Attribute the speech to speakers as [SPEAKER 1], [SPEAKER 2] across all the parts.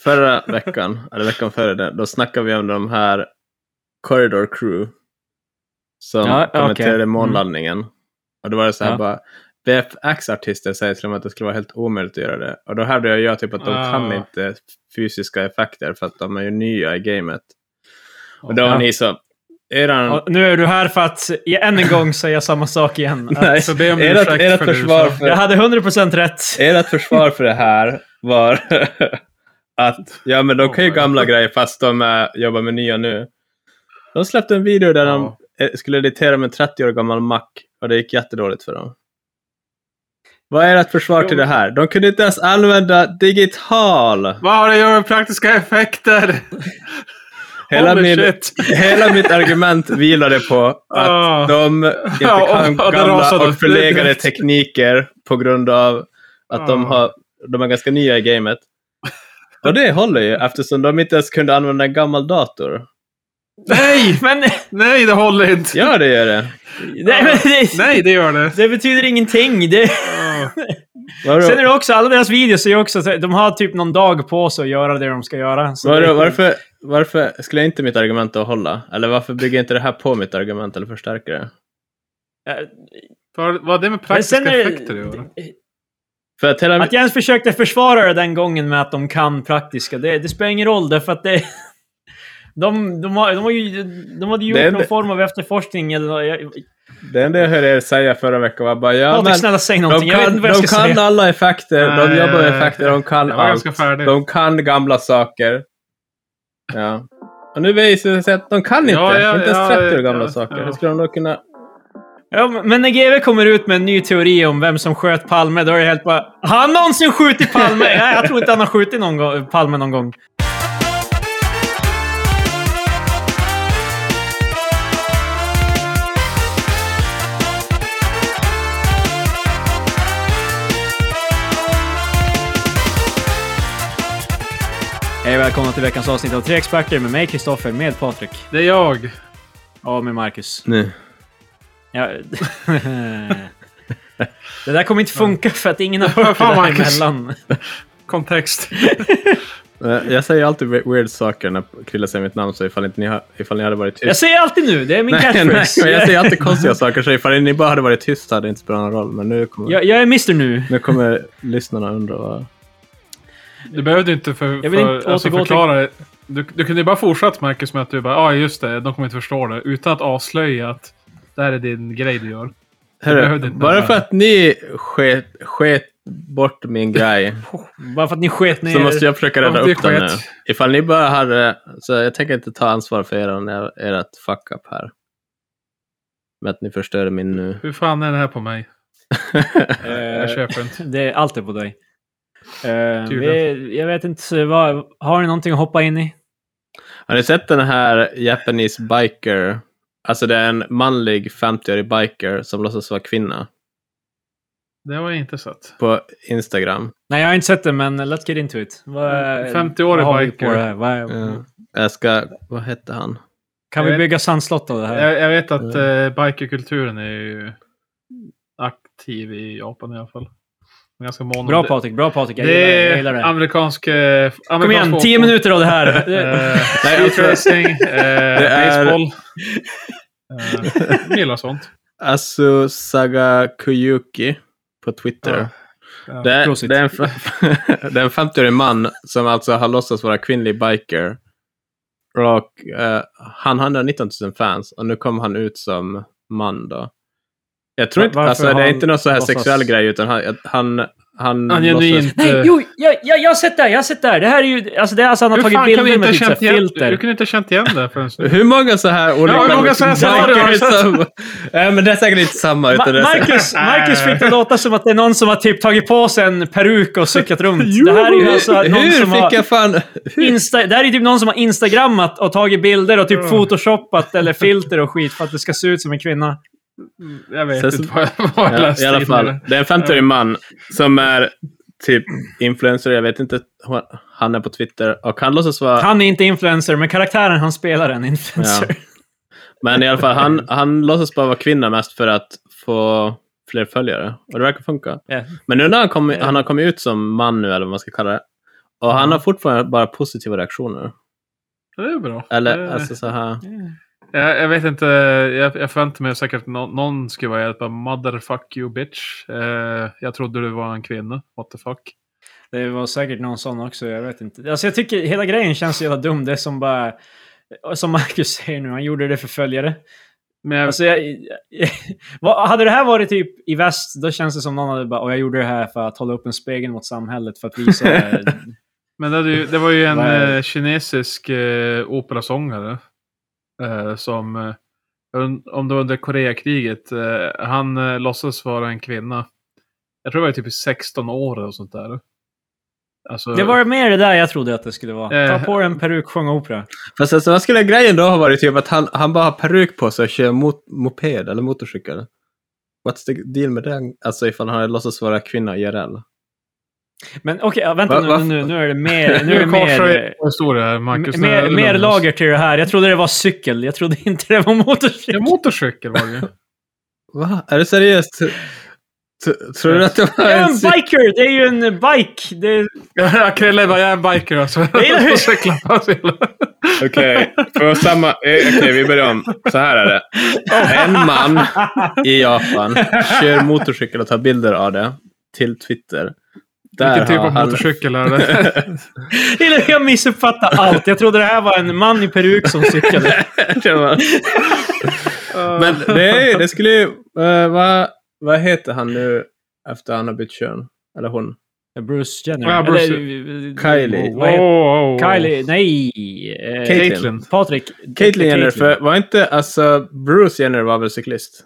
[SPEAKER 1] förra veckan, eller veckan före det, då snackade vi om de här Corridor Crew som
[SPEAKER 2] Ja, okej. Mm.
[SPEAKER 1] kommenterade månlandningen. Och då var det så här
[SPEAKER 2] Ja.
[SPEAKER 1] bara, VFX-artister säger till och med att det skulle vara helt omöjligt att göra det. Och då hävdade jag typ att de
[SPEAKER 3] Ah.
[SPEAKER 1] kan inte fysiska effekter för att de är ju nya i gamet. Och då var
[SPEAKER 2] Ja.
[SPEAKER 1] ni så, eran...
[SPEAKER 2] Och nu är du här för att i- än en gång säga samma sak igen. Att
[SPEAKER 1] Nej,
[SPEAKER 3] så be om
[SPEAKER 1] ert,
[SPEAKER 3] ursäkt
[SPEAKER 1] ert
[SPEAKER 3] för det du
[SPEAKER 1] försvar
[SPEAKER 3] sa.
[SPEAKER 1] för, Eh.
[SPEAKER 2] Jag hade 100% rätt.
[SPEAKER 1] ert försvar för det här var att ja, men de kan ju
[SPEAKER 3] Oh my
[SPEAKER 1] gamla grejer fast de är, jobbar med nya nu. De släppte en video där de eh, skulle editera med en 30 år gammal Mac och det gick jättedåligt för dem. Vad är ert försvar
[SPEAKER 2] Jo,
[SPEAKER 1] till det
[SPEAKER 2] men-
[SPEAKER 1] här? De kunde inte ens använda digital!
[SPEAKER 3] Vad har det att göra med praktiska effekter?
[SPEAKER 1] Hela,
[SPEAKER 3] Holy
[SPEAKER 1] min,
[SPEAKER 3] shit.
[SPEAKER 1] hela mitt argument vilade på att
[SPEAKER 3] Ah.
[SPEAKER 1] de inte
[SPEAKER 3] Ja, och-
[SPEAKER 1] kan
[SPEAKER 3] och det rasade.
[SPEAKER 1] gamla och förlegade tekniker på grund av att de,
[SPEAKER 3] Ah.
[SPEAKER 1] har, de är ganska nya i gamet. Och det håller ju eftersom de inte ens kunde använda en gammal dator.
[SPEAKER 3] Nej!
[SPEAKER 2] Men,
[SPEAKER 3] Nej, det håller inte.
[SPEAKER 1] Ja, det gör det.
[SPEAKER 2] nej, men det,
[SPEAKER 3] Nej, det gör det.
[SPEAKER 2] det betyder ingenting. Det,
[SPEAKER 3] Ja.
[SPEAKER 1] Var,
[SPEAKER 2] sen är det också, alla deras videos är ju också, så- de har typ någon dag på sig att göra det de ska göra. Så det,
[SPEAKER 1] var, varför, varför skulle inte mitt argument då hålla? Eller varför bygger inte det här på mitt argument eller förstärker det?
[SPEAKER 2] Eh,
[SPEAKER 3] Vad vad har det med
[SPEAKER 2] Men
[SPEAKER 3] praktiska
[SPEAKER 2] sen är det-
[SPEAKER 3] effekter att göra?
[SPEAKER 1] För att hela,
[SPEAKER 2] Att jag ens försökte försvara det den gången med att de kan praktiska, det, det spelar ingen roll därför att det... De, de, har, de, har ju, de hade gjort
[SPEAKER 1] Det är-
[SPEAKER 2] någon form av efterforskning eller... Jag, jag,
[SPEAKER 1] det enda jag hörde er säga förra veckan var bara ja,
[SPEAKER 2] Patrik,
[SPEAKER 1] men
[SPEAKER 2] snälla säg
[SPEAKER 1] de
[SPEAKER 2] någonting. jag vet
[SPEAKER 1] kan,
[SPEAKER 2] inte vad jag
[SPEAKER 1] de
[SPEAKER 2] ska
[SPEAKER 1] kan
[SPEAKER 2] säga.
[SPEAKER 1] alla effekter, de
[SPEAKER 3] Nej,
[SPEAKER 1] jobbar med effekter, de kan
[SPEAKER 3] Jag var
[SPEAKER 1] allt.
[SPEAKER 3] ganska färdig.
[SPEAKER 1] De kan gamla saker. Ja. Och nu visar det sig att de kan inte.
[SPEAKER 3] Ja, ja,
[SPEAKER 1] inte ens
[SPEAKER 3] ja,
[SPEAKER 1] 30 år
[SPEAKER 3] ja,
[SPEAKER 1] gamla
[SPEAKER 3] ja.
[SPEAKER 1] saker. Hur skulle de då kunna...
[SPEAKER 2] Ja, men när GW kommer ut med en ny teori om vem som sköt Palme, då är det helt bara... Har han någonsin skjutit Palme? Nej, jag tror inte han har skjutit någon gång, Palme någon gång. Hej och välkomna till veckans avsnitt av Tre Experter med mig, Kristoffer, med Patrik
[SPEAKER 3] Det är jag.
[SPEAKER 2] och med Marcus.
[SPEAKER 1] Nej.
[SPEAKER 2] Ja. det där kommer inte funka för att ingen har hört det
[SPEAKER 3] Fan,
[SPEAKER 2] där
[SPEAKER 3] Marcus.
[SPEAKER 2] emellan.
[SPEAKER 3] Kontext.
[SPEAKER 1] Eh, Jag säger alltid we- weird saker när Krille säger mitt namn, så ifall, inte ni, ha, ifall ni hade varit
[SPEAKER 2] Jag
[SPEAKER 1] tyst.
[SPEAKER 2] säger alltid nu, det är min
[SPEAKER 1] nej, nej,
[SPEAKER 2] catchphrase.
[SPEAKER 1] men jag säger alltid konstiga saker, så ifall ni bara hade varit tyst hade det inte spelat någon roll. Men nu kommer,
[SPEAKER 2] jag, jag är Mr nu.
[SPEAKER 1] nu kommer lyssnarna undra vad...
[SPEAKER 3] Du behövde inte, för,
[SPEAKER 2] Jag vill
[SPEAKER 3] för,
[SPEAKER 2] inte
[SPEAKER 3] alltså,
[SPEAKER 2] återgå till-
[SPEAKER 3] förklara det. Du, du kunde ju bara fortsatt Marcus med att du bara ja ah, just det, de kommer inte förstå det. Utan att avslöja att det här är din grej du gör. behövde
[SPEAKER 1] Hörru,
[SPEAKER 3] inte
[SPEAKER 1] bara
[SPEAKER 3] vara-
[SPEAKER 1] för att ni sket, sket bort min grej.
[SPEAKER 2] Bara för att ni sket ner
[SPEAKER 1] Så måste jag försöka rädda
[SPEAKER 3] Ja, det
[SPEAKER 1] upp den nu.
[SPEAKER 3] sket.
[SPEAKER 1] Ifall ni bara hade... Så jag tänker inte ta ansvar för er, ert fuck-up här. Med att ni förstörde min nu.
[SPEAKER 3] Hur fan är det här på mig?
[SPEAKER 2] Eh,
[SPEAKER 3] Jag köper inte.
[SPEAKER 2] det är alltid på dig. Eh,
[SPEAKER 3] Tydligen.
[SPEAKER 2] vi, jag vet inte, vad, har ni någonting att hoppa in i?
[SPEAKER 1] Har ni sett den här Japanese biker? Alltså det är en manlig 50-årig biker som låtsas vara kvinna
[SPEAKER 3] Det var intressant.
[SPEAKER 1] på Instagram.
[SPEAKER 2] Nej, jag har inte sett det, men let's get into it. Vad-
[SPEAKER 3] 50-årig
[SPEAKER 2] vad har vi på
[SPEAKER 3] Mm, biker.
[SPEAKER 2] det här? Vad-
[SPEAKER 1] Ja. Jag ska... Vad hette han?
[SPEAKER 2] Kan vi bygga sandslott av det här?
[SPEAKER 3] Jag, jag vet att
[SPEAKER 2] Mm.
[SPEAKER 3] eh, bikerkulturen är ju aktiv i Japan i alla fall. Ganska mån om
[SPEAKER 2] Bra
[SPEAKER 3] det.
[SPEAKER 2] Patrik, bra Patrik. Jag, gillar,
[SPEAKER 3] Det
[SPEAKER 2] det, jag
[SPEAKER 3] är
[SPEAKER 2] gillar det.
[SPEAKER 3] amerikansk... eh,
[SPEAKER 2] Kom
[SPEAKER 3] amerikansk
[SPEAKER 2] igen,
[SPEAKER 3] fotboll.
[SPEAKER 2] 10 minuter av det här.
[SPEAKER 3] Eh,
[SPEAKER 1] Nej, alltså-
[SPEAKER 3] Streetracing, eh,
[SPEAKER 1] Det är-
[SPEAKER 3] baseball. Eh, jag gillar sånt.
[SPEAKER 1] Asu Sagakuyuki på Twitter.
[SPEAKER 3] Ja. Ja.
[SPEAKER 1] Det är,
[SPEAKER 2] Prosit.
[SPEAKER 1] det, är en, f- det är en 50-årig man som alltså har låtsats vara kvinnlig biker. Och, eh, han hade 19 000 fans och nu kom han ut som man då. Jag tror
[SPEAKER 2] Va-
[SPEAKER 1] inte,
[SPEAKER 2] varför
[SPEAKER 1] alltså, det
[SPEAKER 2] har
[SPEAKER 1] är
[SPEAKER 2] han
[SPEAKER 1] inte någon så här
[SPEAKER 2] låtsas-
[SPEAKER 1] sexuell grej utan han, att han, han,
[SPEAKER 3] Han genuint...
[SPEAKER 2] Nej,
[SPEAKER 3] eh,
[SPEAKER 2] jo, jag, jag, jag har sett det här, jag har sett det här. Det här är ju, alltså det är alltså han har
[SPEAKER 3] Hur
[SPEAKER 2] tagit
[SPEAKER 3] fan kan du
[SPEAKER 2] bilder
[SPEAKER 3] inte
[SPEAKER 2] med
[SPEAKER 3] ha
[SPEAKER 2] typ så här
[SPEAKER 3] känt igen, du
[SPEAKER 2] filter.
[SPEAKER 3] kunde inte ha känt igen det förrän nu?
[SPEAKER 1] Hur många så här olika
[SPEAKER 3] hur många så här scenarier har du sett?
[SPEAKER 1] som... Nej, men det är säkert inte samma.
[SPEAKER 2] Ma-
[SPEAKER 1] Utan det är säkert...
[SPEAKER 2] Marcus, Marcus fick det låta som att det är någon som har typ tagit på sig en peruk och cyklat runt. det här är ju alltså
[SPEAKER 1] hur,
[SPEAKER 2] någon
[SPEAKER 1] hur
[SPEAKER 2] som har...
[SPEAKER 1] fick jag fan...
[SPEAKER 2] Insta, det här är ju typ någon som har instagrammat och tagit bilder och typ photoshoppat eller filter och skit för att det ska se ut som en kvinna.
[SPEAKER 3] Jag vet
[SPEAKER 1] Sen så-
[SPEAKER 3] inte vad jag, vad jag
[SPEAKER 1] Ja,
[SPEAKER 3] läste
[SPEAKER 1] I alla fall,
[SPEAKER 3] innan.
[SPEAKER 1] det är en 50-årig man som är typ influencer. Jag vet inte, han är på Twitter och han låtsas vara...
[SPEAKER 2] Han är inte influencer, men karaktären han spelar är en influencer.
[SPEAKER 1] Ja. Men i alla fall, han, han låtsas bara vara kvinna mest för att få fler följare. Och det verkar funka.
[SPEAKER 2] Ja.
[SPEAKER 1] Men nu när han, kom, han har kommit ut som man nu, eller vad man ska kalla det, Och han har fortfarande bara positiva reaktioner.
[SPEAKER 3] Det är bra.
[SPEAKER 1] Eller
[SPEAKER 3] det...
[SPEAKER 1] alltså så här.
[SPEAKER 3] jag, jag vet inte. Jag, jag förväntade mig säkert nå- någon skulle vara hjälpa. Motherfuck you bitch. Eh, jag trodde du var en kvinna. What the fuck.
[SPEAKER 2] Det var säkert någon sån också, jag vet inte. Alltså jag tycker hela grejen känns så jävla dum. Det är som bara... Som Marcus säger nu, han gjorde det för följare.
[SPEAKER 3] Men jag,
[SPEAKER 2] Alltså jag, jag, vad- hade det här varit typ i väst, då känns det som någon hade bara och jag gjorde det här för att hålla upp en spegel mot samhället för att visa...
[SPEAKER 3] men det, hade ju, det var ju en
[SPEAKER 2] Nej.
[SPEAKER 3] eh, kinesisk eh, operasångare. Eh, som, eh, jag und- om det var under Koreakriget. Eh, han eh, låtsades vara en kvinna. Jag tror det var typ i 16 år och sånt där. Alltså,
[SPEAKER 2] det var mer det där jag trodde att det skulle vara.
[SPEAKER 3] Eh.
[SPEAKER 2] Ta på dig en peruk, sjung opera.
[SPEAKER 1] Fast alltså, vad skulle grejen då ha varit? Typ att han, han bara har peruk på sig och kör mot, moped eller motorcykel. What's the deal med den? Alltså ifall han hade låtsats vara kvinna IRL.
[SPEAKER 2] Men okej, ja, vänta
[SPEAKER 1] Va- va-
[SPEAKER 2] nu, nu, nu är det mer... Nu
[SPEAKER 3] Nu
[SPEAKER 2] är det
[SPEAKER 3] korsar
[SPEAKER 2] mer...
[SPEAKER 3] vi vår historia här, Marcus. Nu är
[SPEAKER 2] Mer,
[SPEAKER 3] det
[SPEAKER 2] mer
[SPEAKER 3] lugnt.
[SPEAKER 2] lager till det här. Jag trodde det var cykel. Jag trodde inte det var
[SPEAKER 3] Ja,
[SPEAKER 2] motorcykel.
[SPEAKER 3] motorcykel var det ju.
[SPEAKER 1] Va? Är det seriöst? T- Tror du att det var
[SPEAKER 2] Det är ju en
[SPEAKER 1] en... cykel?
[SPEAKER 2] biker! Det är ju en bike! Det är...
[SPEAKER 3] Ja, Krille bara, jag är en biker alltså.
[SPEAKER 2] är det.
[SPEAKER 3] Och cyklar på sig.
[SPEAKER 1] Okej, okay. samma... eh, Okej, vi börjar om. Så här är det. En man i Japan kör motorcykel och tar bilder av det till Twitter. Där
[SPEAKER 3] Vilken typ
[SPEAKER 1] har
[SPEAKER 3] av
[SPEAKER 1] han-
[SPEAKER 3] motorcykel är det?
[SPEAKER 2] Eller Jag missuppfattade allt. Jag trodde det här var en man i peruk som cyklade.
[SPEAKER 1] Kör man. Men det, är- det skulle ju... eh, vad, vad heter han nu efter han har bytt kön? Eller hon?
[SPEAKER 2] Bruce Jenner.
[SPEAKER 3] Ja, Bruce-
[SPEAKER 2] Eller, eh,
[SPEAKER 1] Kylie.
[SPEAKER 2] Vad heter-
[SPEAKER 3] Wow.
[SPEAKER 2] Kylie. Nej! eh,
[SPEAKER 1] Caitlyn.
[SPEAKER 3] Caitlyn.
[SPEAKER 2] Patrik. eh,
[SPEAKER 1] Caitlyn Jenner, för var inte... Alltså, Bruce Jenner var väl cyklist?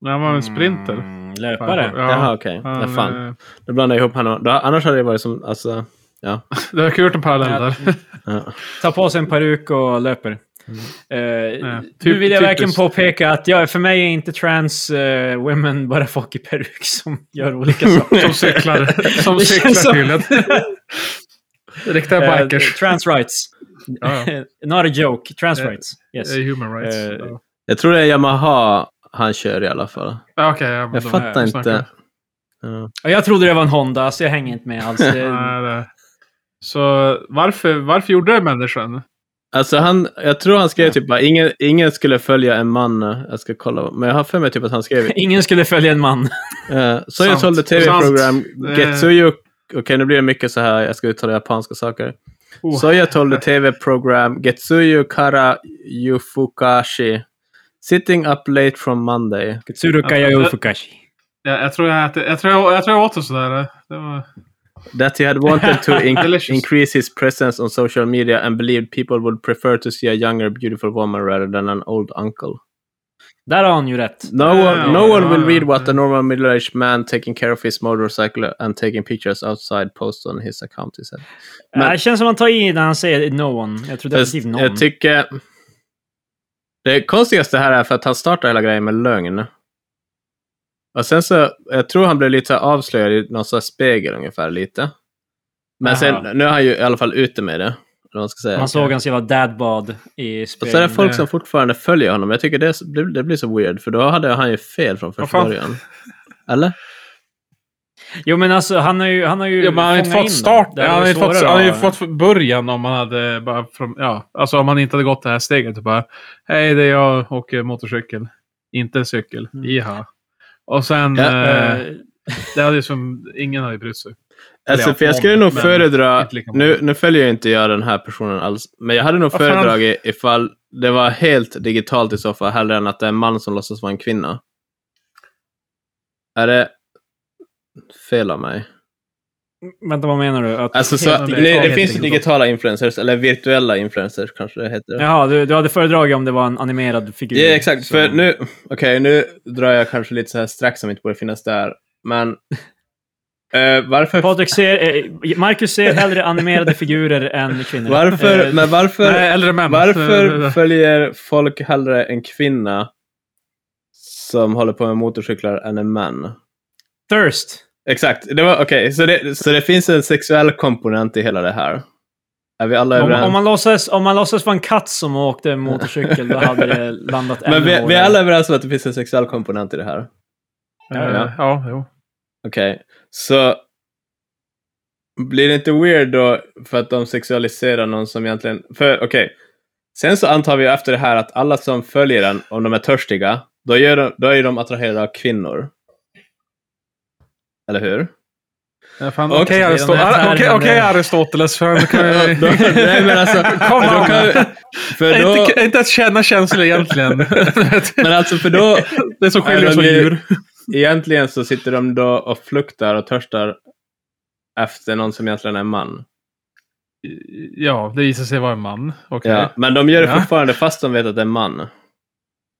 [SPEAKER 3] Nej, Han var en sprinter.
[SPEAKER 2] Mm, löpare.
[SPEAKER 3] Ja,
[SPEAKER 1] Jaha, okej. Ja,
[SPEAKER 3] han,
[SPEAKER 1] fan.
[SPEAKER 3] eh,
[SPEAKER 1] Då blandar jag ihop honom. Då- Annars hade det varit som... Alltså,
[SPEAKER 3] Det verkar ha gjort en parallell
[SPEAKER 2] Ja.
[SPEAKER 3] där.
[SPEAKER 1] ja.
[SPEAKER 2] Tar på sig en peruk och löper. Eh, nu
[SPEAKER 3] Mm. typ-
[SPEAKER 2] vill jag verkligen
[SPEAKER 3] typiskt.
[SPEAKER 2] påpeka att jag, för mig är inte trans eh, women bara folk i peruk som gör olika saker.
[SPEAKER 3] Som cyklar. Som
[SPEAKER 2] Det känns
[SPEAKER 3] cyklar
[SPEAKER 2] som-
[SPEAKER 3] tydligen. Riktiga
[SPEAKER 2] Eh,
[SPEAKER 3] bikers.
[SPEAKER 2] trans rights.
[SPEAKER 3] Ja, ja.
[SPEAKER 2] Not a joke. Trans
[SPEAKER 3] Eh,
[SPEAKER 2] rights. Yes.
[SPEAKER 3] Det är Human rights.
[SPEAKER 2] Eh,
[SPEAKER 3] Ja.
[SPEAKER 1] Jag tror det är Yamaha han kör i alla fall.
[SPEAKER 3] Ja, Okej, ja, men
[SPEAKER 1] Jag
[SPEAKER 3] de-
[SPEAKER 1] fattar
[SPEAKER 3] vi
[SPEAKER 1] inte.
[SPEAKER 3] snackar.
[SPEAKER 1] Ja.
[SPEAKER 2] Och jag trodde det var en Honda, så jag hänger inte med alls. Det-
[SPEAKER 3] Nej, det- Så varför, varför gjorde det människan?
[SPEAKER 1] Alltså han, jag tror han skrev typ bara, ingen, ingen skulle följa en man. eh, Jag ska kolla. Men jag har för mig typ att han skrev.
[SPEAKER 2] Ingen skulle följa en man.
[SPEAKER 1] eh, så jag
[SPEAKER 3] Sant.
[SPEAKER 1] sålde tv-program.
[SPEAKER 3] Sant.
[SPEAKER 1] Getsuyo. Okej, nu blir det mycket så här. Jag ska uttala japanska saker.
[SPEAKER 3] Oh.
[SPEAKER 1] Så jag sålde tv-program. Getsuyo Kara Yufukashi. Sitting up late from Monday.
[SPEAKER 2] Katsuruka Yayoi Fukashi.
[SPEAKER 3] Ja, jag, tror jag, äter, jag, tror jag, jag tror jag åt en sån där. Det var...
[SPEAKER 1] That he had wanted to in-
[SPEAKER 3] Delicious.
[SPEAKER 1] increase his presence on social media and believed people would prefer to see a younger, beautiful woman rather than an old uncle.
[SPEAKER 2] Där har han ju rätt.
[SPEAKER 1] No one, no
[SPEAKER 3] Ja,
[SPEAKER 1] one
[SPEAKER 2] ah,
[SPEAKER 1] will
[SPEAKER 3] ja,
[SPEAKER 1] read
[SPEAKER 3] ja.
[SPEAKER 1] what a normal middle-aged man taking care of his motorcycle and taking pictures outside posts on his account, he said. Men-
[SPEAKER 2] Men... Det känns som han tar i när han säger no one. Jag tror
[SPEAKER 1] Fast
[SPEAKER 2] definitivt någon.
[SPEAKER 1] Jag tycker... Det konstigaste här är för att han startar hela grejen med lögn. Och sen så, jag tror han blev lite så här avslöjad i någon sån här spegel ungefär lite. Men
[SPEAKER 2] Aha.
[SPEAKER 1] sen, nu är han ju i alla fall ute med det. eller vad Man, ska säga.
[SPEAKER 2] Man såg hans jävla dadbad i
[SPEAKER 1] Och så är det
[SPEAKER 2] spegeln.
[SPEAKER 1] folk som fortfarande följer honom. Jag tycker det, det, det blir så weird, för då hade han ju fel från
[SPEAKER 3] Vad
[SPEAKER 1] första
[SPEAKER 3] fan?
[SPEAKER 1] början. Eller?
[SPEAKER 2] Jo men alltså han har ju, han har ju
[SPEAKER 3] Ja, men han har inte
[SPEAKER 2] fångat
[SPEAKER 3] fått
[SPEAKER 2] in
[SPEAKER 3] start.
[SPEAKER 2] dem. Det
[SPEAKER 3] Han
[SPEAKER 2] är
[SPEAKER 3] har ju fått,
[SPEAKER 2] svårare
[SPEAKER 3] han har ju
[SPEAKER 2] att-
[SPEAKER 3] fått början om han hade bara från, ja, alltså om han inte hade gått det här steget. Och bara, hej det är jag och eh, motorcykel. Inte en cykel.
[SPEAKER 2] Mm.
[SPEAKER 3] Jaha. Och sen,
[SPEAKER 1] Ja,
[SPEAKER 3] eh,
[SPEAKER 2] Eh,
[SPEAKER 3] det hade ju som, ingen hade brytt sig.
[SPEAKER 1] Alltså,
[SPEAKER 3] ja,
[SPEAKER 1] för jag
[SPEAKER 3] om,
[SPEAKER 1] skulle nog
[SPEAKER 3] men
[SPEAKER 1] föredra...
[SPEAKER 3] inte lika många.
[SPEAKER 1] Nu, nu följer ju inte jag den här personen alls, men jag hade nog
[SPEAKER 3] Vad fan?
[SPEAKER 1] föredragit ifall det var helt digitalt i så fall, hellre än att det är en man som låtsas vara en kvinna. Är det fel av mig?
[SPEAKER 2] Vänta, vad menar du? Att
[SPEAKER 1] Alltså, så,
[SPEAKER 2] Helt
[SPEAKER 1] nej,
[SPEAKER 2] digitalt,
[SPEAKER 1] det
[SPEAKER 2] helt
[SPEAKER 1] finns ju
[SPEAKER 2] digitalt.
[SPEAKER 1] digitala influencers, eller virtuella influencers kanske det heter.
[SPEAKER 2] Jaha, du, du hade föredragit om det var en animerad figur.
[SPEAKER 1] Ja, exakt.
[SPEAKER 2] Så-
[SPEAKER 1] För nu, okej, nu drar jag kanske lite så här strax som inte borde finnas där. Men eh, varför,
[SPEAKER 2] Patrik ser... Eh, Marcus ser hellre animerade figurer än kvinnor.
[SPEAKER 1] varför,
[SPEAKER 2] Eh,
[SPEAKER 1] men varför,
[SPEAKER 3] Nej, äldre män.
[SPEAKER 1] varför
[SPEAKER 3] Eh,
[SPEAKER 1] följer folk hellre en kvinna som håller på med motorcyklar än en man?
[SPEAKER 2] Thirst.
[SPEAKER 1] Exakt, det var okej. Så, det, så det finns en sexuell komponent i hela det här. Är vi alla
[SPEAKER 2] Om,
[SPEAKER 1] överens?
[SPEAKER 2] om, man låtsas, om man låtsas vara en katt som åkte motorcykel, då hade det landat ännu
[SPEAKER 1] men vi, vi är
[SPEAKER 2] hårdare.
[SPEAKER 1] alla överens om att det finns en sexuell komponent i det här.
[SPEAKER 3] eh, Ja, jo.
[SPEAKER 1] Okej, så Blir det inte weird då för att de sexualiserar någon som egentligen... För okej, sen så antar vi efter det här att alla som följer den, om de är törstiga, då, gör de, då är de attraherade av kvinnor. Eller hur?
[SPEAKER 3] Okej, okay, Aristo-
[SPEAKER 2] den här
[SPEAKER 3] Ar- okej,
[SPEAKER 2] termen
[SPEAKER 3] okej,
[SPEAKER 2] är-
[SPEAKER 3] Aristoteles. Fan, då kan jag...
[SPEAKER 1] Då- Nej men alltså,
[SPEAKER 3] Kom
[SPEAKER 1] då
[SPEAKER 3] on.
[SPEAKER 1] kan, för då,
[SPEAKER 3] inte, inte att känna känslor egentligen.
[SPEAKER 1] men alltså för då,
[SPEAKER 3] det som
[SPEAKER 1] Nej,
[SPEAKER 3] skiljer
[SPEAKER 1] de
[SPEAKER 3] oss från
[SPEAKER 1] är-
[SPEAKER 3] djur.
[SPEAKER 1] egentligen så sitter de då och fluktar och törstar efter någon som egentligen är en man.
[SPEAKER 3] Ja, det visar sig vara en man. Okej.
[SPEAKER 1] Ja, men de gör det
[SPEAKER 3] Ja.
[SPEAKER 1] fortfarande fast de vet att det är en man.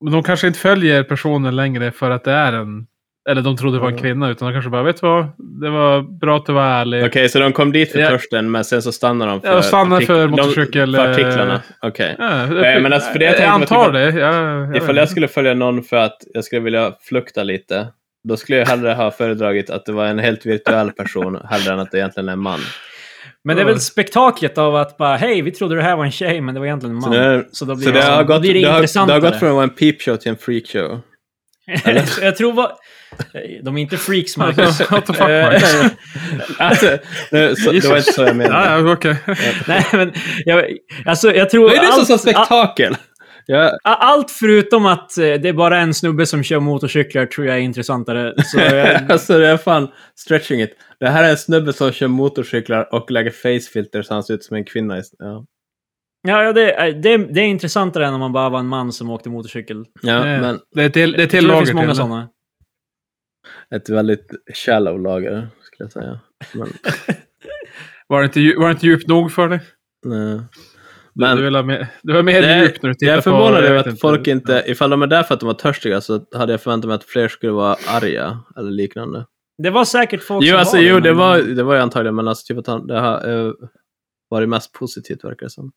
[SPEAKER 3] Men de kanske inte följer personen längre för att det är en... Eller de trodde det var en
[SPEAKER 1] Ja.
[SPEAKER 3] kvinna, utan de kanske bara, vet du vad? Det var bra att du var ärlig.
[SPEAKER 1] Okej, så de kom dit för
[SPEAKER 3] Eh, Ja.
[SPEAKER 1] törsten, men sen så stannar de för,
[SPEAKER 3] Ja, stannar
[SPEAKER 1] artik-
[SPEAKER 3] för
[SPEAKER 1] de-
[SPEAKER 3] motorcykel,
[SPEAKER 1] För
[SPEAKER 3] eh,
[SPEAKER 1] artiklarna. Okej.
[SPEAKER 3] Ja,
[SPEAKER 1] Nej, men alltså, för det jag
[SPEAKER 3] jag,
[SPEAKER 1] tänker på att
[SPEAKER 3] antar
[SPEAKER 1] du-
[SPEAKER 3] det. Ja, jag
[SPEAKER 1] Ifall jag skulle följa någon för att jag skulle vilja flukta lite, då skulle jag hellre ha föredragit att det var en helt virtuell person, hellre än att det egentligen är en man.
[SPEAKER 2] Men det är väl spektaklet av att bara hej, vi trodde det här var en tjej, men det var egentligen en man.
[SPEAKER 1] Så, det,
[SPEAKER 2] Så då blir
[SPEAKER 1] så det,
[SPEAKER 2] det,
[SPEAKER 1] har
[SPEAKER 2] då
[SPEAKER 1] gått,
[SPEAKER 2] blir det,
[SPEAKER 1] det, har, det
[SPEAKER 2] intressantare.
[SPEAKER 1] har gått från att vara en peepshow till en freakshow.
[SPEAKER 2] jag tror vad... Eh, De är inte freaks, Marcus.
[SPEAKER 3] Marcus, what the fuck, Marcus?
[SPEAKER 2] Eh,
[SPEAKER 1] Alltså, nu, så, det var inte så jag menade.
[SPEAKER 3] Ah. Ja, ja, okej.
[SPEAKER 2] Nej, men jag, alltså, jag tror...
[SPEAKER 1] Det är det som
[SPEAKER 2] allt-
[SPEAKER 1] sa
[SPEAKER 3] ah.
[SPEAKER 1] spektakel! Ja,
[SPEAKER 2] A- Allt förutom att eh, det är bara en snubbe som kör motorcyklar tror jag är intressantare. Så eh, jag,
[SPEAKER 1] alltså det är fan stretching it. Det här är en snubbe som kör motorcyklar och lägger facefilter så han ser ut som en kvinna. i- Ja,
[SPEAKER 2] ja, ja, det, är- det, är- det är intressantare än om man bara var en man som åkte motorcykel.
[SPEAKER 1] ja
[SPEAKER 3] Nej.
[SPEAKER 1] men
[SPEAKER 3] Det är till, det är
[SPEAKER 2] Jag
[SPEAKER 3] till
[SPEAKER 2] tror det
[SPEAKER 3] lager
[SPEAKER 2] finns många
[SPEAKER 3] till.
[SPEAKER 2] sådana.
[SPEAKER 1] ett väldigt shallow lager, skulle jag säga. Men, eh,
[SPEAKER 3] Var det, inte, dju- var det inte djupt nog för dig?
[SPEAKER 1] nej.
[SPEAKER 3] Du,
[SPEAKER 1] Men-
[SPEAKER 3] du, vill ha mer, du var mer
[SPEAKER 1] Det är-
[SPEAKER 3] djup när du tittar
[SPEAKER 1] Jag är förvånad
[SPEAKER 3] på...
[SPEAKER 1] över
[SPEAKER 3] vet
[SPEAKER 1] att folk inte, ifall de är där för att de var törstiga så hade jag förväntat mig att fler skulle vara arga eller liknande.
[SPEAKER 2] Det var säkert folk
[SPEAKER 1] Jo,
[SPEAKER 2] som
[SPEAKER 1] alltså,
[SPEAKER 2] var
[SPEAKER 1] jo
[SPEAKER 2] men-
[SPEAKER 1] det, var, det var ju antagligen, men alltså, typ att han, det har eh, varit mest positivt verkar det som.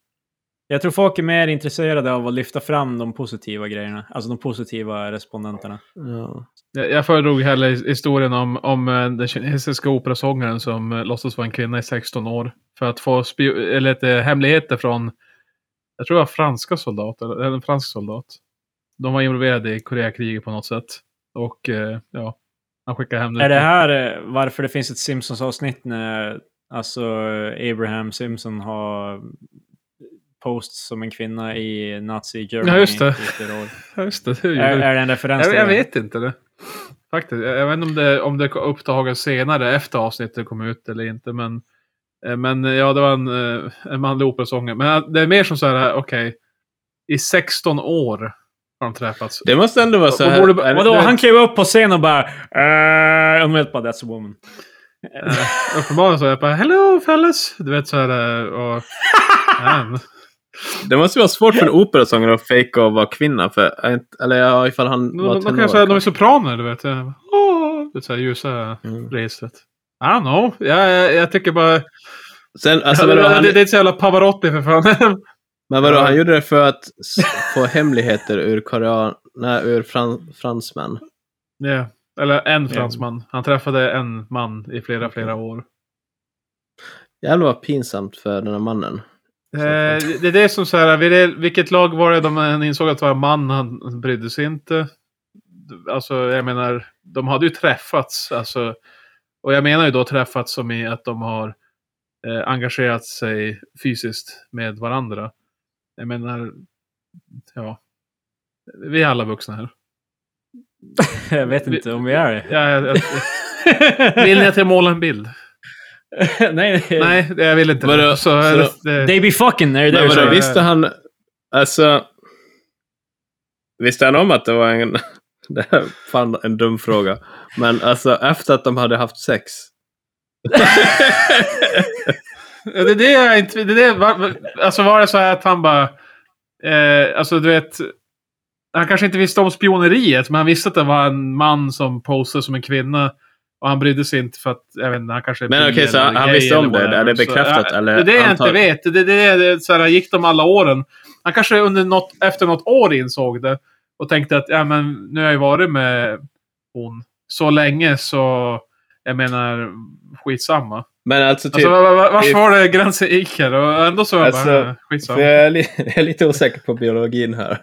[SPEAKER 2] Jag tror folk är mer intresserade av att lyfta fram de positiva grejerna. Alltså de positiva respondenterna.
[SPEAKER 1] Ja.
[SPEAKER 3] Jag, jag föredrog hellre his- historien om, om eh, den kinesiska operasångaren som eh, låtsas vara en kvinna i 16 år. För att få spio- eller lite hemligheter från, jag tror det var franska soldater, eller en fransk soldat. De var involverade i Koreakriget på något sätt. Och eh, ja, han skickade hem
[SPEAKER 2] Är det här eh, varför det finns ett Simpsons-avsnitt när alltså eh, Abraham Simpson har posts som en kvinna i nazi Germany
[SPEAKER 3] Ja, just det.
[SPEAKER 2] i flera år?
[SPEAKER 3] Ja, Just det, det gjorde
[SPEAKER 2] Är,
[SPEAKER 3] det.
[SPEAKER 2] är det en referens
[SPEAKER 3] jag,
[SPEAKER 2] till
[SPEAKER 3] jag
[SPEAKER 2] det?
[SPEAKER 3] vet inte det. Faktiskt. Jag, jag vet inte om det, om det uppdagas senare efter avsnittet kom ut eller inte. Men, eh, men ja, det var en, eh, en manlig operasångare. Men eh, det är mer som så här, okej. I 16 år har de träffats.
[SPEAKER 1] Det måste ändå vara så
[SPEAKER 3] Vad
[SPEAKER 1] här.
[SPEAKER 3] borde-
[SPEAKER 1] är det-
[SPEAKER 2] Vadå,
[SPEAKER 1] det-
[SPEAKER 2] han klev upp på scen och bara... "Eh," Och med bara that's a woman.
[SPEAKER 3] Eh, uppenbarligen så är jag bara, hello fellas. Du vet så här. eh, Och, man.
[SPEAKER 1] Det måste vara svårt för en operasångare att fejka och vara kvinna. För, är inte- eller ja, ifall han
[SPEAKER 3] de,
[SPEAKER 1] var
[SPEAKER 3] de kan ju säga, de är
[SPEAKER 1] tonåring.
[SPEAKER 3] sopraner, du vet. Eh, Åh, du vet så här ljusa
[SPEAKER 1] Mm.
[SPEAKER 3] registret. I don't know. Jag, jag, jag tycker bara...
[SPEAKER 1] Sen, alltså,
[SPEAKER 3] det,
[SPEAKER 1] vadå, han,
[SPEAKER 3] det, det är ett så jävla Pavarotti för fan.
[SPEAKER 1] men vadå,
[SPEAKER 3] Ja.
[SPEAKER 1] han gjorde det för att s- få hemligheter ur, korean, nej, ur fran, fransmän.
[SPEAKER 3] Ja, eller en fransman. Han träffade en man i flera, flera år.
[SPEAKER 1] Jävlar vad pinsamt för den här mannen.
[SPEAKER 3] Eh, det det är det som så här, vid det- vilket lag var det de han insåg att det var en man, han brydde sig inte. Alltså, jag menar, de hade ju träffats. Alltså, och jag menar ju då träffats som i att de har eh, engagerat sig fysiskt med varandra. Jag menar, ja. Vi är alla vuxna här.
[SPEAKER 2] Jag vet inte om vi är det.
[SPEAKER 3] Ja, jag, jag, vill ni att jag målar en bild?
[SPEAKER 2] nej, nej.
[SPEAKER 3] Nej, jag vill inte
[SPEAKER 1] Vadå?
[SPEAKER 3] det.
[SPEAKER 1] Så-
[SPEAKER 3] Så, det, det,
[SPEAKER 2] They be fucking, är
[SPEAKER 1] Men
[SPEAKER 2] det det
[SPEAKER 3] är
[SPEAKER 2] du
[SPEAKER 1] vadå,
[SPEAKER 3] så
[SPEAKER 2] säger?
[SPEAKER 3] här-
[SPEAKER 1] visste han... Alltså... Visste han om att det var en... Det här är fan en dum fråga. Men alltså efter att de hade haft sex.
[SPEAKER 3] Ja, Det är det jag inte... Det är det, var, alltså var det så här att han bara... Eh, alltså du vet... Han kanske inte visste om spioneriet, men han visste att det var en man som postade som en kvinna. Och han brydde sig inte för att, jag vet inte, han kanske är
[SPEAKER 1] Men
[SPEAKER 3] bi
[SPEAKER 1] okej, så
[SPEAKER 3] eller
[SPEAKER 1] han- han
[SPEAKER 3] gay
[SPEAKER 1] visste om
[SPEAKER 3] eller
[SPEAKER 1] det?
[SPEAKER 3] whatever.
[SPEAKER 1] Är det
[SPEAKER 3] Så,
[SPEAKER 1] bekräftat
[SPEAKER 3] ja,
[SPEAKER 1] eller
[SPEAKER 3] Det är det jag inte
[SPEAKER 1] antag-
[SPEAKER 3] vet. Det, det, det, det, så här, gick de alla åren? Han kanske under något, efter något år insåg det. Och tänkte att, ja men nu har jag ju varit med hon så länge så, jag menar, skitsamma.
[SPEAKER 1] Men alltså typ...
[SPEAKER 3] Alltså, var, var, vars
[SPEAKER 1] typ-
[SPEAKER 3] var det gränsen gick här? Och ändå så var jag
[SPEAKER 1] Alltså,
[SPEAKER 3] bara, eh,
[SPEAKER 1] för
[SPEAKER 3] skitsamma.
[SPEAKER 1] jag, är li- jag är lite osäker på biologin här.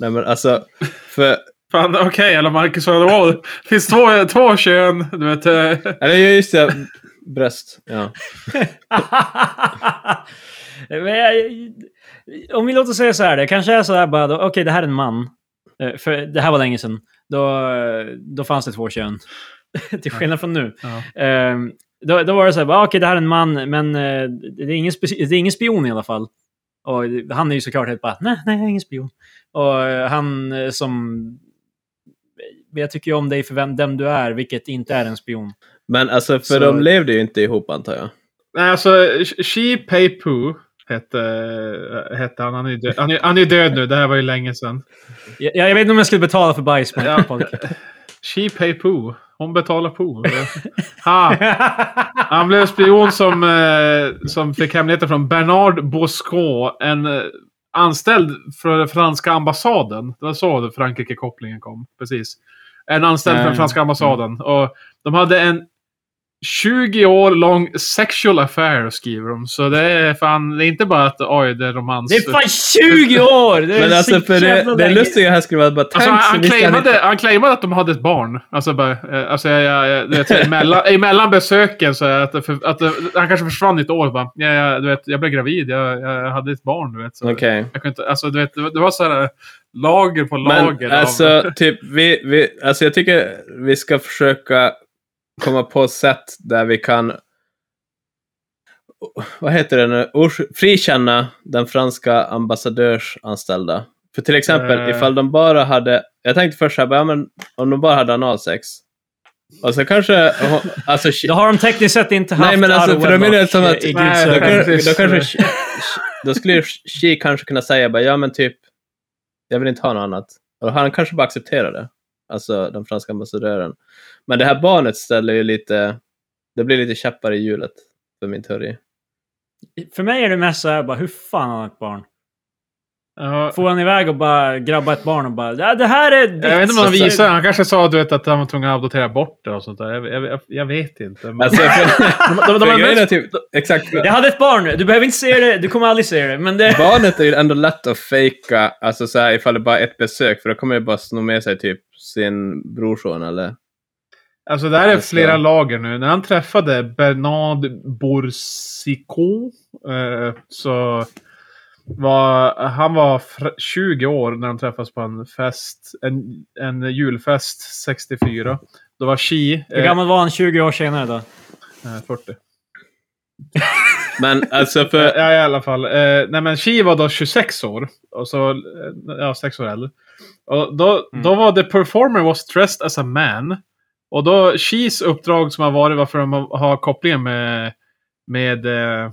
[SPEAKER 1] Nej men alltså... För,
[SPEAKER 3] Fan, okej, eller Marcus, vad det var. Det finns två, två kön, du vet. eh,
[SPEAKER 1] eller just det. Bröst. Ja.
[SPEAKER 2] Men jag, om vi låter säga så här, det kanske är så här bara, då, okej det här är en man. Eh, För det här var länge sedan. Då, då fanns det två kön. Till skillnad från nu.
[SPEAKER 3] Ja.
[SPEAKER 2] Eh, då, då var det så här, bara, okej det här är en man, men eh, det, är ingen speci- det är ingen spion i alla fall. Och han är ju såklart helt bara, nej, nej, jag är ingen spion. Och eh, han eh, som... eh, Jag tycker ju om dig för vem, vem du är, vilket inte är en spion.
[SPEAKER 1] Men alltså, för
[SPEAKER 2] Så-
[SPEAKER 1] de levde ju inte ihop antar jag.
[SPEAKER 3] Nej, alltså Shi Pei Poo hette, hette han. Han är ju död, han är, han är död nu. Det här var ju länge sedan.
[SPEAKER 2] Jag, jag vet inte om jag skulle betala för bajs på
[SPEAKER 3] Ja.
[SPEAKER 2] en podcast.
[SPEAKER 3] Shi Pei Poo. Hon betalar Poo. ha! Han blev spion som, eh, som fick hemligheten från Bernard Bosco, en eh, anställd från den franska ambassaden. Det var så Frankrike-kopplingen kom. Precis. En anställd från
[SPEAKER 2] Mm.
[SPEAKER 3] den franska ambassaden. Och de hade en 20 år lång sexual affair, skriver de. Så det är fan, det är inte bara att oj, det är romans.
[SPEAKER 2] det är fan 20 år! Det är
[SPEAKER 1] Alltså, Men alltså,
[SPEAKER 2] så
[SPEAKER 1] för
[SPEAKER 2] jävla
[SPEAKER 1] det, det
[SPEAKER 2] länge.
[SPEAKER 1] lustiga här skulle vara bara...
[SPEAKER 3] Alltså, han,
[SPEAKER 1] "Thanks,
[SPEAKER 3] han,
[SPEAKER 1] vi ska
[SPEAKER 3] claimade,
[SPEAKER 1] hitta-"
[SPEAKER 3] han claimade att de hade ett barn. Alltså, bara, eh, alltså jag, jag, jag, du vet, så emellan, emellan besöken så är det att, det för, att det, han kanske försvann i ett år. Bara, jag, jag, du vet, jag blev gravid, jag, jag hade ett barn. Du vet, så
[SPEAKER 1] Okej.
[SPEAKER 3] jag kunde inte, alltså, du vet, det var- det var så här eh, lager på lager.
[SPEAKER 1] Men
[SPEAKER 3] av-
[SPEAKER 1] alltså, typ, vi, vi, alltså, jag tycker vi ska försöka komma på sätt där vi kan vad heter det nu, Ors- frikänna den franska ambassadörsanställda. För till exempel
[SPEAKER 3] Eh.
[SPEAKER 1] ifall de bara hade, jag tänkte först såhär, ja, men om de bara hade analsex. Och så kanske, alltså,
[SPEAKER 2] Då har de tekniskt sett inte haft
[SPEAKER 1] nej men alltså för då menar jag som att,
[SPEAKER 2] i
[SPEAKER 3] Nej,
[SPEAKER 2] Guds
[SPEAKER 1] då,
[SPEAKER 2] ögon.
[SPEAKER 1] kan-
[SPEAKER 3] precis.
[SPEAKER 1] då kanske, då skulle ju Xi kanske kunna säga bara, ja men typ, jag vill inte ha något annat. Och han kanske bara accepterar det. Alltså den franska ambassadören. Men det här barnet ställer ju lite, det blir lite käppar i hjulet för min teori.
[SPEAKER 2] För mig är det mest så här, bara, hur fan har han ett barn?
[SPEAKER 3] ja,
[SPEAKER 2] Får han iväg och bara grabba ett barn och bara, "Ja, det här är ditt.
[SPEAKER 3] jag vet inte om han
[SPEAKER 1] Alltså-
[SPEAKER 2] Så-
[SPEAKER 3] visade. Han kanske sa du vet, att han var tvungen att adoptera bort det och sånt där. Jag, jag, jag, jag vet inte. Men,
[SPEAKER 1] Alltså, för,
[SPEAKER 3] de, de, de,
[SPEAKER 1] för
[SPEAKER 3] är
[SPEAKER 1] grejen är
[SPEAKER 3] mest-
[SPEAKER 1] typ, exakt,
[SPEAKER 2] Jag hade ett barn, du behöver inte se det, du kommer aldrig se det. Men det...
[SPEAKER 1] barnet är ju ändå lätt att fejka, alltså så här, ifall det bara är ett besök, för då kommer det bara sno med sig typ sin brorson eller
[SPEAKER 3] Alltså det här är
[SPEAKER 1] Just det.
[SPEAKER 3] flera lager nu. När han träffade Bernard Boursico eh, så var han var fr- 20 år när de träffades på en fest. En, en julfest 64. Då var Xi
[SPEAKER 2] Hur
[SPEAKER 3] eh,
[SPEAKER 2] gammal var han 20 år senare då?
[SPEAKER 3] eh, 40.
[SPEAKER 1] Men alltså
[SPEAKER 3] Eh,
[SPEAKER 1] för...
[SPEAKER 3] Ja, i alla fall. Eh, nej, men Xi var då 26 år. Och så, eh, ja, 6 år äldre. Och då,
[SPEAKER 2] Mm.
[SPEAKER 3] då var the performer was dressed as a man. Och då Xis uppdrag som har varit varför de har- har kopplingen med, med eh,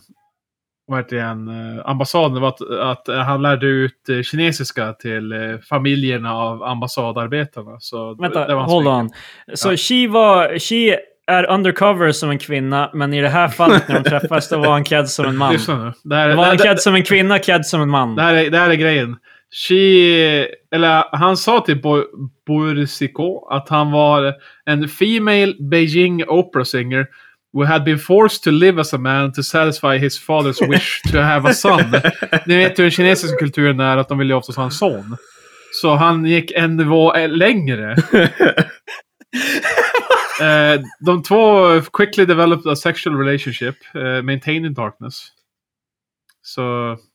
[SPEAKER 3] vad heter det igen, eh, ambassaden var att, att eh, han lärde ut eh, kinesiska till eh, familjerna av ambassadarbetarna. Så
[SPEAKER 2] Vänta,
[SPEAKER 3] det var hans
[SPEAKER 2] hold
[SPEAKER 3] mycket.
[SPEAKER 2] on. Så
[SPEAKER 3] Ja.
[SPEAKER 2] She, var, she är undercover som en kvinna, men i det här fallet när de träffas då var han klädd som en man.
[SPEAKER 3] Lyssna nu. Det här,
[SPEAKER 2] Då
[SPEAKER 3] det,
[SPEAKER 2] var han
[SPEAKER 3] det,
[SPEAKER 2] klädd som en kvinna, klädd som en man.
[SPEAKER 3] Det här är, det här är grejen. She, eller han sa till Bo- Boursico att han var en female Beijing opera singer who had been forced to live as a man to satisfy his father's wish to have a son. Ni vet hur den kinesiska kulturen är, att de vill ju oftast ha en son. Så han gick en nivå eh, längre. Eh, de två quickly developed a sexual relationship, eh, maintaining darkness. Så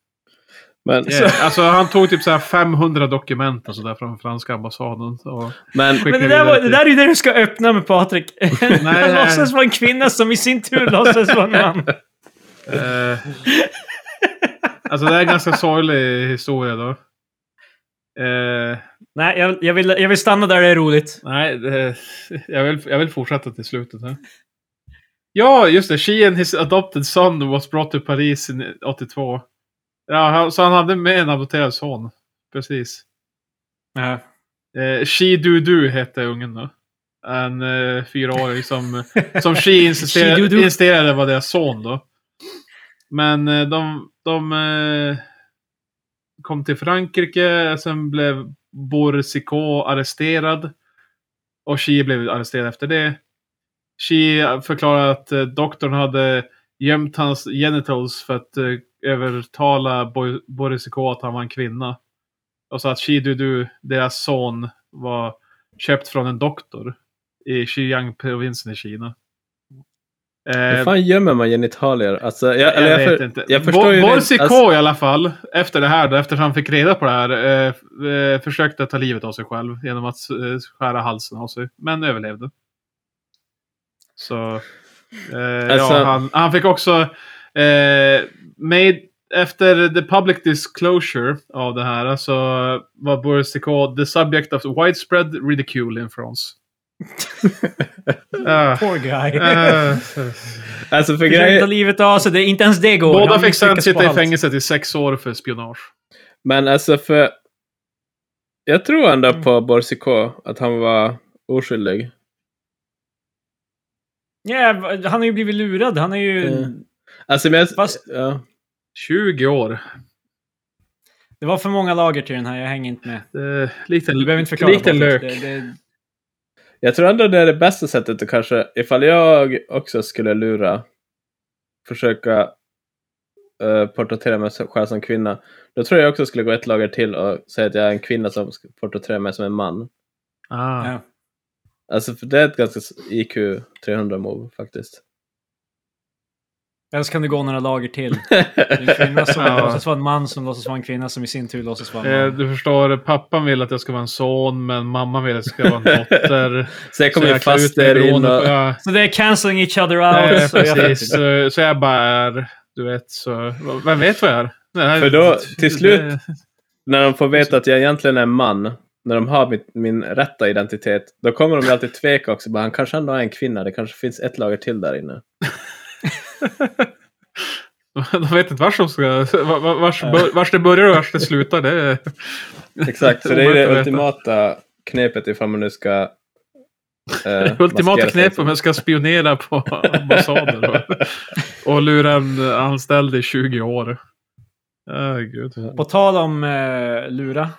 [SPEAKER 1] Men,
[SPEAKER 3] Yeah. Alltså han tog typ så här 500 dokument och så där från franska ambassaden. Och
[SPEAKER 1] men
[SPEAKER 2] Men det där,
[SPEAKER 3] skickade vidare
[SPEAKER 2] var, det
[SPEAKER 3] till-
[SPEAKER 2] där är ju det du ska öppna med Patrik.
[SPEAKER 3] nej.
[SPEAKER 2] Han låtsas vara en kvinna som i sin tur låtsas vara en man.
[SPEAKER 3] Eh, alltså det är en ganska sorglig historia då. Eh,
[SPEAKER 2] Nej, jag, jag, vill, jag vill stanna där det är roligt.
[SPEAKER 3] nej, det, jag, vill, jag vill fortsätta till slutet här. Ja, just det. She and his adopted son was brought to Paris in 82. Ja, han- så han hade med en adopterad son. Precis.
[SPEAKER 2] Ja.
[SPEAKER 3] Eh, She Du Du hette ungen då. En eh, fyraåring som, som She
[SPEAKER 2] She
[SPEAKER 3] insisterade,
[SPEAKER 2] Dudu.
[SPEAKER 3] insisterade var deras son då. Men eh, de, de eh, kom till Frankrike, sen blev Boursico arresterad. Och She blev arresterad efter det. She förklarade att eh, doktorn hade gömt hans genitals för att eh, övertala Bo- Boursico att han var en kvinna. Och så att Shidudu, deras son, var köpt från en doktor i Xiyang-provinsen i Kina.
[SPEAKER 1] Hur
[SPEAKER 3] Eh,
[SPEAKER 1] fan gömmer man genitalier? Alltså, jag, eller
[SPEAKER 3] jag
[SPEAKER 1] jag,
[SPEAKER 3] vet
[SPEAKER 1] för,
[SPEAKER 3] inte.
[SPEAKER 1] jag förstår
[SPEAKER 3] Bo-
[SPEAKER 1] ju alltså,
[SPEAKER 3] Boise
[SPEAKER 1] rent-
[SPEAKER 3] K i alla fall, efter det här då, efter han fick reda på det här, eh, f- eh, försökte ta livet av sig själv genom att eh, skära halsen av sig, men överlevde. Så, eh,
[SPEAKER 1] Alltså-
[SPEAKER 3] ja, han, han fick också, eh, made, efter the public disclosure av det här så var Boise K the subject of widespread ridicule in France. Ah,
[SPEAKER 2] Poor guy.
[SPEAKER 3] eh,
[SPEAKER 1] Alltså för
[SPEAKER 2] Försöker ta
[SPEAKER 1] grejer,
[SPEAKER 2] livet av sig, det, inte ens det går.
[SPEAKER 3] Båda
[SPEAKER 2] Han
[SPEAKER 3] fick sen
[SPEAKER 2] misslyckas på
[SPEAKER 3] sitta i
[SPEAKER 2] allt.
[SPEAKER 3] fängelse i sex år för spionage.
[SPEAKER 1] men alltså för... Jag tror ändå
[SPEAKER 3] Mm.
[SPEAKER 1] på Borsiko att han var oskyldig.
[SPEAKER 2] Ja, va- han har ju blivit lurad. Han är ju...
[SPEAKER 1] Mm. Alltså men jag...
[SPEAKER 2] Fast-
[SPEAKER 1] Ja.
[SPEAKER 3] 20 år.
[SPEAKER 2] Det var för många lager till den här, jag hänger inte med.
[SPEAKER 3] Eh, liten,
[SPEAKER 2] Du behöver inte förklara.
[SPEAKER 3] Liten
[SPEAKER 2] Patrik.
[SPEAKER 3] lök.
[SPEAKER 2] Det, det,
[SPEAKER 1] Jag tror ändå det är det bästa sättet att kanske, ifall jag också skulle lura, försöka eh, porträttera mig själv som kvinna, då tror jag också skulle gå ett lager till och säga att jag är en kvinna som ska porträttera mig som en man.
[SPEAKER 3] Ah.
[SPEAKER 2] ja.
[SPEAKER 1] Alltså för det är ett ganska s- IQ 300 move faktiskt.
[SPEAKER 2] Eller så kan du gå några lager till. En kvinna som
[SPEAKER 3] Ja.
[SPEAKER 2] låtsas vara en man som låtsas vara en kvinna som i sin tur låtsas vara en
[SPEAKER 3] Eh,
[SPEAKER 2] man.
[SPEAKER 3] du förstår, pappan vill att jag ska vara en son, men mamman vill att jag ska vara en dotter.
[SPEAKER 1] så jag kommer
[SPEAKER 3] Så
[SPEAKER 1] ju
[SPEAKER 3] klär
[SPEAKER 1] fast
[SPEAKER 3] ut mig
[SPEAKER 1] där
[SPEAKER 3] beroende på-
[SPEAKER 1] inne.
[SPEAKER 3] Ja,
[SPEAKER 2] Så det är cancelling each other
[SPEAKER 3] eh,
[SPEAKER 2] out. så jag-
[SPEAKER 3] precis. Så, så jag bara är, du vet, så... Vem vet vad jag är? Nej,
[SPEAKER 1] För då, till
[SPEAKER 3] det-
[SPEAKER 1] slut- När de får veta att jag egentligen är en man, när de har mitt, min rätta identitet, då kommer de ju alltid tveka också. Bara, han kanske ändå är en kvinna, det kanske finns ett lager till där inne.
[SPEAKER 3] De vet inte vars de ska... var- var- Vars, bör- vars det börjar och vars det slutar. Det är...
[SPEAKER 1] Exakt, så det är
[SPEAKER 3] omöjligt
[SPEAKER 1] det
[SPEAKER 3] att veta.
[SPEAKER 1] ultimata knepet ifall man nu ska... Eh,
[SPEAKER 3] Ultimata
[SPEAKER 1] maskera sig
[SPEAKER 3] knep
[SPEAKER 1] som-
[SPEAKER 3] om jag ska spionera på ambassader och, och lura en anställd i 20 år. Oh, gud.
[SPEAKER 2] På tal om eh, lura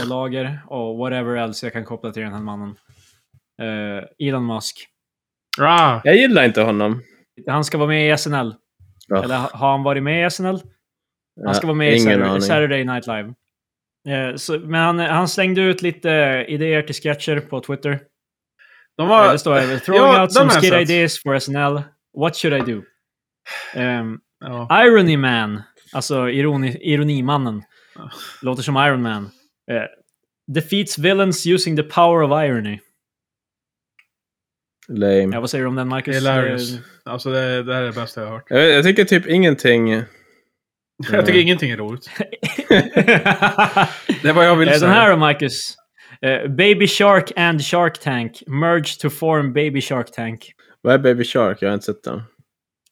[SPEAKER 2] och lager och whatever else jag kan koppla till den här mannen. Eh, Elon Musk.
[SPEAKER 3] Ah,
[SPEAKER 1] Jag gillar inte honom.
[SPEAKER 2] Han ska vara med i SNL.
[SPEAKER 1] Ja.
[SPEAKER 2] Eller ha- har han varit med i SNL? Han ska vara med i
[SPEAKER 1] Ingen
[SPEAKER 2] Saturday,
[SPEAKER 1] aning.
[SPEAKER 2] Saturday Night Live. Eh, så, men han, han slängde ut lite idéer till sketcher på Twitter.
[SPEAKER 3] de
[SPEAKER 2] Eh,
[SPEAKER 3] var,
[SPEAKER 2] det står över. Throwing
[SPEAKER 3] ja,
[SPEAKER 2] out
[SPEAKER 3] de
[SPEAKER 2] some
[SPEAKER 3] har jag
[SPEAKER 2] skit
[SPEAKER 3] sett."
[SPEAKER 2] ideas for SNL. What should I do? Ehm,
[SPEAKER 3] ja.
[SPEAKER 2] Irony Man, alltså ironi, ironimannen. Låter som Iron Man. Eh, defeats villains using the power of irony.
[SPEAKER 1] Lame.
[SPEAKER 2] Ja, vad säger du om den, Marcus?
[SPEAKER 3] Hilarious.
[SPEAKER 2] Eh,
[SPEAKER 3] Alltså det, det här är det bästa jag har hört.
[SPEAKER 1] Jag, vet- jag tycker typ ingenting... eh,
[SPEAKER 3] Jag tycker ingenting är roligt. Det är vad jag vill
[SPEAKER 2] Eh,
[SPEAKER 3] säga.
[SPEAKER 2] den här då, Marcus. Eh, Baby Shark and Shark Tank merge to form Baby Shark Tank.
[SPEAKER 1] Vad är Baby Shark? Jag har inte sett den.
[SPEAKER 2] Eh,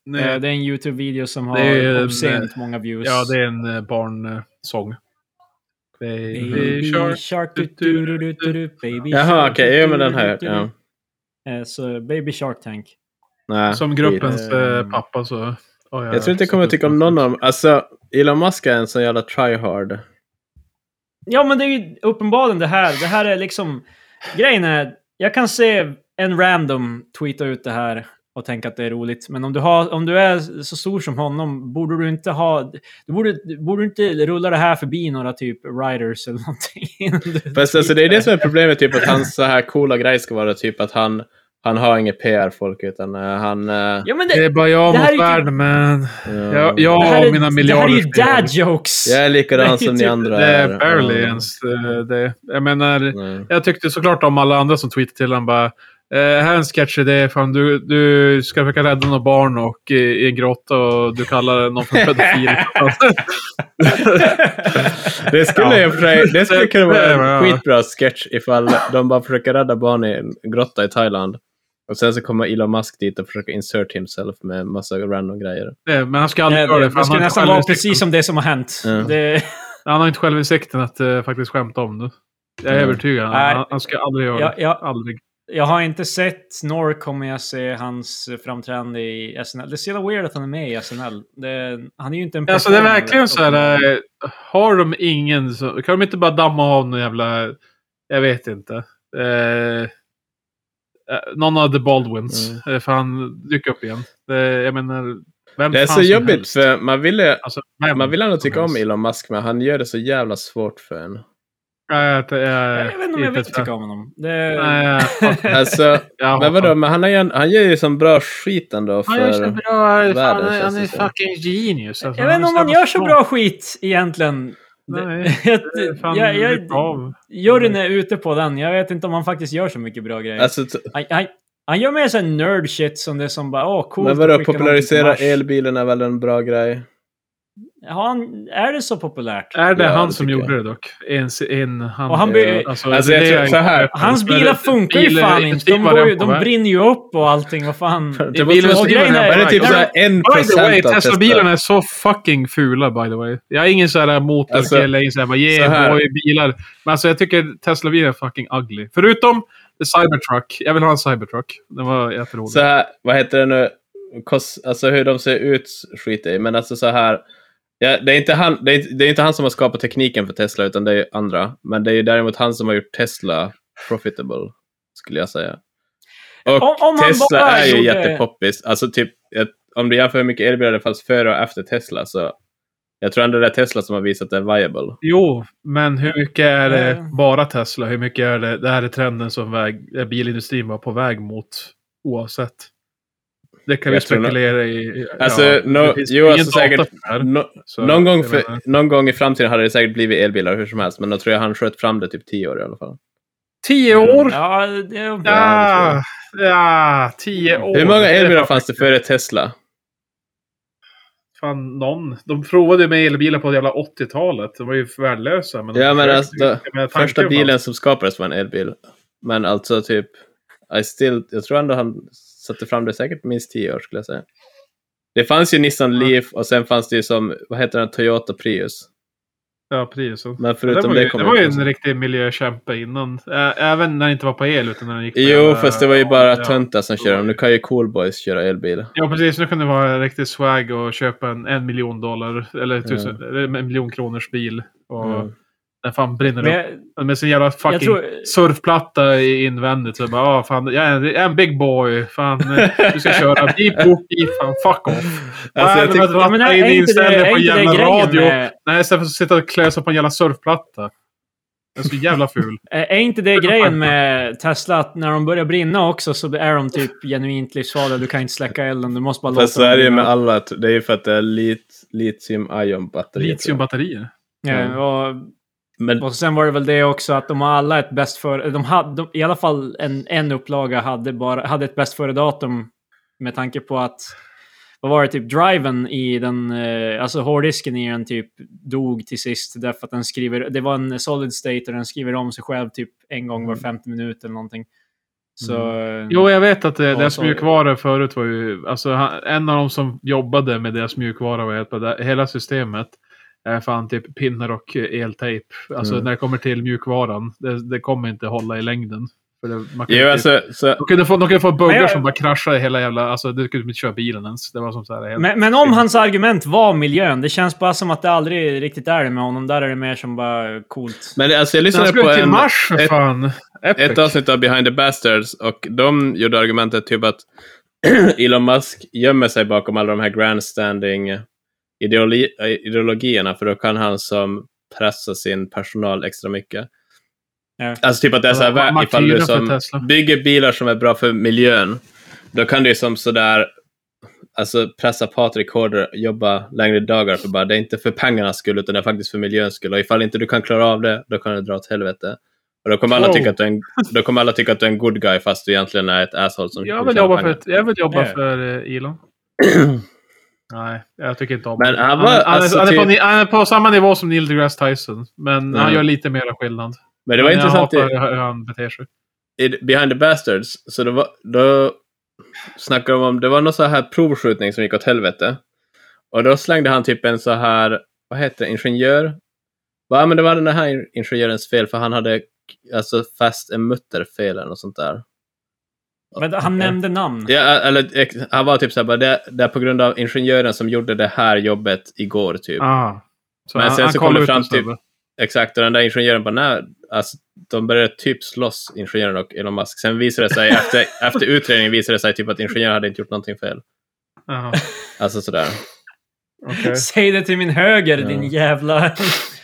[SPEAKER 3] Nej,
[SPEAKER 2] det är en YouTube-video som
[SPEAKER 3] Det är
[SPEAKER 2] har
[SPEAKER 3] en,
[SPEAKER 2] obscent många views.
[SPEAKER 3] ja, det är en eh, barnsång. Baby
[SPEAKER 2] Baby
[SPEAKER 3] Shark.
[SPEAKER 2] Shark, du, du, du, du, du, du, Baby
[SPEAKER 1] Jaha,
[SPEAKER 2] Shark,
[SPEAKER 1] okej.
[SPEAKER 2] du,
[SPEAKER 1] Jo,
[SPEAKER 2] du,
[SPEAKER 1] men den
[SPEAKER 2] du,
[SPEAKER 1] har jag hört.
[SPEAKER 2] du,
[SPEAKER 1] Ja.
[SPEAKER 2] du. Eh, Så Baby Shark Tank.
[SPEAKER 1] Nej,
[SPEAKER 3] Som gruppens
[SPEAKER 2] Eh,
[SPEAKER 3] eh, pappa så... Oh, ja,
[SPEAKER 1] Jag tror inte jag kommer tycka om någon av dem. Alltså, Elon Musk är en sån jävla tryhard.
[SPEAKER 2] Ja, men det är ju uppenbarligen det här. Det här är liksom... Grejen är, jag kan se en random tweeta ut det här och tänka att det är roligt. Men om du, har, om du är så stor som honom, borde du inte ha... Du borde, du borde inte rulla det här förbi några typ writers eller någonting.
[SPEAKER 1] Fast alltså, det är det som är problemet, typ att hans så här coola grej ska vara typ att han, han har inget PR-folk utan eh, han... eh,
[SPEAKER 2] Ja, men
[SPEAKER 3] Det
[SPEAKER 2] det,
[SPEAKER 3] är bara jag
[SPEAKER 2] Det här är
[SPEAKER 3] mot
[SPEAKER 2] ju-
[SPEAKER 3] världen, man. Jag,
[SPEAKER 1] ja.
[SPEAKER 2] det
[SPEAKER 3] jag
[SPEAKER 2] här
[SPEAKER 3] och mina
[SPEAKER 2] är, det här är
[SPEAKER 3] miljarder
[SPEAKER 2] ju dad jokes!
[SPEAKER 1] Jag är
[SPEAKER 2] Det är
[SPEAKER 1] likadan
[SPEAKER 2] ju
[SPEAKER 1] som ni
[SPEAKER 2] typ-
[SPEAKER 1] andra.
[SPEAKER 3] Det
[SPEAKER 1] är.
[SPEAKER 3] är barely
[SPEAKER 1] Ja.
[SPEAKER 3] ens eh, det. Jag menar,
[SPEAKER 1] Nej.
[SPEAKER 3] jag tyckte såklart om alla andra som tweetade till honom bara eh, här är en sketchidé. Fan, du, du ska försöka rädda några barn och, i, i en grotta och du kallar någon för pedofil.
[SPEAKER 1] Det skulle, ja. för, det skulle kunna vara en
[SPEAKER 3] Ja.
[SPEAKER 1] skitbra sketch ifall de bara försöker rädda barn i en grotta i Thailand. Och sen så kommer Elon Musk dit och försöker insert himself med massa random grejer.
[SPEAKER 3] Nej, Eh, Men han ska
[SPEAKER 2] Ja,
[SPEAKER 3] aldrig göra det.
[SPEAKER 2] det, det
[SPEAKER 3] För han, har
[SPEAKER 2] skulle
[SPEAKER 3] inte
[SPEAKER 2] nästan vara
[SPEAKER 3] självinsikten-
[SPEAKER 2] precis som det som har hänt.
[SPEAKER 1] Ja.
[SPEAKER 2] Det,
[SPEAKER 3] han har inte självinsikten att eh, faktiskt skämta om det. Jag är
[SPEAKER 1] Mm.
[SPEAKER 3] övertygad.
[SPEAKER 2] Nej.
[SPEAKER 3] Han, han ska aldrig göra
[SPEAKER 2] jag,
[SPEAKER 3] det.
[SPEAKER 2] jag,
[SPEAKER 3] Aldrig.
[SPEAKER 2] Jag har inte sett, nor kommer jag se hans framträdande i SNL. Det är så jävla weird att han är med i SNL. Det, han är ju inte en
[SPEAKER 3] Alltså det är
[SPEAKER 2] performer,
[SPEAKER 3] verkligen så här. eh, Har de ingen så, Kan de inte bara damma av någon jävla... Jag vet inte. Eh, eh, någon av the Baldwins.
[SPEAKER 1] Mm.
[SPEAKER 3] Eh, för han dyker upp igen. Eh, jag menar... Vem
[SPEAKER 1] Det är
[SPEAKER 3] fan
[SPEAKER 1] så
[SPEAKER 3] som
[SPEAKER 1] jobbigt
[SPEAKER 3] helst.
[SPEAKER 1] för man ville,
[SPEAKER 3] Alltså, vem
[SPEAKER 1] man vill ändå tycka
[SPEAKER 3] som
[SPEAKER 1] om
[SPEAKER 3] helst.
[SPEAKER 1] Elon Musk men han gör det så jävla svårt för en.
[SPEAKER 3] Nej, jag, jag, jag,
[SPEAKER 2] Jag vet inte om jag vill tycka om honom. Det,
[SPEAKER 3] Nej, jag-
[SPEAKER 1] Alltså,
[SPEAKER 3] jag
[SPEAKER 1] men vadå, men han, är ju, han gör ju som bra skit ändå.
[SPEAKER 3] Han gör så
[SPEAKER 1] För,
[SPEAKER 3] bra. Fan,
[SPEAKER 1] världen,
[SPEAKER 3] han,
[SPEAKER 1] känns
[SPEAKER 3] han
[SPEAKER 1] det
[SPEAKER 3] är
[SPEAKER 1] som.
[SPEAKER 3] fucking genius. Alltså,
[SPEAKER 2] jag vet inte om
[SPEAKER 3] är
[SPEAKER 2] han
[SPEAKER 3] så
[SPEAKER 2] gör så
[SPEAKER 3] smart.
[SPEAKER 2] bra skit egentligen.
[SPEAKER 3] Nej,
[SPEAKER 2] jag,
[SPEAKER 3] det är Fan,
[SPEAKER 2] jag, jag,
[SPEAKER 3] lite av.
[SPEAKER 2] juryn är ute på den. Jag vet inte om han faktiskt gör så mycket bra grejer.
[SPEAKER 1] alltså, t-
[SPEAKER 2] han, han, han gör mer sån nerd shit som det som bara åh coolt.
[SPEAKER 1] men
[SPEAKER 2] att
[SPEAKER 1] vadå,
[SPEAKER 2] skicka någonting
[SPEAKER 1] popularisera
[SPEAKER 2] till Mars.
[SPEAKER 1] elbilen är väl en bra grej?
[SPEAKER 2] Har han, är det så populärt?
[SPEAKER 3] Är det
[SPEAKER 1] Ja,
[SPEAKER 3] han
[SPEAKER 1] det
[SPEAKER 3] som
[SPEAKER 1] tycker
[SPEAKER 3] gjorde det dock? En, en han.
[SPEAKER 2] Och han by-
[SPEAKER 1] Alltså, jag
[SPEAKER 3] det
[SPEAKER 1] tror
[SPEAKER 3] är-
[SPEAKER 1] så här.
[SPEAKER 2] Hans
[SPEAKER 3] Men
[SPEAKER 2] bilar
[SPEAKER 3] det-
[SPEAKER 2] funkar ju
[SPEAKER 3] bilen-
[SPEAKER 2] fan inte. De,
[SPEAKER 3] bilen var
[SPEAKER 2] går ju,
[SPEAKER 3] redan på
[SPEAKER 2] de
[SPEAKER 3] väg.
[SPEAKER 2] brinner ju upp och allting. Vad fan.
[SPEAKER 1] Det
[SPEAKER 3] bilen
[SPEAKER 1] måste
[SPEAKER 3] så
[SPEAKER 1] vara
[SPEAKER 3] Alltså, grejen är-
[SPEAKER 1] är det typ
[SPEAKER 3] Nej,
[SPEAKER 1] såhär en
[SPEAKER 3] By the way,
[SPEAKER 1] procent av
[SPEAKER 3] Tesla-bilarna
[SPEAKER 1] testerna?
[SPEAKER 3] är så fucking fula by the way. Jag är ingen sån här
[SPEAKER 1] Alltså,
[SPEAKER 3] motorkille, ingen sån här bara
[SPEAKER 1] så
[SPEAKER 3] yeah
[SPEAKER 1] här.
[SPEAKER 3] boy bilar. Men alltså jag tycker Tesla-bilar är fucking ugly. Förutom the Cybertruck. Jag vill ha en Cybertruck. Den var jätterolig.
[SPEAKER 1] Så här, vad heter det nu? Kos, alltså hur de ser ut skiter jag i, men alltså så här. Ja, det, är inte han, det, är, inte- det är inte han som har skapat tekniken för Tesla, utan det är andra. Men det är ju däremot han som har gjort Tesla profitable, skulle jag säga. Och
[SPEAKER 2] Om- om han
[SPEAKER 1] Tesla
[SPEAKER 2] bara
[SPEAKER 1] är ju
[SPEAKER 2] gjorde-
[SPEAKER 1] jättepoppis. Alltså typ, ett, om du jämför hur mycket elbilar det fanns före och efter Tesla, så jag tror ändå det är Tesla som har visat det är viable.
[SPEAKER 3] Jo, men hur mycket är
[SPEAKER 2] Ja, ja.
[SPEAKER 3] det bara Tesla? Hur mycket är det, det här är trenden som väg, eh, bilindustrin var på väg mot oavsett? Det kan vi
[SPEAKER 1] Jag tror nog-
[SPEAKER 3] spekulera i.
[SPEAKER 1] Alltså, no-
[SPEAKER 3] det finns
[SPEAKER 1] jo,
[SPEAKER 3] ingen
[SPEAKER 1] alltså
[SPEAKER 3] data
[SPEAKER 1] säkert-
[SPEAKER 3] för det här,
[SPEAKER 1] Nå-
[SPEAKER 3] så
[SPEAKER 1] någon, gång
[SPEAKER 3] jag
[SPEAKER 1] för,
[SPEAKER 3] menar-
[SPEAKER 1] någon gång i framtiden hade det säkert blivit elbilar hur som helst, men då tror jag han sköt fram det typ tio år i alla fall.
[SPEAKER 3] Tio
[SPEAKER 1] Mm.
[SPEAKER 3] år?
[SPEAKER 2] Ja, det,
[SPEAKER 3] Ja, ja, tio år.
[SPEAKER 1] Hur många elbilar fanns det
[SPEAKER 3] för?
[SPEAKER 1] före Tesla?
[SPEAKER 3] Fan, någon. De provade ju med elbilar på det jävla 80-talet. De var ju värdelösa. Men de
[SPEAKER 1] Ja, men
[SPEAKER 3] försökte
[SPEAKER 1] alltså,
[SPEAKER 3] ju. Jag menar, tanken
[SPEAKER 1] Första
[SPEAKER 3] fanns.
[SPEAKER 1] bilen som skapades var en elbil. Men alltså typ, I still, jag tror ändå han satte fram det säkert minst tio år skulle jag säga. Det fanns ju Nissan
[SPEAKER 3] Ja.
[SPEAKER 1] Leaf och sen fanns det ju som, vad heter den, Toyota Prius.
[SPEAKER 3] Ja, Priusen.
[SPEAKER 1] Men
[SPEAKER 3] Det
[SPEAKER 1] förutom
[SPEAKER 3] var,
[SPEAKER 1] det,
[SPEAKER 3] ju,
[SPEAKER 1] kom
[SPEAKER 3] det var
[SPEAKER 1] jag
[SPEAKER 3] ju
[SPEAKER 1] inte
[SPEAKER 3] en
[SPEAKER 1] ihåg.
[SPEAKER 3] riktig miljökämpe innan. Ä- Även när det inte var på el utan när den gick på
[SPEAKER 1] Jo,
[SPEAKER 3] jävla-
[SPEAKER 1] fast det var ju bara
[SPEAKER 3] eh, ja.
[SPEAKER 1] töntar som körde dem. Nu kan ju coolboys köra elbil.
[SPEAKER 3] Ja, precis. Nu kan det vara en riktig swag och köpa en, en miljon dollar eller tusen, eller en miljon kronors bil. Och
[SPEAKER 1] Mm.
[SPEAKER 3] den fan brinner
[SPEAKER 2] Men
[SPEAKER 3] upp.
[SPEAKER 2] jag,
[SPEAKER 3] Med sin jävla fucking
[SPEAKER 2] jag tror...
[SPEAKER 3] surfplatta i invändigt. Så jag bara, ah, fan, jag är, en, jag är en big boy. Fan, eh, du ska köra beep, boop, beep, fan, fuck off.
[SPEAKER 1] Alltså, jag
[SPEAKER 3] Nej, men
[SPEAKER 1] tyckte,
[SPEAKER 3] att
[SPEAKER 2] Ja, men
[SPEAKER 3] ratta
[SPEAKER 2] är,
[SPEAKER 3] in
[SPEAKER 2] är inte det,
[SPEAKER 3] inställningen på
[SPEAKER 2] är
[SPEAKER 3] en
[SPEAKER 2] inte det
[SPEAKER 3] jävla
[SPEAKER 2] grejen
[SPEAKER 3] radio.
[SPEAKER 2] med,
[SPEAKER 3] Nej, istället för att sitta och klösa på en jävla surfplatta. Den är så jävla ful.
[SPEAKER 2] är inte det grejen med Tesla att när de börjar brinna också så är de typ genuint livsfarliga. Du kan inte släcka elden, du måste bara låta
[SPEAKER 1] fast så är det ju
[SPEAKER 2] brinna.
[SPEAKER 1] med alla, det är ju för att det är lit, litium-ion-batterier.
[SPEAKER 3] Litiumbatterier.
[SPEAKER 2] Ja, och,
[SPEAKER 1] Men
[SPEAKER 2] och sen var det väl det också att de har alla ett bäst före... De hade, de, I alla fall en, en upplaga hade, bara, hade ett bäst före-datum med tanke på att... Vad var det? Typ driven i den... Eh, alltså hårddisken i den typ dog till sist därför att den skriver... Det var en solid state och den skriver om sig själv typ en gång var femte minut eller någonting. Så...
[SPEAKER 3] Mm.
[SPEAKER 2] eh,
[SPEAKER 3] Jo, jag vet att det,
[SPEAKER 2] Ja,
[SPEAKER 3] deras
[SPEAKER 2] så-
[SPEAKER 3] mjukvara förut var ju... Alltså, han, en av dem som jobbade med deras mjukvara var helt på det, hela systemet. Är fan typ pinnar och eh, eltejp. Alltså
[SPEAKER 1] Mm.
[SPEAKER 3] när det kommer till mjukvaran. Det, det kommer inte hålla i längden. För det, man
[SPEAKER 1] Jo,
[SPEAKER 3] kan inte-
[SPEAKER 1] alltså, så,
[SPEAKER 3] de kunde få, de kunde få buggar
[SPEAKER 2] Men jag-
[SPEAKER 3] som bara kraschade hela jävla... Alltså du kunde inte köra bilen ens. Det var som så här helt...
[SPEAKER 2] Men, men om hans argument var miljön, det känns bara som att det aldrig riktigt är det med honom. Där är det mer som bara coolt.
[SPEAKER 1] men det- alltså, jag
[SPEAKER 3] han
[SPEAKER 1] lyssnade på
[SPEAKER 3] skulle till
[SPEAKER 1] en,
[SPEAKER 3] Mars för
[SPEAKER 1] ett-
[SPEAKER 3] fan! Epic.
[SPEAKER 1] ett avsnitt av Behind the Bastards och de gjorde argumentet typ att Elon Musk gömmer sig bakom alla de här grandstanding ideologi, äh, ideologierna för då kan han som pressa sin personal extra mycket.
[SPEAKER 2] Ja.
[SPEAKER 1] Alltså typ att det är så här,
[SPEAKER 3] Ja,
[SPEAKER 1] va- ifall du
[SPEAKER 3] martyrer för
[SPEAKER 1] som
[SPEAKER 3] Tesla.
[SPEAKER 1] bygger bilar som är bra för miljön, då kan du ju som sådär alltså pressa Patrik hårdare, jobba längre dagar för bara, det är inte för pengarnas skull utan det är faktiskt för miljöns skull. Och ifall inte du kan klara av det, då kan du dra åt helvete. Och då kommer alla,
[SPEAKER 3] Wow.
[SPEAKER 1] tycka att, du är en, då kommer alla tycka att du är en good guy fast du egentligen är ett asshole som
[SPEAKER 3] Jag
[SPEAKER 1] vill
[SPEAKER 3] vill
[SPEAKER 1] tjäna
[SPEAKER 3] jobba för,
[SPEAKER 1] pengar.
[SPEAKER 3] ett, jag vill jobba
[SPEAKER 2] Ja.
[SPEAKER 3] för eh, Elon. Nej, jag tycker inte om
[SPEAKER 1] Men han var-
[SPEAKER 3] han, han,
[SPEAKER 1] alltså
[SPEAKER 3] är, han, är på,
[SPEAKER 1] typ-
[SPEAKER 3] ni- han är på samma nivå som Neil deGrasse Tyson. Men han
[SPEAKER 1] Mm.
[SPEAKER 3] gör lite mer skillnad.
[SPEAKER 1] Men det var
[SPEAKER 3] Men
[SPEAKER 1] intressant
[SPEAKER 3] Jag
[SPEAKER 1] i, Typ.
[SPEAKER 3] hatar hur han beter sig.
[SPEAKER 1] i Behind the Bastards, så det var, då snackade de om, det var någon så här provskjutning som gick åt helvete. Och då slängde han typ en så här, vad heter det, ingenjör? Va, men det var den här ingenjörens fel för han hade alltså fäst en mutter fel eller något sånt där.
[SPEAKER 2] Men han nämnde namn.
[SPEAKER 1] Ja, eller ex- han var typ såhär, bara, det, det är på grund av ingenjören som gjorde det här jobbet igår typ.
[SPEAKER 3] Ah. Så
[SPEAKER 1] Men sen så
[SPEAKER 3] kollar
[SPEAKER 1] kom det
[SPEAKER 3] ut
[SPEAKER 1] fram
[SPEAKER 3] en snubbe.
[SPEAKER 1] typ- Exakt, och den där ingenjören bara, nej, alltså, de började typ slåss, ingenjören och Elon Musk. Sen visade det sig, efter, efter utredningen visade det sig typ att ingenjören hade inte gjort någonting fel.
[SPEAKER 3] Jaha,
[SPEAKER 1] Alltså sådär.
[SPEAKER 3] okej.
[SPEAKER 2] Säg det till min höger,
[SPEAKER 1] Ja.
[SPEAKER 2] din jävla...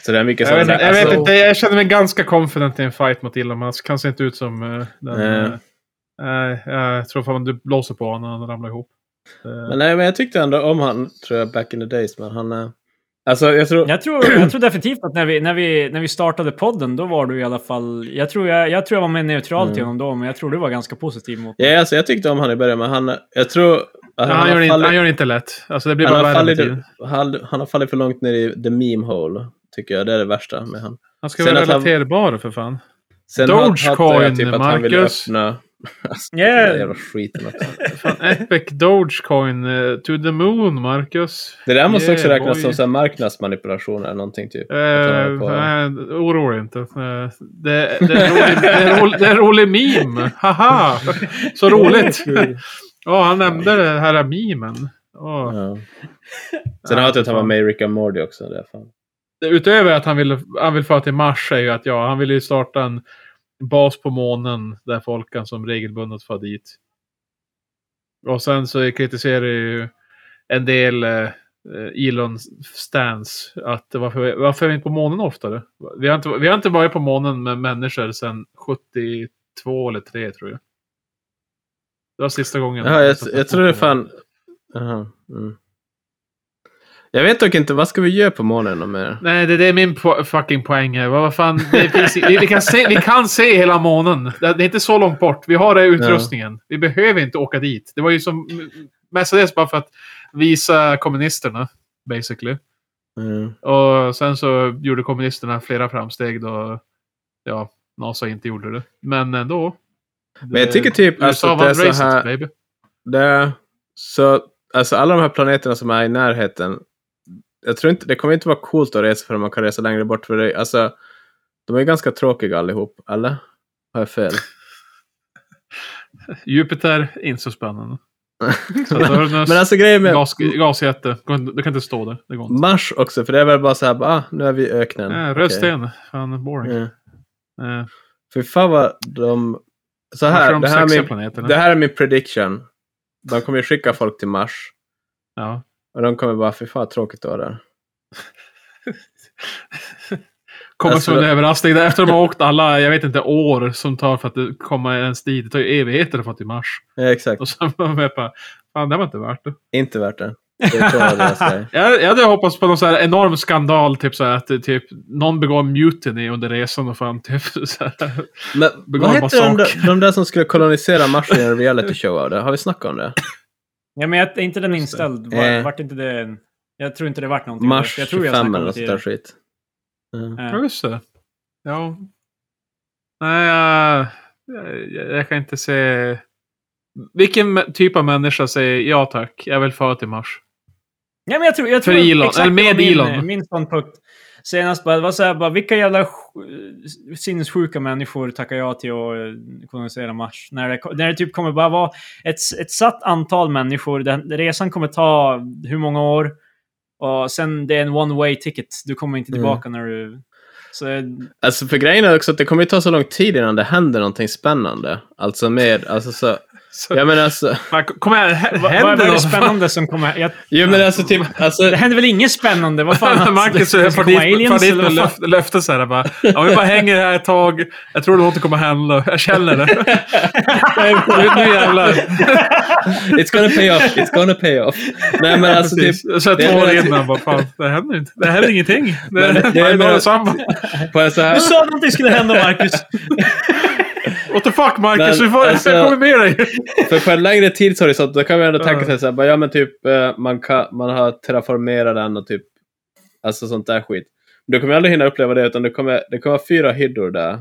[SPEAKER 1] Så den vilken
[SPEAKER 3] Jag vet, inte, jag,
[SPEAKER 1] alltså,
[SPEAKER 3] vet inte, jag känner mig ganska confident i en fight mot Ilham. Han kan se inte ut som eh, den.
[SPEAKER 1] Nej.
[SPEAKER 3] eh, Nej, jag tror fan du blåser på honom och han ramlar ihop. Eh,
[SPEAKER 1] Men, nej, men jag tyckte ändå om han, tror jag, back in the days. Men han... eh, Alltså, jag tror...
[SPEAKER 2] Jag tror, jag tror definitivt att när vi, när, vi, när vi startade podden, då var du i alla fall... Jag tror jag, jag, tror jag var mer neutral till
[SPEAKER 1] Mm.
[SPEAKER 2] honom då, men jag tror du var ganska positiv mot...
[SPEAKER 1] Ja, alltså, jag tyckte om han i början, men han... Jag tror... att
[SPEAKER 3] han, gör
[SPEAKER 1] har
[SPEAKER 3] det inte,
[SPEAKER 1] fallit-
[SPEAKER 3] han gör det inte lätt. Alltså det blir
[SPEAKER 1] han
[SPEAKER 3] bara
[SPEAKER 1] har
[SPEAKER 3] värre med
[SPEAKER 1] fallit-
[SPEAKER 3] tiden.
[SPEAKER 1] han- han har fallit för långt ner i the meme hole, tycker jag. Det är det värsta med han.
[SPEAKER 3] Han ska
[SPEAKER 1] Sen
[SPEAKER 3] vara
[SPEAKER 1] att han-
[SPEAKER 3] relaterbar för fan.
[SPEAKER 1] Sen
[SPEAKER 3] Dogecoin,
[SPEAKER 1] hatar jag typ att han vill
[SPEAKER 3] Marcus.
[SPEAKER 1] öppna... Alltså,
[SPEAKER 2] Yeah.
[SPEAKER 1] den där jävla skiten också.
[SPEAKER 3] Fan, Epic Dogecoin eh, to the moon, Marcus.
[SPEAKER 1] Det där måste
[SPEAKER 3] Yeah,
[SPEAKER 1] också räknas
[SPEAKER 3] boy.
[SPEAKER 1] som så här marknadsmanipulation eller någonting typ.
[SPEAKER 3] Eh,
[SPEAKER 1] Att han är på-
[SPEAKER 3] nej, oroa dig inte. Eh, det, det, är en rolig, det, är en rolig, det är en rolig meme. Haha! Så roligt! Ja, han nämnde den här memen. Ja.
[SPEAKER 1] Ja. Sen har jag att han var med i Rick and Morty också. Det är fan.
[SPEAKER 3] Utöver att han vill, han vill föra till Mars är ju att ja, han vill ju starta en bas på månen där folk kan som regelbundet far dit. Och sen så kritiserar ju en del eh, Elon Stans att varför, varför är vi inte på månen oftare? Vi har inte, vi har inte varit på månen med människor sedan 72 eller 3 tror jag. Det var sista gången.
[SPEAKER 1] Ja, jag, jag tror det är fan... Jaha, mm. Jag vet dock inte, vad ska vi göra på morgonen om mer?
[SPEAKER 3] Nej, det, det är min po- fucking poäng här. Vad vad fan, det finns, vi, vi, kan se, vi kan se hela månen. Det det är inte så långt bort. Vi har det i utrustningen. Vi behöver inte åka dit. Det var ju som mestadels bara för att visa kommunisterna, basically.
[SPEAKER 1] Mm.
[SPEAKER 3] Och sen så gjorde kommunisterna flera framsteg då, ja, NASA inte gjorde det. Men ändå.
[SPEAKER 1] Men jag tycker typ
[SPEAKER 3] USA
[SPEAKER 1] alltså, att det
[SPEAKER 3] vann
[SPEAKER 1] är så
[SPEAKER 3] racet,
[SPEAKER 1] här...
[SPEAKER 3] baby.
[SPEAKER 1] Det, så, alltså alla de här planeterna som är i närheten. Jag tror inte, det kommer inte vara coolt att resa för man kan resa längre bort. För det, alltså, de är ju ganska tråkiga allihop, eller? Har jag fel?
[SPEAKER 3] Jupiter, inte så spännande. Så att Uranus,
[SPEAKER 1] Men alltså grejen med
[SPEAKER 3] gas, gasjätte. Du kan inte stå där. Det går inte.
[SPEAKER 1] Mars också, för det är väl bara så här, bara, ah, nu är vi i öknen.
[SPEAKER 3] Nej,
[SPEAKER 1] Okej.
[SPEAKER 3] Eh, röd sten. Fan, boring.
[SPEAKER 1] Ja.
[SPEAKER 3] Eh,
[SPEAKER 1] För fan vad de... Så
[SPEAKER 3] Varför är
[SPEAKER 1] här,
[SPEAKER 3] de
[SPEAKER 1] det här,
[SPEAKER 3] sexiga
[SPEAKER 1] är min,
[SPEAKER 3] planeterna?
[SPEAKER 1] det här är min prediction. De kommer ju skicka folk till Mars.
[SPEAKER 3] Ja.
[SPEAKER 1] Och de kommer bara, fy fan vad tråkigt det var där.
[SPEAKER 3] Kommer
[SPEAKER 1] Alltså-
[SPEAKER 3] som en överraskning. Där Efter de har åkt alla, jag vet inte, år som tar för att komma ens dit. Det tar ju evigheter att få till Mars.
[SPEAKER 1] Ja, exakt,
[SPEAKER 3] Och sen var man bara, fan det var inte värt det.
[SPEAKER 1] inte värt det. Det är så jag läser det.
[SPEAKER 3] Jag, jag hade hoppats på någon så här enorm skandal, typ så här att det typ, någon begår mutiny under resan och fan typ så här.
[SPEAKER 1] Men
[SPEAKER 3] Begår
[SPEAKER 1] vad hette de,
[SPEAKER 3] massaker.
[SPEAKER 1] där- de där som skulle kolonisera Mars i en reality show av det? Har vi snackat om det?
[SPEAKER 2] Ja, men jag, är inte den inställd? Var,
[SPEAKER 1] Eh.
[SPEAKER 2] vart inte det, en- jag tror inte det vart någonting.
[SPEAKER 1] Mars
[SPEAKER 2] jag tror
[SPEAKER 1] 25 eller något sånt
[SPEAKER 2] snackade
[SPEAKER 1] där
[SPEAKER 2] om
[SPEAKER 1] skit. Mm.
[SPEAKER 2] det.
[SPEAKER 3] Ja,
[SPEAKER 2] Eh,
[SPEAKER 3] just det. Ja. Nej, jag, jag, jag kan inte se... Vilken mä- typ av människa säger ja tack, jag vill föra till Mars?
[SPEAKER 2] Ja, men jag tror, jag
[SPEAKER 3] För
[SPEAKER 2] tror
[SPEAKER 3] Elon,
[SPEAKER 2] exakt
[SPEAKER 3] eller
[SPEAKER 2] det var
[SPEAKER 3] med
[SPEAKER 2] min,
[SPEAKER 3] Elon.
[SPEAKER 2] eh, Min ståndpunkt senast bara, det var så här, bara, vilka jävla sj- sinnessjuka människor tackar jag till att eh, kolonisera Mars? När det, när det typ kommer bara vara ett, ett satt antal människor, den, resan kommer ta hur många år? Och sen det är en one way ticket, du kommer
[SPEAKER 3] Mm.
[SPEAKER 2] inte tillbaka när du... Så, eh,
[SPEAKER 1] Alltså för grejen är också att det kommer ju ta så lång tid innan det händer någonting spännande. Alltså med, alltså så,
[SPEAKER 3] Så,
[SPEAKER 1] jag menar alltså,
[SPEAKER 3] fan, kom igen, hä-
[SPEAKER 2] vad, vad
[SPEAKER 3] händer
[SPEAKER 2] är det
[SPEAKER 3] något?
[SPEAKER 2] spännande som kommer? Jag,
[SPEAKER 1] jo men alltså typ, alltså,
[SPEAKER 2] det händer väl inget spännande? Vad fan? att-
[SPEAKER 3] Marcus
[SPEAKER 2] det
[SPEAKER 3] för
[SPEAKER 2] ska
[SPEAKER 3] dit,
[SPEAKER 2] komma aliens,
[SPEAKER 3] för dit
[SPEAKER 2] eller
[SPEAKER 3] med
[SPEAKER 2] vad fan?
[SPEAKER 3] löf, löfte så här bara. Ja, vi bara hänger här ett tag. Jag tror det låter kommer hända. Jag känner det. nu, nu jävlar.
[SPEAKER 1] it's gonna pay off, it's gonna pay off. Nej men alltså typ,
[SPEAKER 3] Precis. så jag
[SPEAKER 1] det-
[SPEAKER 3] två år
[SPEAKER 1] det-
[SPEAKER 3] innan bara, fan, det händer inte. Det händer ingenting. Det,
[SPEAKER 1] Men det-
[SPEAKER 3] det,
[SPEAKER 1] det-
[SPEAKER 3] är
[SPEAKER 1] men-
[SPEAKER 3] bara samma.
[SPEAKER 1] på en så här,
[SPEAKER 2] Du sa att någonting skulle hända, Marcus!
[SPEAKER 3] What the fuck Marcus,
[SPEAKER 1] Men,
[SPEAKER 3] vi får,
[SPEAKER 1] alltså-
[SPEAKER 3] jag kommer med dig.
[SPEAKER 1] För på en längre tidshorisont då kan vi ändå tänka sig
[SPEAKER 3] Ja.
[SPEAKER 1] så här, bara, ja men typ eh, man, kan, man har terraformerat den och typ alltså sånt där skit. Men du kommer aldrig hinna uppleva det utan det kommer, det kommer vara fyra hyddor där.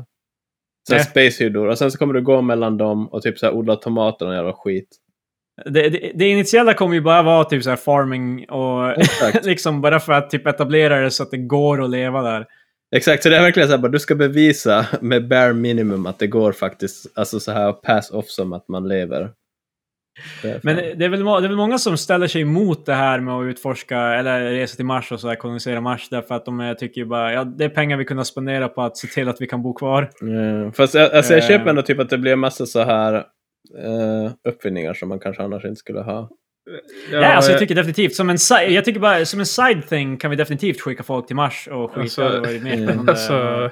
[SPEAKER 1] Så här
[SPEAKER 2] Nej.
[SPEAKER 1] space-hyddor och sen så kommer du gå mellan dem och typ så här odla tomater och jävla skit.
[SPEAKER 2] Det, det, det initiala kommer ju bara vara typ så här farming och
[SPEAKER 1] Exakt.
[SPEAKER 2] liksom bara för att typ etablera det så att det går att leva där.
[SPEAKER 1] Exakt, så det är verkligen så här, bara, du ska bevisa med bare minimum att det går faktiskt, alltså så här pass off som att man lever. Det är
[SPEAKER 2] Men eh,
[SPEAKER 1] fan-
[SPEAKER 2] det är, väl, må- det är väl många som ställer sig emot det här med att utforska eller resa till Mars och så här, kolonisera Mars därför att de eh, tycker ju bara ja, det är pengar vi kunde spendera på att se till att vi kan bo kvar.
[SPEAKER 1] Mm, fast jag, alltså jag
[SPEAKER 2] Eh.
[SPEAKER 1] köper ändå typ att det blir en massa så här eh, uppfinningar som man kanske annars inte skulle ha.
[SPEAKER 3] Ja,
[SPEAKER 2] Nej, alltså jag
[SPEAKER 3] eh,
[SPEAKER 2] tycker definitivt, som en, si- jag tycker bara, som en side thing kan vi definitivt skicka folk till Mars och skita
[SPEAKER 3] Alltså,
[SPEAKER 2] och vara med
[SPEAKER 1] mm.
[SPEAKER 2] på
[SPEAKER 3] alltså,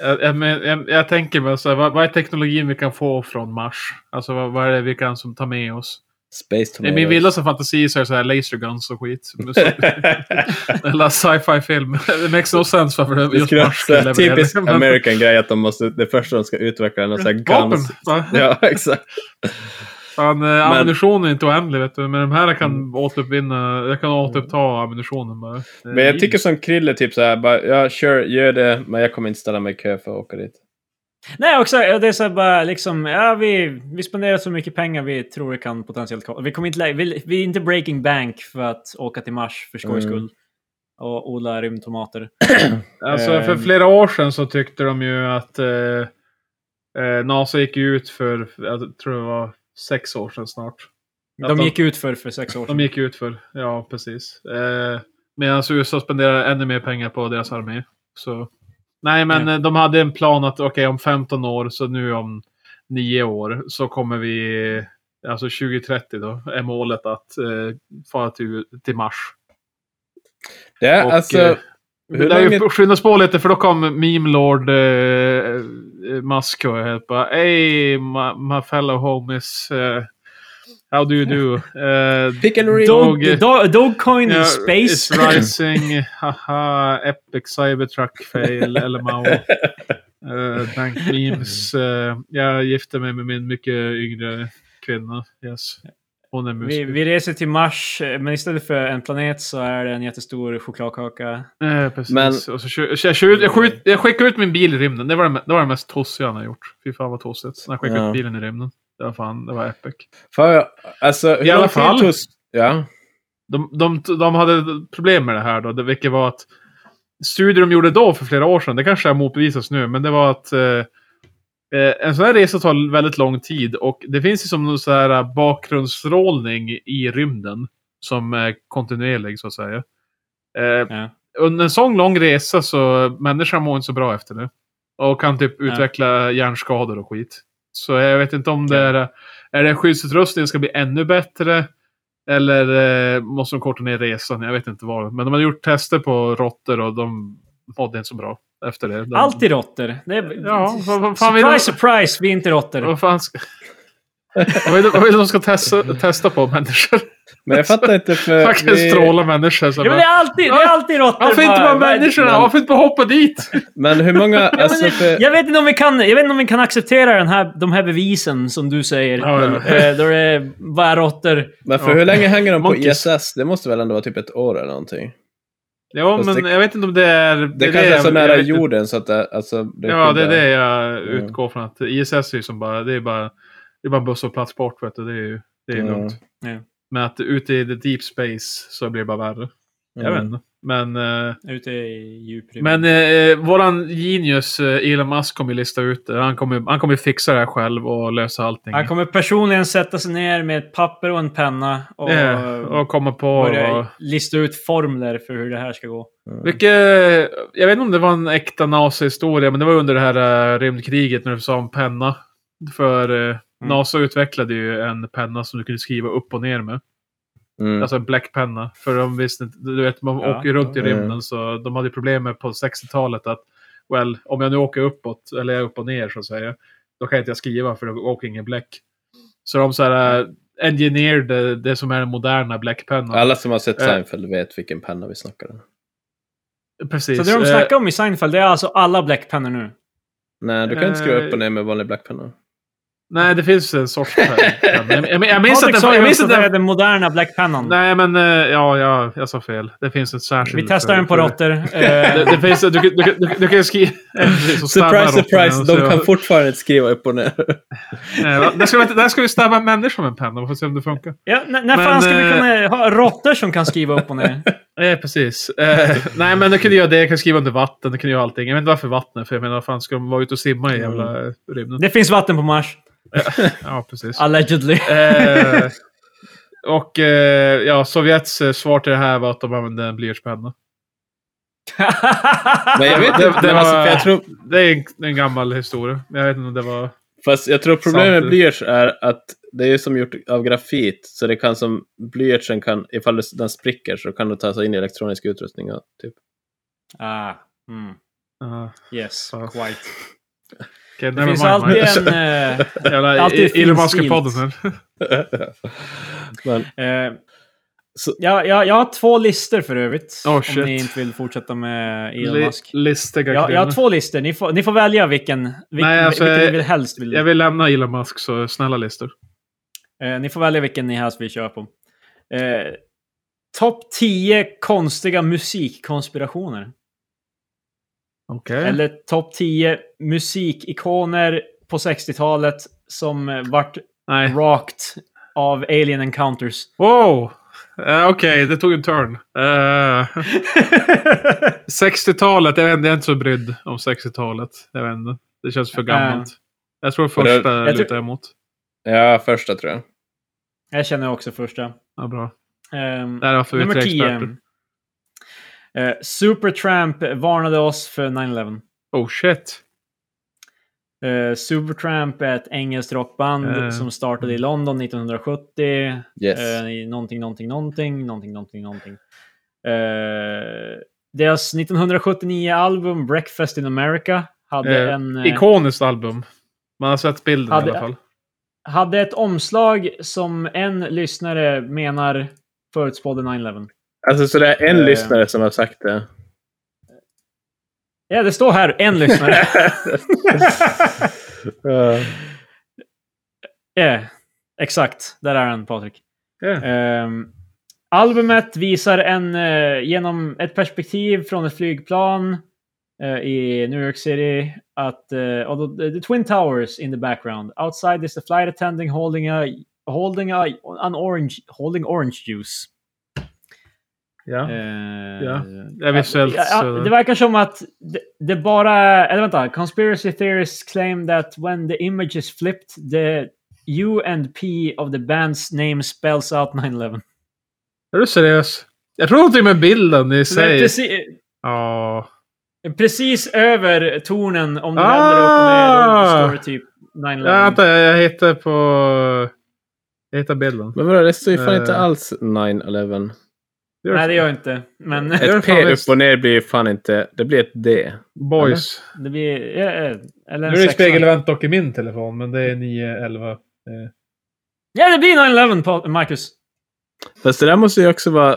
[SPEAKER 3] jag, jag, men- jag, jag tänker mig så här, vad, vad är teknologin vi kan få från Mars? Alltså vad, vad är det vi kan som ta med oss?
[SPEAKER 1] Space
[SPEAKER 3] I
[SPEAKER 1] Tomatoes.
[SPEAKER 3] min vildaste fantasi så är det så här laser guns och skit. Så, Eller sci-fi film. Det makes no sense varför det
[SPEAKER 1] det
[SPEAKER 3] just
[SPEAKER 1] skulle vara
[SPEAKER 3] Mars
[SPEAKER 1] så här
[SPEAKER 3] skulle leverera.
[SPEAKER 1] typisk
[SPEAKER 3] Men-
[SPEAKER 1] American grej att de måste, det första de ska utveckla är någon sån här
[SPEAKER 3] Vapen!
[SPEAKER 1] guns.
[SPEAKER 3] va?
[SPEAKER 1] Ja, exakt.
[SPEAKER 3] Fan, eh, ammunition är inte oändlig vet du. Men de här kan
[SPEAKER 1] Mm.
[SPEAKER 3] återuppvinna, jag kan återuppta ammunitionen bara. Eh,
[SPEAKER 1] Men jag tycker som Krille, typ så här, bara, ja, sure, gör det, men jag kommer inte ställa mig i kö för att åka dit.
[SPEAKER 2] Nej, också, eh, det är så här bara liksom, ja, vi, vi spenderar så mycket pengar vi tror det kan potentiellt kosta. Vi, kommer inte, lä- vi, vi är inte breaking bank för att åka till Mars för skojs
[SPEAKER 1] Mm.
[SPEAKER 2] skull. Och odla rymdtomater.
[SPEAKER 3] Alltså
[SPEAKER 2] Ehm.
[SPEAKER 1] eh,
[SPEAKER 3] för flera år sedan så tyckte de ju att eh, eh, NASA gick ju ut för, jag tror det var sex år sedan snart. Att
[SPEAKER 2] De gick ut för, för sex år
[SPEAKER 3] de
[SPEAKER 2] sedan.
[SPEAKER 3] gick ut för, ja precis. Eh, Medan USA spenderar ännu mer pengar på deras armé. Så. Nej men
[SPEAKER 2] Ja.
[SPEAKER 3] eh, de hade en plan att okej om 15 år, så nu om 9 år, så kommer vi, alltså 2030 då, är målet att eh, fara till, till Mars.
[SPEAKER 1] Det är
[SPEAKER 3] Och,
[SPEAKER 1] alltså,
[SPEAKER 3] eh,
[SPEAKER 1] hur
[SPEAKER 3] det är
[SPEAKER 1] länge-
[SPEAKER 3] ju skyndas på lite för då kom Meme Lord eh, eh, Musk och helt bara Hey my, my fellow homies. eh, how do you do? Eh,
[SPEAKER 1] pick and read.
[SPEAKER 2] Dog,
[SPEAKER 3] Dog-
[SPEAKER 2] dog, Dogcoin
[SPEAKER 3] yeah,
[SPEAKER 2] in space.
[SPEAKER 3] It's rising. Haha. Epic Cybertruck fail. LMAO. Uh, bank memes. eh, jag gifte mig med min mycket yngre kvinna. Yes. Hon är
[SPEAKER 2] Vi,
[SPEAKER 3] musiker.
[SPEAKER 2] vi reser till Mars, eh, men istället för en planet så är det en jättestor chokladkaka.
[SPEAKER 3] Eh, precis.
[SPEAKER 1] Men-
[SPEAKER 3] Och så, kö- jag, kö- jag, skjut, jag skickade ut min bil i rymden. Det var det, det var det mest tossiga han har gjort. Fy fan vad tossigt. När jag skickade
[SPEAKER 1] Ja.
[SPEAKER 3] ut bilen i rymden. Det var fan, det var epic.
[SPEAKER 1] Får jag- alltså, hur
[SPEAKER 3] I alla
[SPEAKER 1] lång tid
[SPEAKER 3] fall.
[SPEAKER 1] tog- Ja.
[SPEAKER 3] De, de, de hade problem med det här då, det- vilket var att studier de gjorde då för flera år sedan, det kanske är motbevisas nu, men det var att eh, eh, en sån här resa tar väldigt lång tid och det finns ju som någon sån här eh, bakgrundsstrålning i rymden som är kontinuerlig så att säga. Eh,
[SPEAKER 2] Ja.
[SPEAKER 3] Under en sån lång resa så människan mår inte så bra efter det. Och kan typ utveckla hjärnskador och skit. Så jag vet inte om det är, eh, är det skyddsutrustningen ska bli ännu bättre. Eller eh, måste de korta ner resan? Jag vet inte vad. Men de har gjort tester på råttor och de mådde inte så bra efter det. De,
[SPEAKER 2] Alltid råttor. Det är-
[SPEAKER 3] Ja, vad- vad fan vill
[SPEAKER 2] surprise,
[SPEAKER 3] de-
[SPEAKER 2] surprise, vi är inte råttor.
[SPEAKER 3] Vad fan ska... vad vill de- vad vill de ska testa, testa på människor?
[SPEAKER 1] Men jag fattar inte för...
[SPEAKER 3] Faktiskt stråla människor. Så
[SPEAKER 2] Ja, men det
[SPEAKER 3] bara,
[SPEAKER 2] är alltid, det är alltid råttor.
[SPEAKER 3] varför inte
[SPEAKER 2] bara-
[SPEAKER 3] bara människorna?
[SPEAKER 1] men-
[SPEAKER 3] Varför inte bara hoppa dit?
[SPEAKER 1] Men hur många... Alltså, för,
[SPEAKER 2] Jag vet inte om vi kan, jag vet inte om vi kan acceptera den här, de här bevisen som du säger.
[SPEAKER 3] Ja, ja.
[SPEAKER 2] Eh, då är det bara råttor.
[SPEAKER 1] men för hur länge hänger de på
[SPEAKER 3] Monkeys.
[SPEAKER 1] ISS? Det måste väl ändå vara typ ett år eller någonting?
[SPEAKER 3] Ja,
[SPEAKER 1] Fast
[SPEAKER 3] men
[SPEAKER 1] det-
[SPEAKER 3] jag vet inte om det är...
[SPEAKER 1] Det,
[SPEAKER 3] är
[SPEAKER 1] kanske är så
[SPEAKER 3] jag-
[SPEAKER 1] nära
[SPEAKER 3] jag vet inte.
[SPEAKER 1] jorden så att det, alltså, det
[SPEAKER 3] Ja, det
[SPEAKER 1] kunde-
[SPEAKER 3] är det jag utgår från. Att ISS är ju som bara, det är bara, det är bara buss och plats bort. Vet du. Det är ju det är ju
[SPEAKER 1] Ja.
[SPEAKER 3] lugnt.
[SPEAKER 2] Ja.
[SPEAKER 3] Men att ute i the deep space så blir det bara värre.
[SPEAKER 1] Mm.
[SPEAKER 3] Jag vet inte. Men, eh,
[SPEAKER 2] Ute i djuprymden.
[SPEAKER 3] men eh, våran genius eh, Elon Musk kommer ju lista ut det. Han kommer, han kommer fixa det här själv och lösa allting.
[SPEAKER 2] Han kommer personligen sätta sig ner med ett papper och en penna och,
[SPEAKER 3] Eh, och komma på... vad-
[SPEAKER 2] börja lista ut formler för hur det här ska gå.
[SPEAKER 1] Mm.
[SPEAKER 3] Vilket, jag vet inte om det var en äkta NASA-historia, men det var under det här eh, rymdkriget när du sa om penna. För eh, NASA utvecklade ju en penna som du kunde skriva upp och ner med.
[SPEAKER 1] Mm.
[SPEAKER 3] Alltså en bläckpenna. För de visste inte, du vet, man
[SPEAKER 2] Ja.
[SPEAKER 3] åker ju runt i
[SPEAKER 1] Mm.
[SPEAKER 3] rymden så de hade ju problem med på 60-talet att well, om jag nu åker uppåt, eller jag är upp och ner så att säga, då kan inte jag skriva för då åker ingen bläck. Så de så här, eh, engineerade det som är den moderna bläckpennan.
[SPEAKER 1] Alla som har sett
[SPEAKER 3] Eh.
[SPEAKER 1] Seinfeld vet vilken penna vi snackar om.
[SPEAKER 3] Precis.
[SPEAKER 2] Så det de
[SPEAKER 3] eh,
[SPEAKER 2] snackar om i Seinfeld, det är alltså alla bläckpennor nu.
[SPEAKER 1] Nej, du kan inte skriva
[SPEAKER 3] Eh.
[SPEAKER 1] upp och ner med vanlig blackpenna.
[SPEAKER 3] Nej, det finns en sorts färg. Jag, jag, jag minns
[SPEAKER 2] Patrik
[SPEAKER 3] att den...
[SPEAKER 2] sa ju
[SPEAKER 3] Jag minns
[SPEAKER 2] också att
[SPEAKER 3] att
[SPEAKER 2] det är
[SPEAKER 3] den
[SPEAKER 2] den moderna bläckpennan.
[SPEAKER 3] nej, men eh, ja, ja, jag sa fel. Det finns en särskild...
[SPEAKER 2] Vi testar den på
[SPEAKER 3] för-
[SPEAKER 2] råttor. Eh,
[SPEAKER 3] Det, det finns, du, kan- du, kan- du, kan- du kan skriva...
[SPEAKER 1] Surprise, surprise! De kan fortfarande inte skriva upp och ner.
[SPEAKER 3] Där Eh, ska, vi, inte- där ska vi stabba en människa med en penna. Vi får se om det funkar.
[SPEAKER 2] ja, n- när
[SPEAKER 3] Men,
[SPEAKER 2] fan ska vi
[SPEAKER 3] eh,
[SPEAKER 2] kunna ha råttor som kan skriva upp och ner?
[SPEAKER 3] Eh, precis. Eh, nej, men du kunde göra det. Jag kan skriva under vatten. Du kunde göra allting. Jag vet inte varför vattnet. För jag menar, vad fan ska de vara ute och simma i jävla rymden?
[SPEAKER 2] Det finns vatten på Mars.
[SPEAKER 3] Ja, precis.
[SPEAKER 2] Allegedly.
[SPEAKER 3] Eh, och eh, ja, Sovjets eh, svar till det här var att de använde en blyertspenna.
[SPEAKER 1] Men jag vet
[SPEAKER 3] Det-
[SPEAKER 1] inte,
[SPEAKER 3] det
[SPEAKER 1] men alltså,
[SPEAKER 3] var-
[SPEAKER 1] för jag tror,
[SPEAKER 3] Det är en, det är en gammal historia. men Jag vet inte om det var...
[SPEAKER 1] fast jag tror problemet
[SPEAKER 3] Sant.
[SPEAKER 1] med blyerts är att det är ju som gjort av grafit, så det kan som blyertsen kan, ifall det- den spricker så kan du ta sig in i elektronisk utrustning. Och, typ.
[SPEAKER 2] Ah, mm.
[SPEAKER 3] Uh,
[SPEAKER 2] Yes,
[SPEAKER 3] Ja.
[SPEAKER 2] quite.
[SPEAKER 3] okay,
[SPEAKER 2] Det finns alltid en... eh,
[SPEAKER 3] Jävla
[SPEAKER 2] alltid finns
[SPEAKER 3] Illumaska-podden här.
[SPEAKER 1] Men,
[SPEAKER 2] eh,
[SPEAKER 1] Så-
[SPEAKER 2] ja, ja, jag har två listor för övrigt.
[SPEAKER 3] Oh,
[SPEAKER 2] om
[SPEAKER 3] shit.
[SPEAKER 2] ni inte vill fortsätta med Elon
[SPEAKER 3] Li-
[SPEAKER 2] Musk.
[SPEAKER 3] Listiga
[SPEAKER 2] Jag, jag har
[SPEAKER 3] kvinnor.
[SPEAKER 2] två listor. Ni får, ni får välja vilken, vilken,
[SPEAKER 3] Nej, alltså,
[SPEAKER 2] vilken ni
[SPEAKER 3] jag-
[SPEAKER 2] vill helst vill.
[SPEAKER 3] Jag vill lämna Elon Musk, så snälla listor.
[SPEAKER 2] Eh, ni får välja vilken ni helst vill köra på. Eh, Topp 10 konstiga musikkonspirationer.
[SPEAKER 3] Okej.
[SPEAKER 2] Eller topp 10 musikikoner på 60-talet som eh, vart
[SPEAKER 3] Nej.
[SPEAKER 2] rakt av alien encounters.
[SPEAKER 3] Wow! Eh, Okej, det tog en turn. Eh, 60-talet, jag, vet inte, jag är inte så brydd om 60-talet. Jag vet inte. Det känns
[SPEAKER 2] Eh.
[SPEAKER 3] för gammalt. Jag tror
[SPEAKER 1] Och det-
[SPEAKER 3] första
[SPEAKER 2] tror-
[SPEAKER 3] lutar jag emot.
[SPEAKER 1] ja, första tror jag.
[SPEAKER 2] jag känner också första.
[SPEAKER 3] Ja, bra.
[SPEAKER 2] Ehm,
[SPEAKER 3] Där har vi
[SPEAKER 2] nummer
[SPEAKER 3] tre
[SPEAKER 2] 10.
[SPEAKER 3] experter.
[SPEAKER 2] Eh, Supertramp varnade oss för 9-11.
[SPEAKER 3] Oh shit.
[SPEAKER 2] Eh, Supertramp är ett engelskt rockband
[SPEAKER 3] Eh.
[SPEAKER 2] som startade i London 1970.
[SPEAKER 1] Yes.
[SPEAKER 2] Eh, i någonting, någonting, någonting, någonting, någonting, någonting. Eh, deras 1979-album Breakfast in America hade,
[SPEAKER 3] Eh,
[SPEAKER 2] en, eh,
[SPEAKER 3] Ikoniskt album. Man har sett bilden
[SPEAKER 2] Hade-
[SPEAKER 3] i alla fall.
[SPEAKER 2] hade ett omslag som en lyssnare menar förutspådde 9-11.
[SPEAKER 1] Alltså, så det är en
[SPEAKER 2] Eh.
[SPEAKER 1] lyssnare som har sagt det.
[SPEAKER 2] Ja, det står här, en lyssnare.
[SPEAKER 1] Eh,
[SPEAKER 2] Ja, exakt. Där är den, Patrik.
[SPEAKER 3] Yeah.
[SPEAKER 2] Ehm, albumet visar en eh, genom ett perspektiv från ett flygplan eh, i New York City. Att, eh, although the, the Twin Towers in the background. Outside is the flight attendant holding a holding a, an orange holding orange juice.
[SPEAKER 3] Ja.
[SPEAKER 2] Eh,
[SPEAKER 3] Ja. Ja, visuellt
[SPEAKER 2] ja, ja,
[SPEAKER 3] så-
[SPEAKER 2] det verkar som att det, det bara... Eller vänta. Conspiracy theorists claim that when the image is flipped the U and P of the band's name spells out 9-11.
[SPEAKER 3] Är du seriös? Jag tror någonting med bilden i
[SPEAKER 2] Så det är
[SPEAKER 3] sig.
[SPEAKER 2] Precis,
[SPEAKER 3] Ja.
[SPEAKER 2] precis över tornen om du
[SPEAKER 3] Ah!
[SPEAKER 2] vänder upp och ner då står det typ 9-11.
[SPEAKER 3] Ja, Vänta, jag, jag hittar på... Jag hittar bilden.
[SPEAKER 1] Men vadå, det står ju fan
[SPEAKER 3] Eh.
[SPEAKER 1] inte alls 9-11.
[SPEAKER 2] Nej, det gör jag inte. Men
[SPEAKER 3] Ett- gör
[SPEAKER 1] Ett
[SPEAKER 3] fan
[SPEAKER 1] P upp
[SPEAKER 3] visst.
[SPEAKER 1] och ner blir ju fan inte... Det blir ett D.
[SPEAKER 3] Boys.
[SPEAKER 2] det blir... eh, eh, Eller en
[SPEAKER 3] Nu är det
[SPEAKER 2] sexa.
[SPEAKER 3] spegelvänt dock i min telefon, men det är 9, 11.
[SPEAKER 2] Ja, det blir 9-11, Pa- Marcus.
[SPEAKER 1] Fast det där måste ju också vara...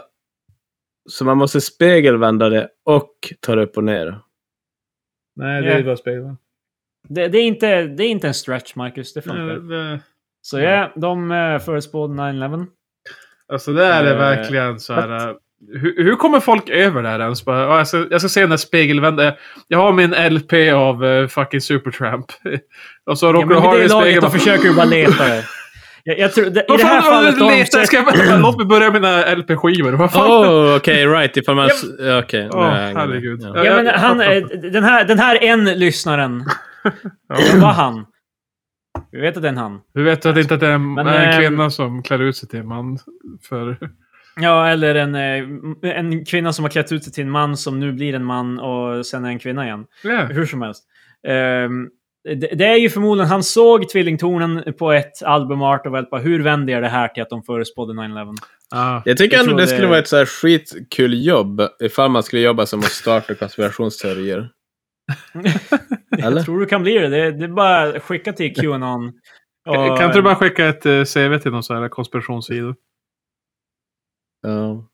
[SPEAKER 1] Så man måste spegelvända det och ta det upp och ner.
[SPEAKER 3] Nej, det
[SPEAKER 2] Ja.
[SPEAKER 3] är bara spegelvänt.
[SPEAKER 2] Det, det, är inte, det är inte en stretch, Marcus. Det funkar.
[SPEAKER 3] Eh, det-
[SPEAKER 2] Så ja, de eh, förutspådde 9-11.
[SPEAKER 3] Alltså det här är
[SPEAKER 2] Eh,
[SPEAKER 3] verkligen så här... eh, Hur, hur kommer folk över det här ens? Bara, "Ja, jag, ska, jag ska se den här spegelvända... Jag har min LP av eh, fucking Supertramp. Och så
[SPEAKER 2] Ja,
[SPEAKER 3] råkar
[SPEAKER 2] men
[SPEAKER 3] du ha
[SPEAKER 2] det
[SPEAKER 3] den i
[SPEAKER 2] är laget,
[SPEAKER 3] spegeln.
[SPEAKER 2] de försöker ju bara leta det. Jag, jag tror, det, I
[SPEAKER 3] Vad
[SPEAKER 2] det här
[SPEAKER 3] fan har
[SPEAKER 2] fallet
[SPEAKER 3] du
[SPEAKER 2] har de
[SPEAKER 3] letat? Ska
[SPEAKER 2] försökt...
[SPEAKER 3] jag vänta? Låt mig börja mina LP-skivor. Vad fan?
[SPEAKER 1] Oh, okej, right. Ifall man... s- Okej. nu
[SPEAKER 3] Åh,
[SPEAKER 1] har jag hängt med.
[SPEAKER 3] herregud.
[SPEAKER 1] Ja.
[SPEAKER 3] Ja.
[SPEAKER 2] Ja, men han, eh, den, här, den här en lyssnaren,
[SPEAKER 3] Ja.
[SPEAKER 2] det var han. Vi vet att det är en han.
[SPEAKER 3] Du vet att det inte att det är en,
[SPEAKER 2] Men,
[SPEAKER 3] en
[SPEAKER 2] ehm,
[SPEAKER 3] kvinna som klär ut sig till en man? För...
[SPEAKER 2] Ja, eller en, eh, en kvinna som har klätt ut sig till en man som nu blir en man och sen är en kvinna igen.
[SPEAKER 3] Ja.
[SPEAKER 2] Hur som helst. Ehm, det, det är ju förmodligen, han såg Tvillingtornen på ett albumart och väl bara, hur vänder jag det här till att de förespådde 9-11?
[SPEAKER 3] Ah.
[SPEAKER 1] Jag tycker
[SPEAKER 2] Jag
[SPEAKER 1] ändå
[SPEAKER 2] tror
[SPEAKER 1] det
[SPEAKER 2] det-
[SPEAKER 1] skulle vara ett så här skitkul jobb ifall man skulle jobba som att starta konspirationsteorier. Eller?
[SPEAKER 2] Jag tror du kan bli det. Det, det är bara att skicka till Qanon.
[SPEAKER 3] Kan kan inte du bara skicka ett eh, CV till någon sån här konspirationssida?
[SPEAKER 1] Ja.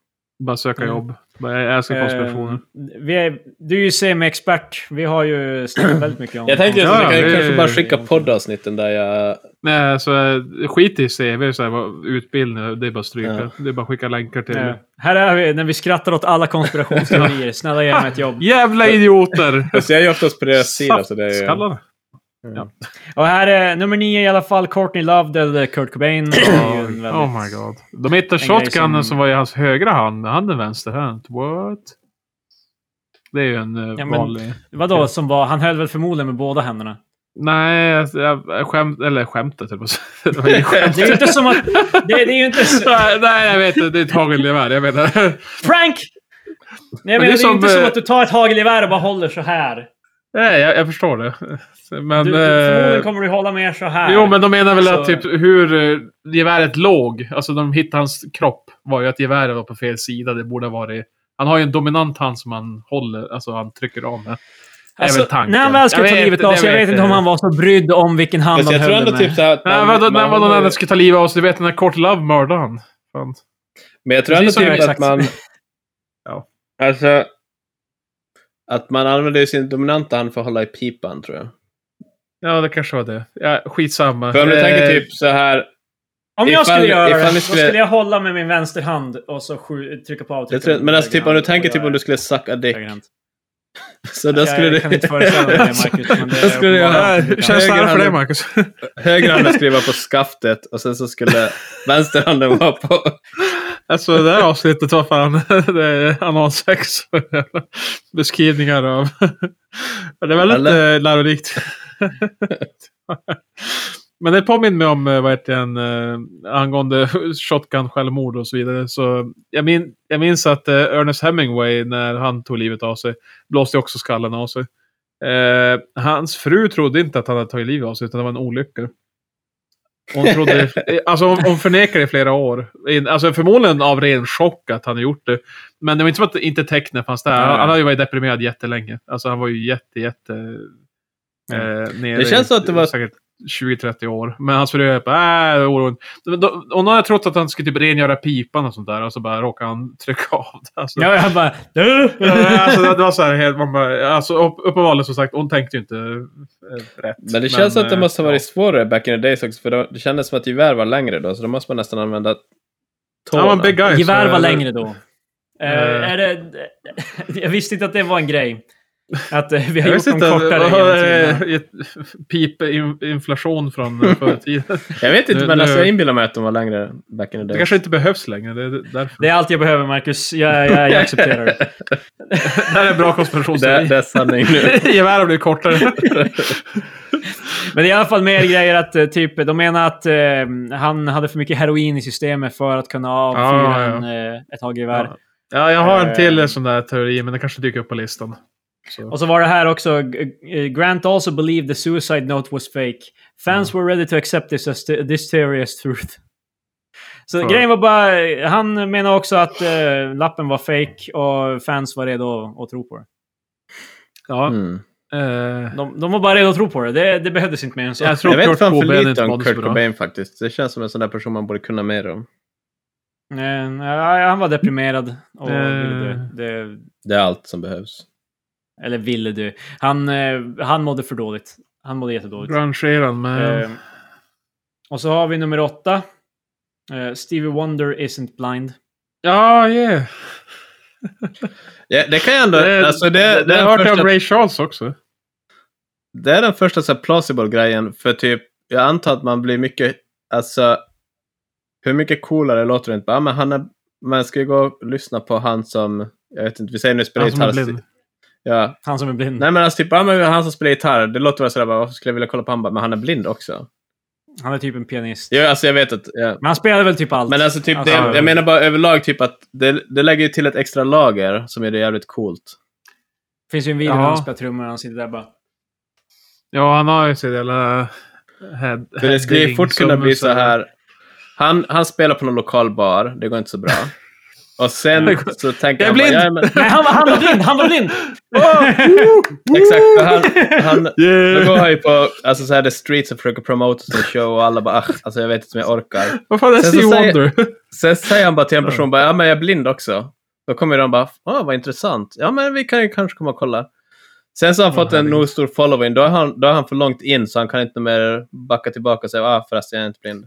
[SPEAKER 3] Bara söka
[SPEAKER 2] Mm.
[SPEAKER 3] jobb. Bara, jag älskar konspirationer.
[SPEAKER 2] Eh, vi är, du är ju semi-expert. Vi har ju snackat väldigt mycket om
[SPEAKER 1] Jag tänkte att
[SPEAKER 3] Ja,
[SPEAKER 1] vi kan
[SPEAKER 3] det-
[SPEAKER 1] kanske bara skicka poddavsnitten där jag...
[SPEAKER 3] Nej, så eh, skit i CV. Så här, vad- utbildning, det är bara stryka.
[SPEAKER 1] Ja.
[SPEAKER 3] Det är bara skicka länkar till.
[SPEAKER 2] Eh, Här är vi när vi skrattar åt alla konspirationsteorier. Snälla ge mig ett jobb.
[SPEAKER 3] Jävla idioter!
[SPEAKER 1] Alltså jag är ju oftast på deras sida så det är ju...
[SPEAKER 3] Skallar.
[SPEAKER 2] Och här är nummer nio i alla fall. Courtney Love dödade Kurt Cobain. Det är ju en väldigt-
[SPEAKER 3] Oh my god. De hittar
[SPEAKER 2] En grej
[SPEAKER 3] shotgunen som...
[SPEAKER 2] som-
[SPEAKER 3] var i hans högra hand, men han är vänsterhänt. What? Det är ju en eh,
[SPEAKER 2] Ja, men-
[SPEAKER 3] vanlig...
[SPEAKER 2] Vadå som var? Han höll väl förmodligen med båda händerna.
[SPEAKER 3] Nej, alltså, jag- jag skämt, eller skämtet höll jag på att säga. Det var inget skämt.
[SPEAKER 2] Det är ju inte som att... Det, det är ju inte... så-
[SPEAKER 3] Nej, nej, jag vet inte. Det är ett hagelgevär. Jag menar.
[SPEAKER 2] Prank! Nej, men
[SPEAKER 3] det är
[SPEAKER 2] det är ju
[SPEAKER 3] som,
[SPEAKER 2] inte som
[SPEAKER 3] eh,
[SPEAKER 2] att du tar ett hagelgevär och bara håller så här.
[SPEAKER 3] Nej, jag, jag förstår det. Men,
[SPEAKER 2] du, du,
[SPEAKER 3] eh,
[SPEAKER 2] förmodligen kommer du hålla med så här.
[SPEAKER 3] jo, men de menar väl att
[SPEAKER 2] Så-
[SPEAKER 3] typ hur eh, geväret låg, alltså de hittade hans kropp, var ju att geväret var på fel sida. Det borde ha varit... Han har ju en dominant hand som han håller, alltså han trycker av med. är väl tanken.
[SPEAKER 2] Alltså, när han väl skulle
[SPEAKER 3] Jag
[SPEAKER 2] ta
[SPEAKER 3] vet-
[SPEAKER 2] livet av sig, jag vet inte om han var så brydd om vilken hand
[SPEAKER 4] Fast
[SPEAKER 2] han
[SPEAKER 4] jag tror
[SPEAKER 2] höll
[SPEAKER 4] ändå
[SPEAKER 2] med.
[SPEAKER 4] typ så här att
[SPEAKER 3] Nej,
[SPEAKER 4] man-
[SPEAKER 3] vadå, när
[SPEAKER 4] man
[SPEAKER 3] var
[SPEAKER 4] har ju-
[SPEAKER 3] någon skulle ta livet av sig? Du vet, den där Kurt Love mördade han. Fan.
[SPEAKER 4] Men jag tror ändå
[SPEAKER 2] Precis
[SPEAKER 4] typ
[SPEAKER 2] som jag-
[SPEAKER 4] att man...
[SPEAKER 3] Ja.
[SPEAKER 4] Alltså,
[SPEAKER 1] Att man använder ju sin dominanta hand för att hålla i pipan, tror jag.
[SPEAKER 3] Ja, det kanske var det. Ja, skitsamma.
[SPEAKER 4] för om du
[SPEAKER 3] Eh,
[SPEAKER 4] tänker typ så här.
[SPEAKER 2] Om jag
[SPEAKER 1] Ifall-
[SPEAKER 2] skulle göra
[SPEAKER 1] ifall
[SPEAKER 2] det,
[SPEAKER 1] vi
[SPEAKER 2] då
[SPEAKER 1] skulle-
[SPEAKER 2] skulle jag hålla med min vänsterhand och så skju- trycka på
[SPEAKER 1] Jag
[SPEAKER 2] avtryckaren.
[SPEAKER 1] tror, men alltså,
[SPEAKER 2] med
[SPEAKER 1] typ om du
[SPEAKER 2] högerhand
[SPEAKER 1] tänker
[SPEAKER 2] och
[SPEAKER 1] typ om
[SPEAKER 2] göra
[SPEAKER 1] du skulle sucka dick.
[SPEAKER 2] högerhand.
[SPEAKER 1] Så då skulle
[SPEAKER 2] Alltså, jag
[SPEAKER 1] du...
[SPEAKER 2] kan inte föreställa mig det, Marcus. Men det
[SPEAKER 1] Då skulle du
[SPEAKER 2] är
[SPEAKER 1] göra-
[SPEAKER 2] uppenbarligen-
[SPEAKER 1] Känns det här för dig,
[SPEAKER 3] Marcus?
[SPEAKER 1] Högerhanden skulle vara på skaftet och sen så skulle vänsterhanden vara på...
[SPEAKER 3] alltså det här avsnittet var fan det är analsex. Beskrivningar av... det är väldigt
[SPEAKER 1] Eller?
[SPEAKER 3] eh, lärorikt. Men det påminner mig om eh, vad heter den, eh, angående shotgun självmord och så vidare. Så jag, min, jag minns att eh, Ernest Hemingway, när han tog livet av sig, blåste också skallen av sig. Eh, hans fru trodde inte att han hade tagit livet av sig, utan det var en olycka. Hon, trodde, eh, alltså hon, hon förnekade i flera år. In, alltså förmodligen av ren chock att han gjort det. Men det var inte som att inte tecknen fanns där. Han, han hade ju varit deprimerad jättelänge. Alltså han var ju jätte, jätte... Eh, nere
[SPEAKER 1] Det känns
[SPEAKER 3] i-
[SPEAKER 1] som att det var-
[SPEAKER 3] Säkert 20-30 år. Men hans fru är bara, äh, det är oroligt. Men då- Hon hade trott att han skulle typ rengöra pipan och sånt där. Och så bara råkade han trycka av det. Alltså.
[SPEAKER 2] Ja, jag bara... Du!
[SPEAKER 3] Ja, alltså, det var så här helt, man bara, alltså, upp- uppenbarligen som sagt, hon tänkte ju inte eh, rätt.
[SPEAKER 1] Men det känns som att det
[SPEAKER 3] eh,
[SPEAKER 1] måste ha varit svårare back in the days också. För då, det kändes som att gevär var längre då, så då måste man nästan använda
[SPEAKER 3] Ja,
[SPEAKER 1] tårna.
[SPEAKER 3] ja men Big Guys.
[SPEAKER 2] Gevär var
[SPEAKER 3] eh,
[SPEAKER 2] längre då. Eh,
[SPEAKER 3] Eh.
[SPEAKER 2] är det, jag visste inte att det var en grej. Att eh, vi har
[SPEAKER 3] Jag
[SPEAKER 2] gjort
[SPEAKER 3] visste
[SPEAKER 2] dem
[SPEAKER 3] inte.
[SPEAKER 2] kortare
[SPEAKER 3] vad
[SPEAKER 2] genom tiderna.
[SPEAKER 3] har, eh, gett- Pipinflation från eh, förr i tiden.
[SPEAKER 1] Jag vet inte,
[SPEAKER 3] Nu-
[SPEAKER 1] men alltså,
[SPEAKER 3] nu-
[SPEAKER 1] jag inbillar mig att de var längre back in the
[SPEAKER 3] Det
[SPEAKER 1] days.
[SPEAKER 3] kanske inte behövs längre. Det är därför.
[SPEAKER 2] Det är allt jag behöver, Marcus. Jag, jag, jag accepterar det.
[SPEAKER 3] Det här är en bra
[SPEAKER 1] Det,
[SPEAKER 3] konspirationsteori.
[SPEAKER 1] det är sanning nu.
[SPEAKER 3] Gevär har blivit kortare.
[SPEAKER 2] Men det är i alla fall mer grejer att eh, typ, de menar att eh, han hade för mycket heroin i systemet för att kunna avfyra
[SPEAKER 3] Ja, Ah, ja.
[SPEAKER 2] en, eh, ett tag gevär.
[SPEAKER 3] Ja. Ja, jag har en till eh,
[SPEAKER 2] Eh.
[SPEAKER 3] sån där teori, men den kanske dyker upp på listan. Så.
[SPEAKER 2] Och så var det här också. eh, Grant also believed the suicide note was fake. Fans
[SPEAKER 3] Mm.
[SPEAKER 2] were ready to accept this as th- this theory as truth. Så
[SPEAKER 3] Ja.
[SPEAKER 2] grejen var bara, han menar också att eh, lappen var fake och fans var redo att tro på det.
[SPEAKER 3] Ja,
[SPEAKER 1] Mm.
[SPEAKER 3] eh,
[SPEAKER 2] De, de var bara redo att tro på det. Det, det behövdes inte mer än så.
[SPEAKER 3] jag tror
[SPEAKER 1] Jag vet
[SPEAKER 3] Kurt
[SPEAKER 1] fan för
[SPEAKER 3] Cobain
[SPEAKER 1] lite
[SPEAKER 3] inte
[SPEAKER 1] om
[SPEAKER 3] mådde så
[SPEAKER 1] Kurt
[SPEAKER 3] bra.
[SPEAKER 1] Cobain faktiskt. Det känns som en sån där person man borde kunna mer om.
[SPEAKER 2] Eh, ja, han var deprimerad och
[SPEAKER 3] Eh.
[SPEAKER 2] ville dö. Det,
[SPEAKER 1] Det är allt som behövs.
[SPEAKER 2] eller ville dö. Han, eh, han mådde för dåligt. Han mådde jättedåligt.
[SPEAKER 3] Grunge-eran med...
[SPEAKER 2] Eh, och så har vi nummer åtta. Eh, Stevie Wonder isn't blind.
[SPEAKER 3] Ja, yeah.
[SPEAKER 1] Ja, det kan jag ändå...
[SPEAKER 3] Det,
[SPEAKER 1] alltså, det,
[SPEAKER 3] det,
[SPEAKER 1] det,
[SPEAKER 3] det
[SPEAKER 1] är
[SPEAKER 3] har
[SPEAKER 1] den
[SPEAKER 3] jag hört
[SPEAKER 1] första,
[SPEAKER 3] av Ray Charles också.
[SPEAKER 1] det är den första så här, plausible grejen. För typ, jag antar att man blir mycket... Alltså, hur mycket coolare låter det inte? Bara, "Ah, men han är, man ska ju gå och lyssna på han som... Jag vet inte, vi säger nu spelar
[SPEAKER 3] Han som är
[SPEAKER 1] gitarr.
[SPEAKER 3] blind. Mm.
[SPEAKER 1] Ja.
[SPEAKER 2] Han som är blind.
[SPEAKER 1] Nej men alltså typ, ah, men han som spelar gitarr, det låter väl sådär, bara, varför skulle jag vilja kolla på han? Bara, Men han är blind också.
[SPEAKER 2] Han är typ en pianist.
[SPEAKER 1] Ja, alltså jag vet att... Ja.
[SPEAKER 2] Men han spelar väl typ allt.
[SPEAKER 1] Men alltså typ,
[SPEAKER 2] Alltså,
[SPEAKER 1] det, jag menar bara överlag typ att det, det lägger ju till ett extra lager som gör det jävligt coolt.
[SPEAKER 2] Det finns ju en video
[SPEAKER 3] Ja.
[SPEAKER 2] när han spelar trummor och han sitter där bara...
[SPEAKER 3] Ja, han har ju sitt jävla... Head,
[SPEAKER 1] För det skulle ju
[SPEAKER 3] heading
[SPEAKER 1] fort kunna
[SPEAKER 3] som-
[SPEAKER 1] bli så här. Han, han spelar på någon lokal bar, det går inte så bra. Och sen så tänker
[SPEAKER 3] Jag är
[SPEAKER 1] han bara,
[SPEAKER 3] blind!
[SPEAKER 1] ja, men,
[SPEAKER 2] Nej, han, han var blind! Han var blind!
[SPEAKER 1] exakt, för han, han, då
[SPEAKER 3] Yeah.
[SPEAKER 1] går han ju på alltså, så här, the streets och försöker promota sin show och alla bara, ah, alltså jag vet inte om jag orkar.
[SPEAKER 3] Vad fan är
[SPEAKER 1] Sen så
[SPEAKER 3] Stevie
[SPEAKER 1] säger-
[SPEAKER 3] Wonder?
[SPEAKER 1] Sen säger han bara till en person, bara, ja men jag är blind också. Då kommer de bara, ah vad intressant, ja men vi kan ju kanske komma och kolla. Sen så har han fått en nog stor following, då är, han, då är han för långt in så han kan inte mer backa tillbaka och säga, ah förresten jag är inte blind.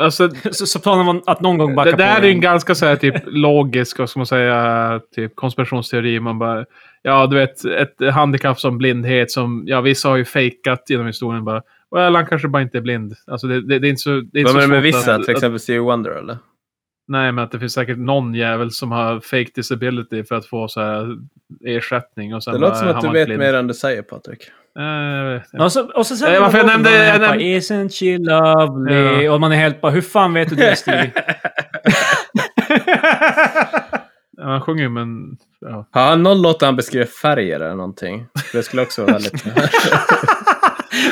[SPEAKER 3] Alltså,
[SPEAKER 2] Så, så planen var att någon gång backa
[SPEAKER 3] det där
[SPEAKER 2] på
[SPEAKER 3] är ju
[SPEAKER 2] den.
[SPEAKER 3] en ganska så här, typ, logisk vad ska man säga, typ, konspirationsteori. Man bara, ja, du vet, ett handikapp som blindhet som ja, vissa har ju fejkat genom historien. Bara, well, han kanske bara inte är blind. Alltså, det, det, det är inte så, det är inte
[SPEAKER 1] Vad
[SPEAKER 3] så
[SPEAKER 1] menar du med
[SPEAKER 3] svårt
[SPEAKER 1] vissa,
[SPEAKER 3] att-
[SPEAKER 1] till
[SPEAKER 3] att-
[SPEAKER 1] exempel Stevie Wonder eller?
[SPEAKER 3] Nej, men att det finns säkert någon jävel som har fake disability för att få så här ersättning. Och sen
[SPEAKER 1] Det låter
[SPEAKER 3] bara,
[SPEAKER 1] som
[SPEAKER 3] han
[SPEAKER 1] att du
[SPEAKER 3] var
[SPEAKER 1] vet
[SPEAKER 3] blind.
[SPEAKER 1] mer än du säger, Patrik.
[SPEAKER 3] Eh, jag vet inte.
[SPEAKER 2] Och så, och så sen
[SPEAKER 3] Eh, varför jag nämnde-
[SPEAKER 2] Man är
[SPEAKER 3] jag
[SPEAKER 2] helt bara,
[SPEAKER 3] nämnde-
[SPEAKER 2] Isn't she lovely? Och man är helt bara, hur fan vet du det Stevie?
[SPEAKER 3] Ja, han sjunger ju men... Ja.
[SPEAKER 1] Har han någon låt där han beskriver färger eller någonting? Det skulle också vara väldigt...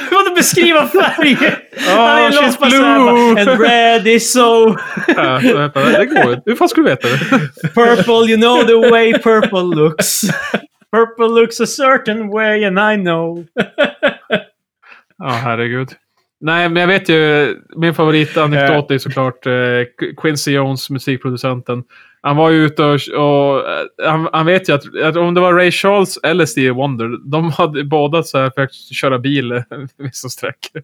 [SPEAKER 2] Du måste beskriva färger! Han är en
[SPEAKER 3] Ah, she's
[SPEAKER 2] låt bara såhär bara, And red is so
[SPEAKER 3] Ja, så vänta, det går ju. Hur fan skulle du veta det?
[SPEAKER 2] purple, you know the way purple looks. Purple looks a certain way and I know.
[SPEAKER 3] Ja, herregud. Nej, men jag vet ju. Min favoritanekdot är såklart eh, Quincy Jones, musikproducenten. Han var ju ute och... och eh, han, han vet ju att, att om det var Ray Charles eller Stevie Wonder, de hade båda så här försökt köra bil eh, vissa sträckor.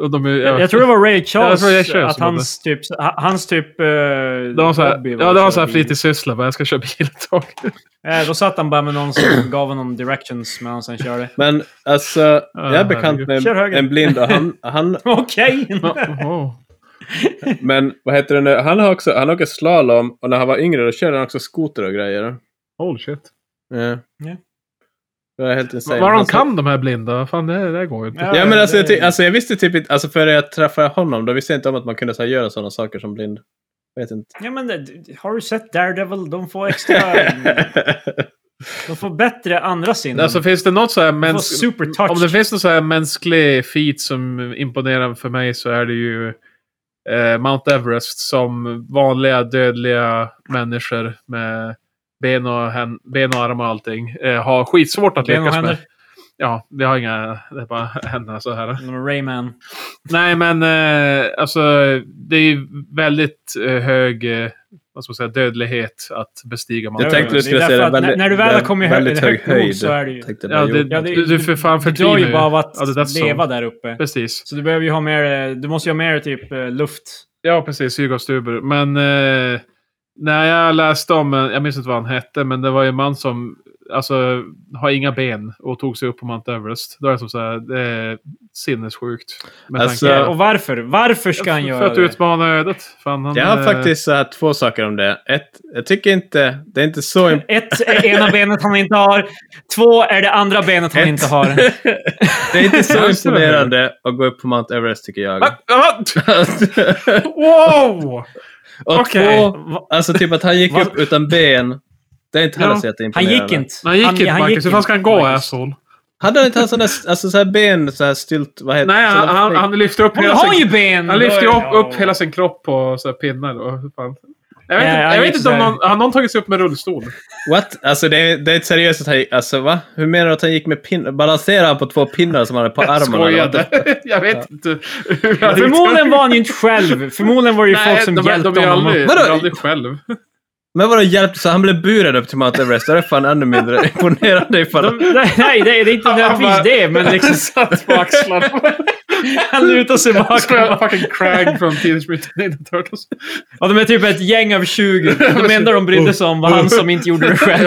[SPEAKER 3] Och de, är- ja.
[SPEAKER 2] Jag tror det var Ray Charles,
[SPEAKER 3] tror det är Ray Charles
[SPEAKER 2] att
[SPEAKER 3] som hade-
[SPEAKER 2] hans typ, hans typ eh,
[SPEAKER 3] det var så här,
[SPEAKER 2] hobby var
[SPEAKER 3] ja,
[SPEAKER 2] att
[SPEAKER 3] det var
[SPEAKER 2] köra
[SPEAKER 3] så här
[SPEAKER 2] bil.
[SPEAKER 3] fritidssyssla. bara, Jag ska köra bil ett tag.
[SPEAKER 2] Eh, Då satt han bara med någon som gav honom directions medan han sen körde.
[SPEAKER 1] Men alltså, jag är bekant med
[SPEAKER 2] Kör höger.
[SPEAKER 1] en blind och han, han,
[SPEAKER 2] Okej!
[SPEAKER 3] Ja, oh.
[SPEAKER 1] men vad heter det nu? Han, har också, han åker slalom och när han var yngre då körde han också skoter och grejer.
[SPEAKER 3] Holy shit.
[SPEAKER 1] Ja.
[SPEAKER 2] Ja.
[SPEAKER 1] Det var helt insane.
[SPEAKER 3] Vad de
[SPEAKER 1] Han sa-
[SPEAKER 3] kan de här blinda. Fan, det, det går ju inte.
[SPEAKER 2] Ja.
[SPEAKER 1] Ja, men alltså, jag,
[SPEAKER 2] det-
[SPEAKER 1] ty- alltså, jag visste typ inte, alltså före jag träffade honom, då visste jag inte om att man kunde så här, göra sådana saker som blind. Jag vet inte.
[SPEAKER 2] Ja, men det- har du sett Daredevil? De får extra... de får bättre andra sinnen.
[SPEAKER 3] Alltså finns det något så här
[SPEAKER 2] de får
[SPEAKER 3] mänskligt...
[SPEAKER 2] super touch.
[SPEAKER 3] Om det finns någon så här mänsklig feat som imponerar för mig så är det ju eh, Mount Everest som vanliga dödliga människor med ben och, hän- ben och armar och allting eh, har skitsvårt att
[SPEAKER 2] Ben och
[SPEAKER 3] lyckas med.
[SPEAKER 2] händer.
[SPEAKER 3] Ja, vi har inga... Det är bara händerna så här.
[SPEAKER 2] De är Rayman.
[SPEAKER 3] Nej, men eh, alltså det är ju väldigt eh, hög eh, vad ska man säga, dödlighet att bestiga Mount
[SPEAKER 1] Jag
[SPEAKER 2] Ja,
[SPEAKER 1] tänkte
[SPEAKER 2] det är
[SPEAKER 1] du skulle
[SPEAKER 2] därför
[SPEAKER 1] säga
[SPEAKER 2] att när- när du väl har kommit hö- högt nog så är det ju-
[SPEAKER 1] Tänkte
[SPEAKER 3] Ja,
[SPEAKER 1] bara,
[SPEAKER 3] det,
[SPEAKER 1] jo.
[SPEAKER 2] Ja, det-
[SPEAKER 3] du, du för fan
[SPEAKER 2] Du dör
[SPEAKER 3] fördriver
[SPEAKER 2] ju bara av
[SPEAKER 3] Ja, det
[SPEAKER 2] att
[SPEAKER 3] är så.
[SPEAKER 2] leva där uppe.
[SPEAKER 3] Precis.
[SPEAKER 2] Så du behöver ju ha mer... eh, Du måste ju ha mer typ eh, luft.
[SPEAKER 3] Ja, precis. Hugo Stuber. Men eh, när jag läste om, eh, jag minns inte vad han hette, men det var ju en man som alltså, har inga ben och tog sig upp på Mount Everest. Då är det som så här, det är sinnessjukt. Med
[SPEAKER 1] Alltså,
[SPEAKER 3] tanke-
[SPEAKER 1] Ja.
[SPEAKER 2] Ja. Eh, Och varför? Varför ska han
[SPEAKER 3] För
[SPEAKER 2] göra
[SPEAKER 3] att
[SPEAKER 2] det?
[SPEAKER 3] utmana ödet. Fan, han,
[SPEAKER 1] Jag har
[SPEAKER 3] eh,
[SPEAKER 1] faktiskt så här, två saker om det. Ett, jag tycker inte, det är inte så... imp-
[SPEAKER 2] Ett är ena benet han inte har. Två är det andra benet han
[SPEAKER 1] Ett.
[SPEAKER 2] inte har.
[SPEAKER 1] det är inte så
[SPEAKER 3] Jag ser det här.
[SPEAKER 1] imponerande att gå upp på Mount Everest tycker jag. Alltså,
[SPEAKER 3] Ah, ah, Wow!
[SPEAKER 1] och
[SPEAKER 3] Okej.
[SPEAKER 1] två, alltså typ att han gick
[SPEAKER 2] Vad-
[SPEAKER 1] upp utan ben. Det är inte heller
[SPEAKER 3] Ja,
[SPEAKER 1] så
[SPEAKER 2] Han
[SPEAKER 1] jätteimponerande.
[SPEAKER 2] gick inte.
[SPEAKER 3] Han gick inte, Marcus. Hur fan ska han gå,
[SPEAKER 2] Marcus.
[SPEAKER 3] asshole?
[SPEAKER 1] Hade han inte haft sådana alltså, så här ben, så här stylt, vad heter
[SPEAKER 3] Nej,
[SPEAKER 1] sådana
[SPEAKER 3] han, han,
[SPEAKER 1] fake-
[SPEAKER 3] han lyfte upp
[SPEAKER 2] Men då
[SPEAKER 3] hela
[SPEAKER 2] har han
[SPEAKER 3] sin
[SPEAKER 2] ju ben!
[SPEAKER 3] Han
[SPEAKER 2] Då
[SPEAKER 3] lyfte ju
[SPEAKER 2] är-
[SPEAKER 3] upp, upp
[SPEAKER 2] Mm. ja.
[SPEAKER 3] hela sin kropp på så här pinnar. Och, hur fan. Jag vet,
[SPEAKER 2] Nej,
[SPEAKER 3] inte,
[SPEAKER 2] han
[SPEAKER 3] jag vet
[SPEAKER 2] gick
[SPEAKER 3] inte om
[SPEAKER 2] sådär.
[SPEAKER 3] någon, har någon tagit sig upp med rullstol.
[SPEAKER 1] What? Alltså det är, det är inte seriöst att han gick, alltså va? Hur menar du att han gick med pinnar? Balanserade han på två pinnar som han hade på
[SPEAKER 3] Jag
[SPEAKER 1] armarna? eller vad?
[SPEAKER 3] skojade. Jag vet inte hur jag
[SPEAKER 2] Förmodligen var han ju inte själv. Förmodligen var det ju
[SPEAKER 3] Nej,
[SPEAKER 2] folk som
[SPEAKER 3] de,
[SPEAKER 2] hjälpte
[SPEAKER 3] de, de är
[SPEAKER 2] honom.
[SPEAKER 3] aldrig, de
[SPEAKER 1] Vadå?
[SPEAKER 3] är aldrig själv.
[SPEAKER 1] Men vadå hjälpte? Så han blev buren upp till Mount Everest? Det är fan ännu mindre imponerande ifall...
[SPEAKER 2] Nej, det är, det är inte
[SPEAKER 3] Han- han
[SPEAKER 2] nödvändigtvis
[SPEAKER 3] bara-
[SPEAKER 2] det, men liksom,
[SPEAKER 3] satt på axlarna.
[SPEAKER 2] han lutar sig
[SPEAKER 3] Spelade
[SPEAKER 2] bakom.
[SPEAKER 3] fucking Krang från Teenage Mutant Ninja Turtles.
[SPEAKER 2] Och de är typ ett gäng av 20. De enda de brydde sig om var han som inte gjorde det själv.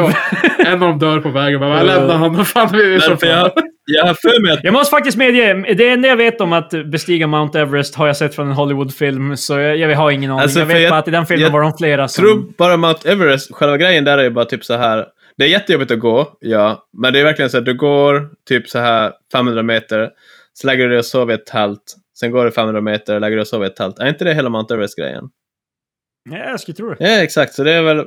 [SPEAKER 3] Ja, en av dem dör på vägen. Bara, Jag lämnar honom. Fan, vi är så
[SPEAKER 1] Därför jag,
[SPEAKER 3] fan.
[SPEAKER 1] jag har för mig att...
[SPEAKER 2] Jag måste faktiskt medge, det enda jag vet om att bestiga Mount Everest har jag sett från en Hollywoodfilm, så jag, jag har ingen aning.
[SPEAKER 1] Alltså,
[SPEAKER 2] jag
[SPEAKER 1] för
[SPEAKER 2] vet
[SPEAKER 1] jag-
[SPEAKER 2] bara att i den filmen
[SPEAKER 1] jag
[SPEAKER 2] var de flera som...
[SPEAKER 1] Tror bara Mount Everest, själva grejen där är ju bara typ så här. Det är jättejobbigt att gå, ja. Men det är verkligen så att du går typ så här 500 meter, så lägger du dig och sover i ett tält. Sen går du 500 meter och lägger dig och sover i ett tält. Är inte det hela Mount Everest-grejen?
[SPEAKER 2] Ja, jag skulle tro det.
[SPEAKER 1] Ja, exakt. Så det är väl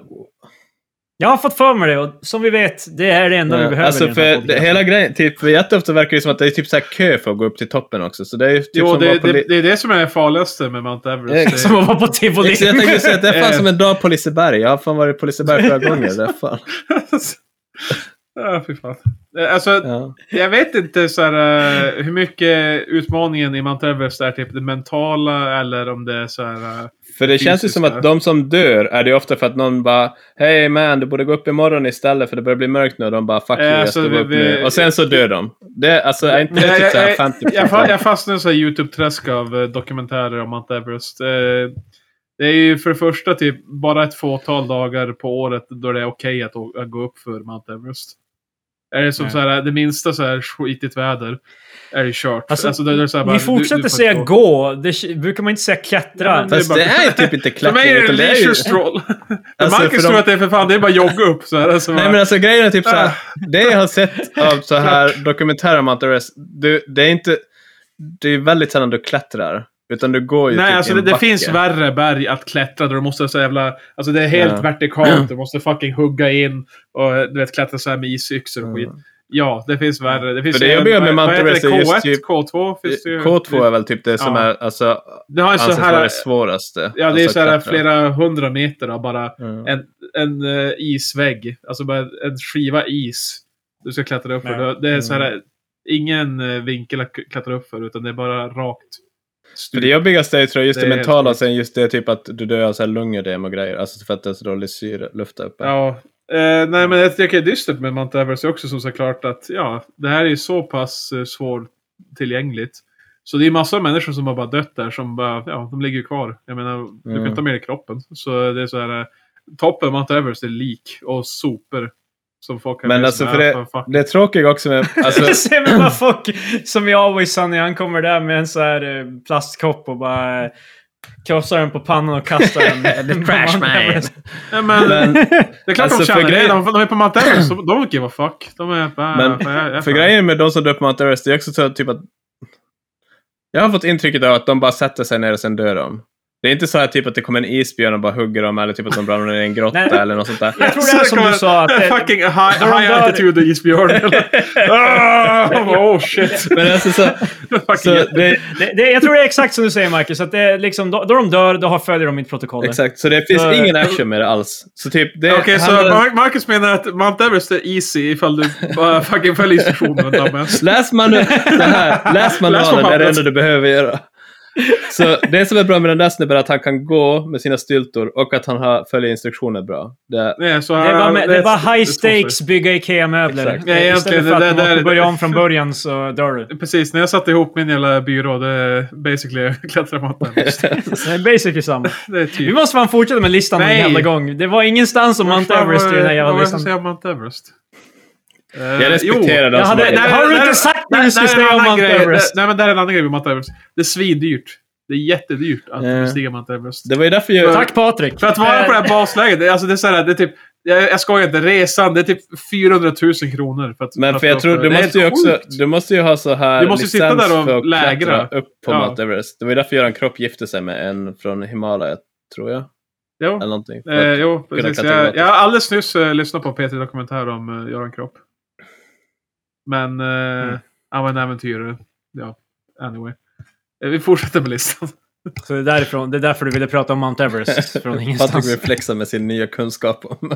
[SPEAKER 2] Jag har fått för mig det och som vi vet, det är det enda vi
[SPEAKER 1] Ja,
[SPEAKER 2] behöver i
[SPEAKER 1] alltså
[SPEAKER 2] den här
[SPEAKER 1] för det,
[SPEAKER 2] podden.
[SPEAKER 1] hela grejen, typ, för jätteofta verkar det som att det är typ så här kö för att gå upp till toppen också. Så det är ju typ
[SPEAKER 3] Jo,
[SPEAKER 1] som att
[SPEAKER 3] det,
[SPEAKER 1] vara på...
[SPEAKER 3] det,
[SPEAKER 1] Li-
[SPEAKER 3] det är det som är det farligaste med Mount Everest.
[SPEAKER 1] Exakt.
[SPEAKER 2] Som att vara på tivoli.
[SPEAKER 1] jag tänkte säga att det är fan
[SPEAKER 3] Eh.
[SPEAKER 1] som en dag på Liseberg. Jag har fan varit på Liseberg flera gånger. Det är fan.
[SPEAKER 3] Ja, fy fan. Eh, Alltså,
[SPEAKER 1] Ja.
[SPEAKER 3] Jag vet inte så här, eh, hur mycket utmaningen i Mount Everest är typ det mentala eller om det är så här... eh,
[SPEAKER 1] För det känns ju
[SPEAKER 3] Fysiska.
[SPEAKER 1] som att de som dör är det ju ofta för att någon bara Hej man, du borde gå upp imorgon istället för det börjar bli mörkt nu. Och de bara Fuck
[SPEAKER 3] Eh,
[SPEAKER 1] you, jag
[SPEAKER 3] alltså,
[SPEAKER 1] ska gå
[SPEAKER 3] vi-
[SPEAKER 1] upp
[SPEAKER 3] vi-
[SPEAKER 1] nu. Och sen så dör de. Det, alltså, är inte det
[SPEAKER 3] Jag-
[SPEAKER 1] typ så här
[SPEAKER 3] jag-
[SPEAKER 1] 50
[SPEAKER 3] Jag, fa- jag fastnade i så här YouTube-träsk av eh, dokumentärer om Mount Everest. Eh, Det är ju för det första typ bara ett fåtal dagar på året då det är okej att, å- att gå upp för Mount Everest. Är det som
[SPEAKER 2] Nej.
[SPEAKER 3] så här, eh, det minsta så här skitigt väder är det kört.
[SPEAKER 2] Alltså,
[SPEAKER 3] då är det så här bara,
[SPEAKER 2] Ni
[SPEAKER 3] du- du
[SPEAKER 2] fortsätter
[SPEAKER 3] får
[SPEAKER 2] säga
[SPEAKER 3] inte gå.
[SPEAKER 2] gå. Det brukar man inte säga klättra.
[SPEAKER 3] Ja, men-
[SPEAKER 1] Fast det är ju typ inte
[SPEAKER 3] För
[SPEAKER 1] klättring.
[SPEAKER 3] mig är det
[SPEAKER 1] utan
[SPEAKER 3] en
[SPEAKER 1] det är ju-
[SPEAKER 3] leisure stroll.
[SPEAKER 1] Alltså, för
[SPEAKER 3] Marcus
[SPEAKER 1] de-
[SPEAKER 3] tror att Ah. det är för fan, det är bara jogga upp. Så här, alltså,
[SPEAKER 1] Nej
[SPEAKER 3] bara-
[SPEAKER 1] men alltså grejen är typ så här. Det jag har sett av så här dokumentärer om Mount Everest. Du, det är inte... Det är väldigt sällan du klättrar. Utan du går ju
[SPEAKER 3] Nej,
[SPEAKER 1] typ
[SPEAKER 3] alltså
[SPEAKER 1] i
[SPEAKER 3] det,
[SPEAKER 1] en
[SPEAKER 3] det
[SPEAKER 1] backe.
[SPEAKER 3] finns värre berg att klättra. där Du måste så jävla... Alltså det är helt
[SPEAKER 1] Ja.
[SPEAKER 3] vertikalt. Du måste fucking hugga in och eh, du vet, klättra så här med isyxor och skit. Ja, det finns värre. Det finns
[SPEAKER 1] För det jobbiga med
[SPEAKER 3] vad heter
[SPEAKER 1] Mountain Race är
[SPEAKER 3] det?
[SPEAKER 1] just
[SPEAKER 3] K1?
[SPEAKER 1] typ-
[SPEAKER 3] K2? Finns det ju.
[SPEAKER 1] K2 är väl typ det som
[SPEAKER 3] Ja.
[SPEAKER 1] är alltså,
[SPEAKER 3] Det har ju så
[SPEAKER 1] anses vara
[SPEAKER 3] här...
[SPEAKER 1] det svåraste.
[SPEAKER 3] Ja, det är
[SPEAKER 1] alltså,
[SPEAKER 3] så här
[SPEAKER 1] att klättra.
[SPEAKER 3] flera hundra meter av bara
[SPEAKER 1] Mm.
[SPEAKER 3] en, en eh, isvägg. Alltså bara en skiva is. Du ska klättra upp för.
[SPEAKER 2] Ja.
[SPEAKER 3] Det- Det är så
[SPEAKER 1] Mm.
[SPEAKER 3] här... Ingen eh, vinkel att k- klättra upp för, utan det är bara rakt.
[SPEAKER 1] För det jobbigaste är ju, tror jag, just det,
[SPEAKER 3] Det är helt
[SPEAKER 1] mentala,
[SPEAKER 3] sjukt.
[SPEAKER 1] sen just det typ att du dör av så här lungödem och grejer. Alltså för att det är så dålig syre, luft där uppe.
[SPEAKER 3] Ja. Eh, nej, men jag tycker det är dystert med Mount Everest också som såklart att ja, det här är ju så pass eh, svårtillgängligt. Så det är massor av människor som har bara dött där som bara, ja, de ligger ju kvar. Jag menar, du kan
[SPEAKER 1] Mm.
[SPEAKER 3] inte ta med dig kroppen. Så det är så här, eh, toppen av Mount Everest är lik och sopor. Som folk har
[SPEAKER 1] Men
[SPEAKER 3] med
[SPEAKER 1] alltså,
[SPEAKER 3] sig.
[SPEAKER 1] för
[SPEAKER 3] Ja, fan, fuck.
[SPEAKER 1] Det är tråkiga också med... Alltså,
[SPEAKER 2] Jag ser mig bara folk som i Always Sunny, han kommer där med en så här eh, plastkopp och bara eh, krossar den på pannan och kastar den. Lite
[SPEAKER 1] Crash man.
[SPEAKER 3] Nej, men,
[SPEAKER 1] men,
[SPEAKER 3] det är klart
[SPEAKER 1] alltså, för
[SPEAKER 3] de känner det.
[SPEAKER 1] grejen-
[SPEAKER 3] De, de är på Mount Everest, så de give a fuck. De är bara,
[SPEAKER 1] Men,
[SPEAKER 3] ja, fan, jag- jag-
[SPEAKER 1] för grejen med de som dör på Mount Everest, det är också så typ att... Jag har fått intrycket av att de bara sätter sig ner och sen dör de. Det är inte så här typ att det kommer en isbjörn och bara hugger dem eller typ att de ramlar ner i en
[SPEAKER 2] Nej.
[SPEAKER 1] grotta eller något sånt där.
[SPEAKER 2] Jag tror det är som du sa. Att
[SPEAKER 3] En
[SPEAKER 2] det,
[SPEAKER 3] fucking high,
[SPEAKER 2] de
[SPEAKER 3] high
[SPEAKER 2] dör-
[SPEAKER 3] altitude isbjörn. ah, oh shit.
[SPEAKER 1] Men alltså så,
[SPEAKER 3] Det är fucking
[SPEAKER 1] så det,
[SPEAKER 2] det, det, jag tror det är exakt som du säger Marcus. Att det är liksom, då, då de dör, då har- följer de inte protokollet.
[SPEAKER 1] exakt, så det finns
[SPEAKER 2] Så-
[SPEAKER 1] ingen action med det alls. Så typ det
[SPEAKER 3] Okej, så
[SPEAKER 1] handlar-
[SPEAKER 3] Mar- Marcus menar att Mount Everest är easy ifall du bara fucking följer instruktionerna. dumbass.
[SPEAKER 1] Läs, manu det här, läs
[SPEAKER 3] Läs på
[SPEAKER 1] manualen, det är det
[SPEAKER 3] pappret.
[SPEAKER 1] enda du behöver göra. Så det som är bra med den där snubben är att han kan gå med sina styltor och att han har, följer instruktioner bra. Det,
[SPEAKER 3] Nej, så
[SPEAKER 2] Det är bara, med, det är bara high
[SPEAKER 3] det är svårt för-
[SPEAKER 2] stakes bygga IKEA-möbler. Eh,
[SPEAKER 1] Exakt.
[SPEAKER 3] Nej,
[SPEAKER 2] Istället
[SPEAKER 3] egentligen,
[SPEAKER 2] för att
[SPEAKER 3] det-
[SPEAKER 2] man
[SPEAKER 3] det-
[SPEAKER 2] måste
[SPEAKER 3] det-
[SPEAKER 2] börja om från början så dör du.
[SPEAKER 3] Precis, när jag satte ihop min jävla byrå, det är basically klättra på Mount Everest.
[SPEAKER 2] Det är basically samma.
[SPEAKER 3] Det är
[SPEAKER 2] Vi
[SPEAKER 3] typ...
[SPEAKER 2] måste fan fortsätta med listan en
[SPEAKER 3] Nej.
[SPEAKER 2] jävla gång. Det var ingenstans om Mount Everest i den här jävla
[SPEAKER 3] Vad var det jag skulle
[SPEAKER 2] listan.
[SPEAKER 3] säga om Mount Everest? Eh,
[SPEAKER 1] jag respekterar
[SPEAKER 2] Jag
[SPEAKER 1] den som
[SPEAKER 2] hade-
[SPEAKER 1] har
[SPEAKER 2] nej,
[SPEAKER 1] det.
[SPEAKER 2] Har du
[SPEAKER 3] det-
[SPEAKER 2] inte
[SPEAKER 3] det-
[SPEAKER 2] sagt
[SPEAKER 3] det-
[SPEAKER 2] det du
[SPEAKER 3] det
[SPEAKER 2] skulle
[SPEAKER 3] är en
[SPEAKER 2] säga om
[SPEAKER 3] annan
[SPEAKER 2] Mount
[SPEAKER 3] grej.
[SPEAKER 2] Everest?
[SPEAKER 3] Det- Nej, men det här är en annan grej med Mount Everest. Det är svindyrt. Det är jättedyrt att
[SPEAKER 1] Ja.
[SPEAKER 3] bestiga Mount Everest.
[SPEAKER 1] Det var ju därför jag...
[SPEAKER 2] Tack Patrik!
[SPEAKER 3] För att vara på det
[SPEAKER 2] Eh,
[SPEAKER 3] här basläget, det, är- alltså det är så här, det är typ, jag, jag skojar inte, resan, det är typ 400 000 kronor. För att,
[SPEAKER 1] Men
[SPEAKER 3] att
[SPEAKER 1] för jag
[SPEAKER 3] åka
[SPEAKER 1] tror,
[SPEAKER 3] upp.
[SPEAKER 1] du
[SPEAKER 3] Det är
[SPEAKER 1] måste ju
[SPEAKER 3] helt
[SPEAKER 1] också,
[SPEAKER 3] sjukt.
[SPEAKER 1] du måste ju ha så här
[SPEAKER 3] Du måste sitta där och
[SPEAKER 1] för att
[SPEAKER 3] lägra.
[SPEAKER 1] klättra upp på
[SPEAKER 3] Ja.
[SPEAKER 1] Mount Everest. Det var ju därför Göran Kropp gifte sig med en från Himalaya, tror jag.
[SPEAKER 3] Jo,
[SPEAKER 1] Eller någonting. För
[SPEAKER 3] eh,
[SPEAKER 1] att-
[SPEAKER 3] jo precis.
[SPEAKER 1] klättra
[SPEAKER 3] Jag,
[SPEAKER 1] gratis.
[SPEAKER 3] jag har alldeles nyss eh, lyssnat på Peter Dokumentär om eh, Göran Kropp. Men eh, han var en äventyrare. Ja, anyway. Eh, Vi fortsätter med listan.
[SPEAKER 2] Så det är, därifrån, det är därför du ville prata om Mount Everest från
[SPEAKER 1] Patrik vill
[SPEAKER 2] ingenstans.
[SPEAKER 1] flexa med sin nya kunskap om...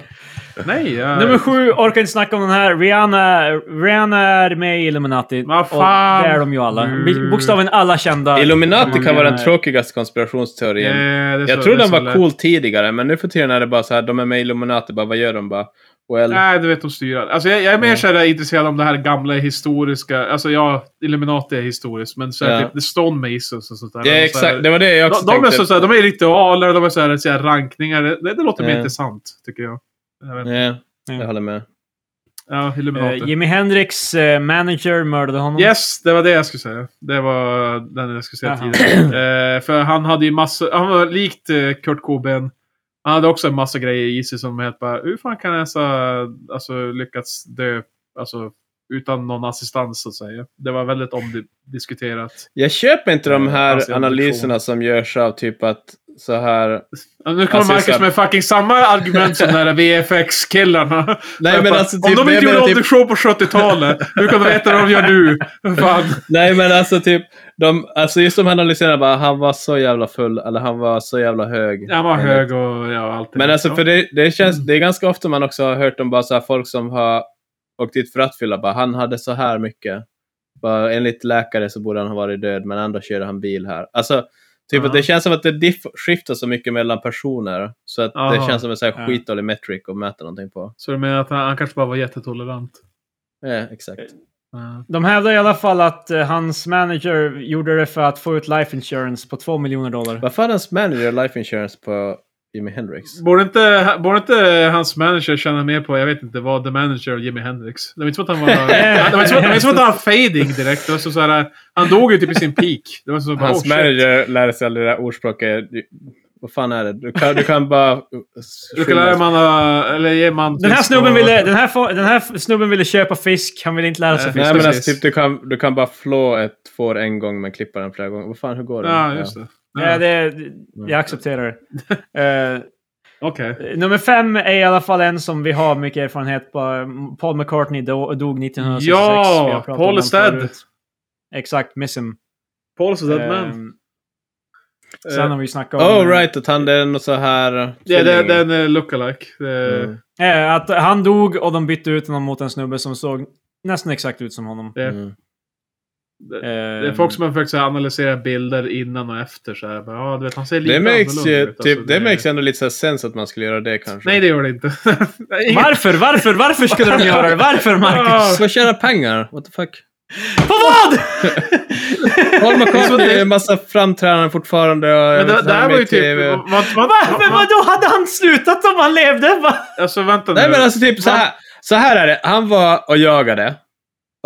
[SPEAKER 3] Nej, jag...
[SPEAKER 2] Nummer sju, orkar inte snacka om den här. Rihanna, Rihanna är med i Illuminati.
[SPEAKER 3] Vad
[SPEAKER 2] Och
[SPEAKER 3] fan?
[SPEAKER 2] det är de ju alla.
[SPEAKER 3] Mm.
[SPEAKER 2] Bokstaven alla kända.
[SPEAKER 1] Illuminati kan vara den
[SPEAKER 2] Eh,
[SPEAKER 1] tråkigaste
[SPEAKER 3] Eh,
[SPEAKER 1] konspirationsteorin
[SPEAKER 3] det är så-
[SPEAKER 1] Jag tror
[SPEAKER 3] det är
[SPEAKER 1] den
[SPEAKER 3] så
[SPEAKER 1] var
[SPEAKER 3] lätt.
[SPEAKER 1] cool tidigare, men nu för tiden är det bara så här, de är med i Illuminati, bara vad gör de? Bara, well,
[SPEAKER 3] Nej, du vet de styr allt. Alltså jag, jag är mer
[SPEAKER 1] Mm.
[SPEAKER 3] så här intresserad om det här gamla historiska. Alltså ja, Illuminati är historiskt, men så här,
[SPEAKER 1] Ja.
[SPEAKER 3] typ, The Stonemasons och sånt där.
[SPEAKER 1] det är
[SPEAKER 3] Och så här-
[SPEAKER 1] exakt, det var det jag också
[SPEAKER 3] De, de, är
[SPEAKER 1] tänkte.
[SPEAKER 3] så, såhär, de är ritualer, de är såhär, såhär, rankningar. Det, det, det låter
[SPEAKER 1] Ja.
[SPEAKER 3] mer intressant, tycker jag. jag vet.
[SPEAKER 1] Ja,
[SPEAKER 2] Ja.
[SPEAKER 1] jag håller med.
[SPEAKER 3] Ja, Illuminati.
[SPEAKER 2] eh, Jimi Hendrix eh, manager mördade honom.
[SPEAKER 3] yes, det var det jag skulle säga. Det var den jag skulle säga
[SPEAKER 2] Jaha.
[SPEAKER 3] tidigare. eh, för han hade ju massor, han var likt eh, Kurt Cobain. Han hade också en massa grejer i sig som helt bara, hur fan kan jag så, alltså, lyckats dö alltså, utan någon assistans så att säga. Det var väldigt omdiskuterat.
[SPEAKER 1] Jag köper inte de här
[SPEAKER 3] Alltså, jag
[SPEAKER 1] analyserna som görs av typ att så här...
[SPEAKER 3] Ja, Nu kommer
[SPEAKER 1] Alltså,
[SPEAKER 3] Marcus
[SPEAKER 1] så här-
[SPEAKER 3] med fucking samma argument som de där VFX-killarna.
[SPEAKER 1] Nej, men
[SPEAKER 3] Bara,
[SPEAKER 1] alltså,
[SPEAKER 3] Om
[SPEAKER 1] typ,
[SPEAKER 3] de
[SPEAKER 1] jag
[SPEAKER 3] inte gjorde
[SPEAKER 1] menar typ-
[SPEAKER 3] åldersshow på 70-talet, hur kan de veta vad de gör nu? Fan.
[SPEAKER 1] Nej men alltså typ, de, alltså just de här analyserna bara, han var så jävla full, eller han var så jävla hög.
[SPEAKER 3] Han var hög och ja, allt.
[SPEAKER 1] Men alltså
[SPEAKER 3] Ja.
[SPEAKER 1] för det, det
[SPEAKER 3] Mm.
[SPEAKER 1] känns, det är ganska ofta man också har hört om bara så här folk som har åkt dit för rattfylla, bara han hade så här mycket. Bara, enligt läkare så borde han ha varit död, men ändå körde han bil här. Alltså, typ
[SPEAKER 3] Ja.
[SPEAKER 1] att det känns som att det diff- skiftar så mycket mellan personer, så att det
[SPEAKER 3] Aha.
[SPEAKER 1] känns som en så här
[SPEAKER 2] Ja.
[SPEAKER 1] skitdålig metric att mäta någonting på.
[SPEAKER 3] Så du menar att han, han kanske bara var jättetolerant?
[SPEAKER 1] Ja,
[SPEAKER 3] Eh.
[SPEAKER 1] exakt.
[SPEAKER 3] Ja.
[SPEAKER 2] De hävdar i alla fall att eh, hans manager gjorde det för att få ut life insurance på 2 miljoner dollar.
[SPEAKER 1] Varför hade hans manager life insurance på Jimi Hendrix?
[SPEAKER 3] Borde inte, borde inte hans manager känna mer på, jag vet inte, vad the manager och Jimi Hendrix? Det var inte som att han var... det var inte som att- det var inte som att han var fading direkt. Det var så så här, han dog ju typ i sin peak. Det var så bara,
[SPEAKER 1] Hans
[SPEAKER 3] oh, shit.
[SPEAKER 1] manager lärde sig aldrig det där ordspråket Vad fan är det? Du kan, du kan bara...
[SPEAKER 3] Du kan lära man, eh, eller ge man...
[SPEAKER 2] Den här,
[SPEAKER 3] typ
[SPEAKER 2] snubben
[SPEAKER 3] och-
[SPEAKER 2] ville, den, här, fa- den här f- snubben ville köpa fisk, han ville inte lära sig
[SPEAKER 3] Nej.
[SPEAKER 2] fisk.
[SPEAKER 1] Nej, men
[SPEAKER 3] precis.
[SPEAKER 1] alltså, typ, du, kan, du kan bara flå ett får en gång men klippa den flera gånger. Vad fan, hur går det?
[SPEAKER 3] Ja, just det.
[SPEAKER 2] Ja,
[SPEAKER 3] Ja.
[SPEAKER 2] det, jag accepterar det. Eh,
[SPEAKER 3] Okej.
[SPEAKER 2] nummer fem är i alla fall en som vi har mycket erfarenhet på. Paul McCartney do, dog 1966.
[SPEAKER 3] Ja,
[SPEAKER 2] Vi har pratat
[SPEAKER 3] Paul
[SPEAKER 2] om
[SPEAKER 3] is
[SPEAKER 2] den
[SPEAKER 3] dead.
[SPEAKER 2] förut. Exakt, miss him.
[SPEAKER 3] Paul's a dead man.
[SPEAKER 2] Ehm, sen
[SPEAKER 3] Eh,
[SPEAKER 2] har vi ju snackat om...
[SPEAKER 1] Oh right, att han det är någon så här...
[SPEAKER 3] Ja, det, det är
[SPEAKER 1] tvilling.
[SPEAKER 3] en eh, lookalike. Det,
[SPEAKER 1] Mm.
[SPEAKER 2] Eh, att han dog och de bytte ut honom mot en snubbe som såg nästan exakt ut som honom. Ehm,
[SPEAKER 3] det,
[SPEAKER 1] Mm.
[SPEAKER 3] det är folk som har försökt så här, analysera bilder innan och efter. Så här. Bara, ja, du vet, han ser lite
[SPEAKER 1] Det makes,
[SPEAKER 3] annorlunda
[SPEAKER 1] ju,
[SPEAKER 3] ut.
[SPEAKER 1] typ,
[SPEAKER 3] Alltså,
[SPEAKER 1] det makes ändå lite så här sens att man skulle göra det kanske.
[SPEAKER 3] Nej, det gör det inte. Nej, ingen-
[SPEAKER 2] Varför? Varför? Varför skulle de göra det? Varför, Marcus?
[SPEAKER 1] För att tjäna pengar? What the fuck?
[SPEAKER 2] På vad?
[SPEAKER 1] Paul McCartney är en massa framträdanden fortfarande. Och jag
[SPEAKER 3] Men
[SPEAKER 1] vet
[SPEAKER 3] det,
[SPEAKER 1] inte,
[SPEAKER 3] det
[SPEAKER 1] han är
[SPEAKER 3] här
[SPEAKER 1] med
[SPEAKER 3] var
[SPEAKER 1] i
[SPEAKER 3] ju typ...
[SPEAKER 1] TV.
[SPEAKER 3] Vad, vad,
[SPEAKER 2] Varför? Vadå? Hade han slutat om han levde? Va?
[SPEAKER 3] Alltså vänta
[SPEAKER 1] Nej
[SPEAKER 3] nu.
[SPEAKER 1] men alltså typ så här, så här är det. Han var och jagade.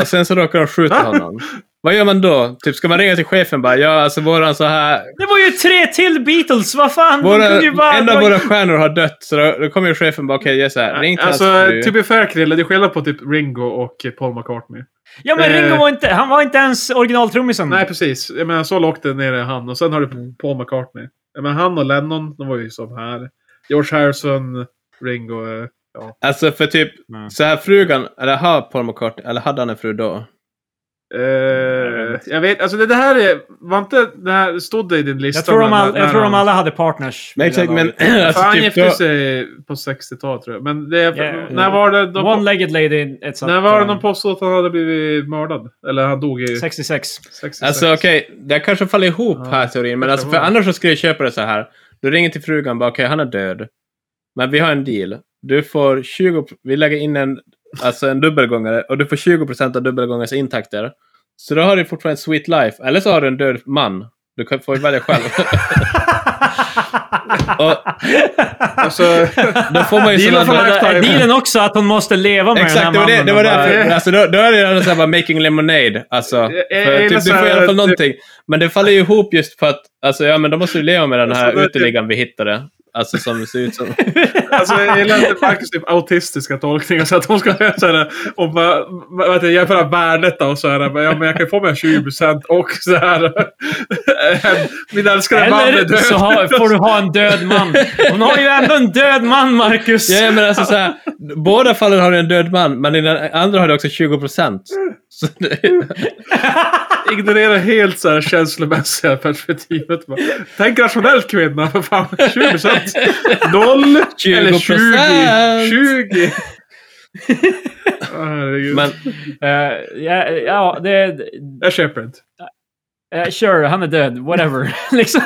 [SPEAKER 1] Och sen så råkade de skjuta honom. Vad gör man då? Typ ska man ringa till chefen bara ja alltså våran så här.
[SPEAKER 2] Det var ju tre till Beatles! Vad fan?
[SPEAKER 1] Våra,
[SPEAKER 2] De kunde ju bara-
[SPEAKER 1] en av våra stjärnor har dött. Så då, då kommer ju chefen bara okej okay, så här. Ring till
[SPEAKER 3] Alltså,
[SPEAKER 1] hans fru.
[SPEAKER 3] to be fair Krille, du skäller på typ Ringo och Paul McCartney.
[SPEAKER 2] Ja men Ringo
[SPEAKER 3] eh,
[SPEAKER 2] var inte... Han var inte ens originaltrummisen.
[SPEAKER 3] Nej, precis. Jag menar, så lågt ner är han. Och sen har du Paul McCartney. Jag menar, han och Lennon, de var ju som här. George Harrison, Ringo. eh,
[SPEAKER 1] Alltså för typ
[SPEAKER 2] Nej.
[SPEAKER 1] så här frugan, eller har Paul McCartney, eller hade han en fru då?
[SPEAKER 3] Eh, jag vet, alltså det, det här är... Var inte det här... Stod det i din lista?
[SPEAKER 2] Jag tror, de
[SPEAKER 3] när-
[SPEAKER 2] all,
[SPEAKER 3] när
[SPEAKER 2] jag tror de
[SPEAKER 3] han-
[SPEAKER 2] alla hade partners.
[SPEAKER 1] Nej
[SPEAKER 2] vid det
[SPEAKER 1] exakt men
[SPEAKER 2] laget.
[SPEAKER 1] alltså
[SPEAKER 3] För han
[SPEAKER 1] typ
[SPEAKER 3] gifte
[SPEAKER 1] då,
[SPEAKER 3] sig på 60-talet tror jag. Men det,
[SPEAKER 2] Yeah.
[SPEAKER 3] när var det... De,
[SPEAKER 2] One-legged lady etc.
[SPEAKER 3] när var det de påstod att han hade blivit mördad? Eller han dog i
[SPEAKER 2] 66.
[SPEAKER 3] 66?
[SPEAKER 1] Alltså okej, det kanske faller ihop
[SPEAKER 3] Ja,
[SPEAKER 1] här teorin. Men
[SPEAKER 3] kanske
[SPEAKER 1] alltså, för
[SPEAKER 3] var.
[SPEAKER 1] annars så skulle jag köpa det så här. Du ringer till frugan bara okej, han är död. Men vi har en deal. Du får 20, vi lägger in en, alltså en dubbelgångare och du får 20% av dubbelgångarens intakter. Så då har du fortfarande ett sweet life. Eller så har du en död man. Du kan få välja själv. och
[SPEAKER 3] Alltså,
[SPEAKER 1] då får man ju
[SPEAKER 3] Deal of
[SPEAKER 1] sådana...
[SPEAKER 3] a
[SPEAKER 2] Men är
[SPEAKER 3] lifetime.
[SPEAKER 2] dealen också att hon måste leva med
[SPEAKER 1] Exakt,
[SPEAKER 2] den
[SPEAKER 1] det
[SPEAKER 2] här
[SPEAKER 1] var det,
[SPEAKER 2] mannen?
[SPEAKER 1] det var
[SPEAKER 2] och bara-
[SPEAKER 1] därför.
[SPEAKER 3] bara-
[SPEAKER 1] Alltså, då, då är det redan såhär bara making lemonade. Alltså, för,
[SPEAKER 3] jag gillar
[SPEAKER 1] typ, du
[SPEAKER 3] så
[SPEAKER 1] får i
[SPEAKER 3] här-
[SPEAKER 1] alla fall
[SPEAKER 3] det-
[SPEAKER 1] någonting. Men det faller ju ihop just för att, alltså ja men då måste du leva med den
[SPEAKER 3] Alltså,
[SPEAKER 1] här
[SPEAKER 3] det-
[SPEAKER 1] uteliggaren vi hittade. Alltså som ser ut som...
[SPEAKER 3] alltså, jag gillar inte Marcus typ autistiska tolkningar. Så att de ska göra så här, och bara, vad heter det, jämföra värdet av så här. Men, ja, men jag kan få mig 20% och så här. Min älskade man är
[SPEAKER 2] Eller
[SPEAKER 3] död.
[SPEAKER 2] så ha, får du ha en död man. Hon har ju ändå en död man, Marcus!
[SPEAKER 1] Ja men alltså såhär, båda fallen har du en död man, men i den andra har du också 20%. Så det,
[SPEAKER 3] Ignorera helt så här känslomässiga perspektivet. Bara. Tänk rationellt kvinna, för fan. 20%. Noll eller
[SPEAKER 1] 20%.
[SPEAKER 3] 20. 20. Åh, herregud.
[SPEAKER 1] men
[SPEAKER 2] Eh, ja, ja, det...
[SPEAKER 3] Jag köper inte.
[SPEAKER 2] eh, sure, han är död. Whatever. liksom.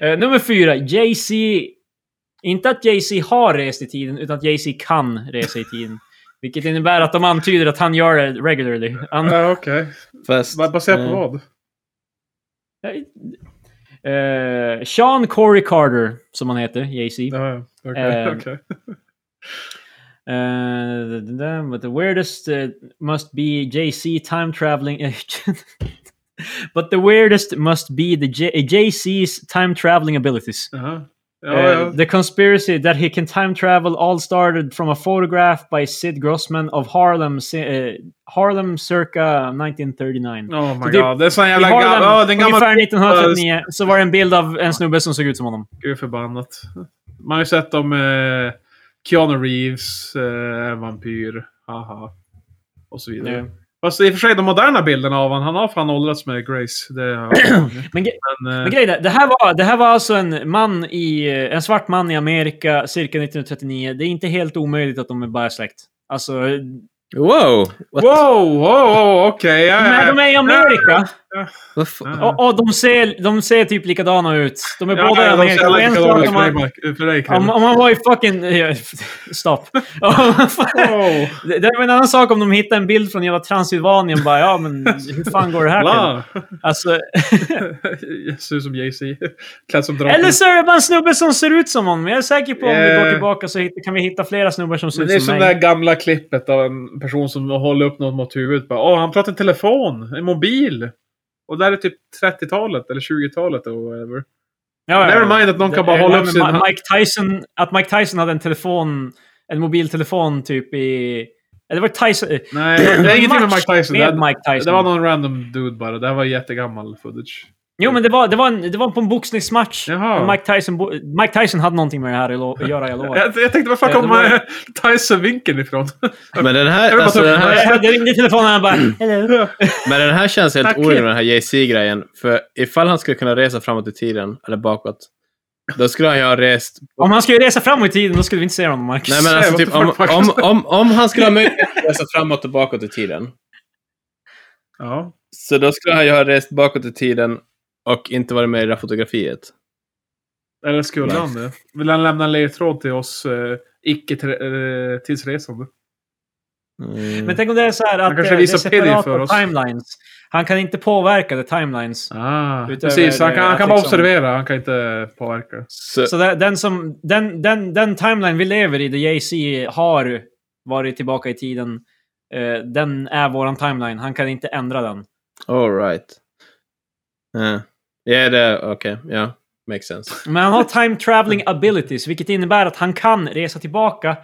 [SPEAKER 2] Eh, nummer fyra, Jay-Z. Inte att Jay-Z har rest i tiden, utan att Jay-Z kan resa i tiden. Vilket innebär att de antyder att han gör det regularly. Han,
[SPEAKER 3] Ja, Okej.
[SPEAKER 1] fast...
[SPEAKER 3] Ba- Baserat på
[SPEAKER 2] Mm.
[SPEAKER 1] eh,
[SPEAKER 3] vad?
[SPEAKER 2] Eh, Sean Corey Carter, som han heter, Jay-Z.
[SPEAKER 3] Ja, ja. Okej,
[SPEAKER 2] Eh,
[SPEAKER 3] okej.
[SPEAKER 2] Uh, the, the, the, but the weirdest uh, must be JC time traveling agent. but the weirdest must be the J- JC's time traveling abilities.
[SPEAKER 3] Jaha.
[SPEAKER 2] Uh,
[SPEAKER 3] Ja, ja.
[SPEAKER 2] The conspiracy that he can time travel all started from a photograph by Sid Grossman of Harlem, si- uh, Harlem circa 1939.
[SPEAKER 3] Oh my
[SPEAKER 2] Så typ-
[SPEAKER 3] god, det är sån
[SPEAKER 2] I
[SPEAKER 3] jävla
[SPEAKER 2] Harlem,
[SPEAKER 3] gammal... Ja, det är en gammal
[SPEAKER 2] ungefär 1939, så var det en bild av en snubbe som såg ut som honom.
[SPEAKER 3] Gud förbannat. Man har ju sett om eh, Keanu Reeves, eh, vampyr, haha. Och så vidare.
[SPEAKER 2] Ja.
[SPEAKER 3] Fast i och för sig, de moderna bilderna av honom, han har fan åldrats med Grace. Det har
[SPEAKER 2] Men ge-
[SPEAKER 3] men, eh,
[SPEAKER 2] Men grejen är, det här var, det här var alltså en, man i, en svart man i Amerika cirka 1939. Det är inte helt omöjligt att de är bara släkt. Alltså,
[SPEAKER 1] Wow! What,
[SPEAKER 3] Wow, wow, wow, okej. ja,
[SPEAKER 2] men
[SPEAKER 3] ja.
[SPEAKER 2] de är i Amerika
[SPEAKER 1] vad fa-
[SPEAKER 3] Ja.
[SPEAKER 2] och, och de, ser, de ser typ likadana ut. De är
[SPEAKER 3] Ja,
[SPEAKER 2] båda i
[SPEAKER 3] ja, de ser
[SPEAKER 2] Amerika.
[SPEAKER 3] alla
[SPEAKER 2] Och en
[SPEAKER 3] likadana
[SPEAKER 2] sa
[SPEAKER 3] ut
[SPEAKER 2] att
[SPEAKER 3] för
[SPEAKER 2] de har-
[SPEAKER 3] dig, Mark- för dig, Krille.
[SPEAKER 2] om, om man var i fucking... eh, Stopp.
[SPEAKER 3] Wow.
[SPEAKER 2] det det var en annan sak om de hittade en bild från hela Transylvanien. Bara, ja, men hur fan går det här till?
[SPEAKER 3] Bla.
[SPEAKER 2] Alltså,
[SPEAKER 3] Jag Ser ut som Jay-Z. Klädd som draken.
[SPEAKER 2] eller så är det bara en snubbe som ser ut som honom. Jag är säker på om vi går
[SPEAKER 3] Eh.
[SPEAKER 2] tillbaka så hitt- kan vi hitta flera snubbar som ser
[SPEAKER 3] Men det är
[SPEAKER 2] ut
[SPEAKER 3] som
[SPEAKER 2] som
[SPEAKER 3] det
[SPEAKER 2] mig.
[SPEAKER 3] här gamla klippet av en person som håller upp något mot huvudet. Bara, Åh, han pratar i telefon, en mobil. Och där är typ 30-talet eller 20-talet och whatever.
[SPEAKER 2] Ja, ja, ja.
[SPEAKER 3] Never mind att någon kan bara
[SPEAKER 2] Jag
[SPEAKER 3] hålla upp
[SPEAKER 2] glömmer
[SPEAKER 3] sin
[SPEAKER 2] Ma-
[SPEAKER 3] hand.
[SPEAKER 2] Mike Tyson, att Mike Tyson hade en telefon, en mobiltelefon typ i... Eller var det Tyson? eh,
[SPEAKER 3] Nej, det är ingenting med
[SPEAKER 2] match
[SPEAKER 3] Mike Tyson.
[SPEAKER 2] Med
[SPEAKER 3] det,
[SPEAKER 2] Mike Tyson.
[SPEAKER 3] det var någon random dude bara. Det här var jättegammal footage.
[SPEAKER 2] Jo, men det var, det var, en, det var på en boxningsmatch.
[SPEAKER 3] Jaha.
[SPEAKER 2] Mike Tyson, bo- Mike Tyson hade någonting med det här att lo- att göra, jag lovar.
[SPEAKER 3] Jag, jag tänkte, var fan
[SPEAKER 2] Ja, det
[SPEAKER 3] kom
[SPEAKER 2] var-
[SPEAKER 3] eh, Tyson-vinkeln ifrån?
[SPEAKER 1] Men den
[SPEAKER 3] Jag
[SPEAKER 1] här,
[SPEAKER 3] vill bara
[SPEAKER 1] alltså,
[SPEAKER 3] ta upp
[SPEAKER 1] den
[SPEAKER 3] den
[SPEAKER 1] här
[SPEAKER 3] här.
[SPEAKER 2] Jag ringde i telefonen och han bara Hello.
[SPEAKER 1] Men den här känns helt
[SPEAKER 3] Tack.
[SPEAKER 1] orimlig med den här JC-grejen. För ifall han skulle kunna resa framåt i tiden, eller bakåt, då skulle han ju ha rest...
[SPEAKER 2] Om han skulle resa framåt i tiden, då skulle vi inte se honom, Marcus.
[SPEAKER 1] Nej, men alltså,
[SPEAKER 3] what the
[SPEAKER 1] typ, om,
[SPEAKER 3] fuck, Marcus?
[SPEAKER 1] om, om, om han skulle ha möjlighet att resa framåt och bakåt i tiden,
[SPEAKER 3] ja.
[SPEAKER 1] så då skulle han ju ha rest bakåt i tiden och inte varit med i det här fotografiet.
[SPEAKER 3] Eller skulle
[SPEAKER 1] Nej.
[SPEAKER 3] han det? Vill han lämna en ledtråd till oss eh, icke-tidsresande?
[SPEAKER 1] Mm.
[SPEAKER 2] Men tänk om det är så här att
[SPEAKER 3] kanske
[SPEAKER 2] det, det är
[SPEAKER 3] visar Piddy
[SPEAKER 2] separata
[SPEAKER 3] för oss.
[SPEAKER 2] timelines. Han kan inte påverka the timelines.
[SPEAKER 3] Ah,
[SPEAKER 2] Utöver
[SPEAKER 3] precis. Han kan,
[SPEAKER 2] det
[SPEAKER 3] han kan
[SPEAKER 2] att
[SPEAKER 3] bara
[SPEAKER 2] liksom-
[SPEAKER 3] observera. Han kan inte påverka.
[SPEAKER 1] så,
[SPEAKER 2] Så det, den, som, den, den, den timeline vi lever i, där JC har varit tillbaka i tiden, eh, den är våran timeline. Han kan inte ändra den.
[SPEAKER 1] all right. Ja, Eh. Ja, det... Okej, ja. Makes sense.
[SPEAKER 2] Men han har time traveling
[SPEAKER 3] Mm.
[SPEAKER 2] abilities, vilket innebär att han kan resa tillbaka.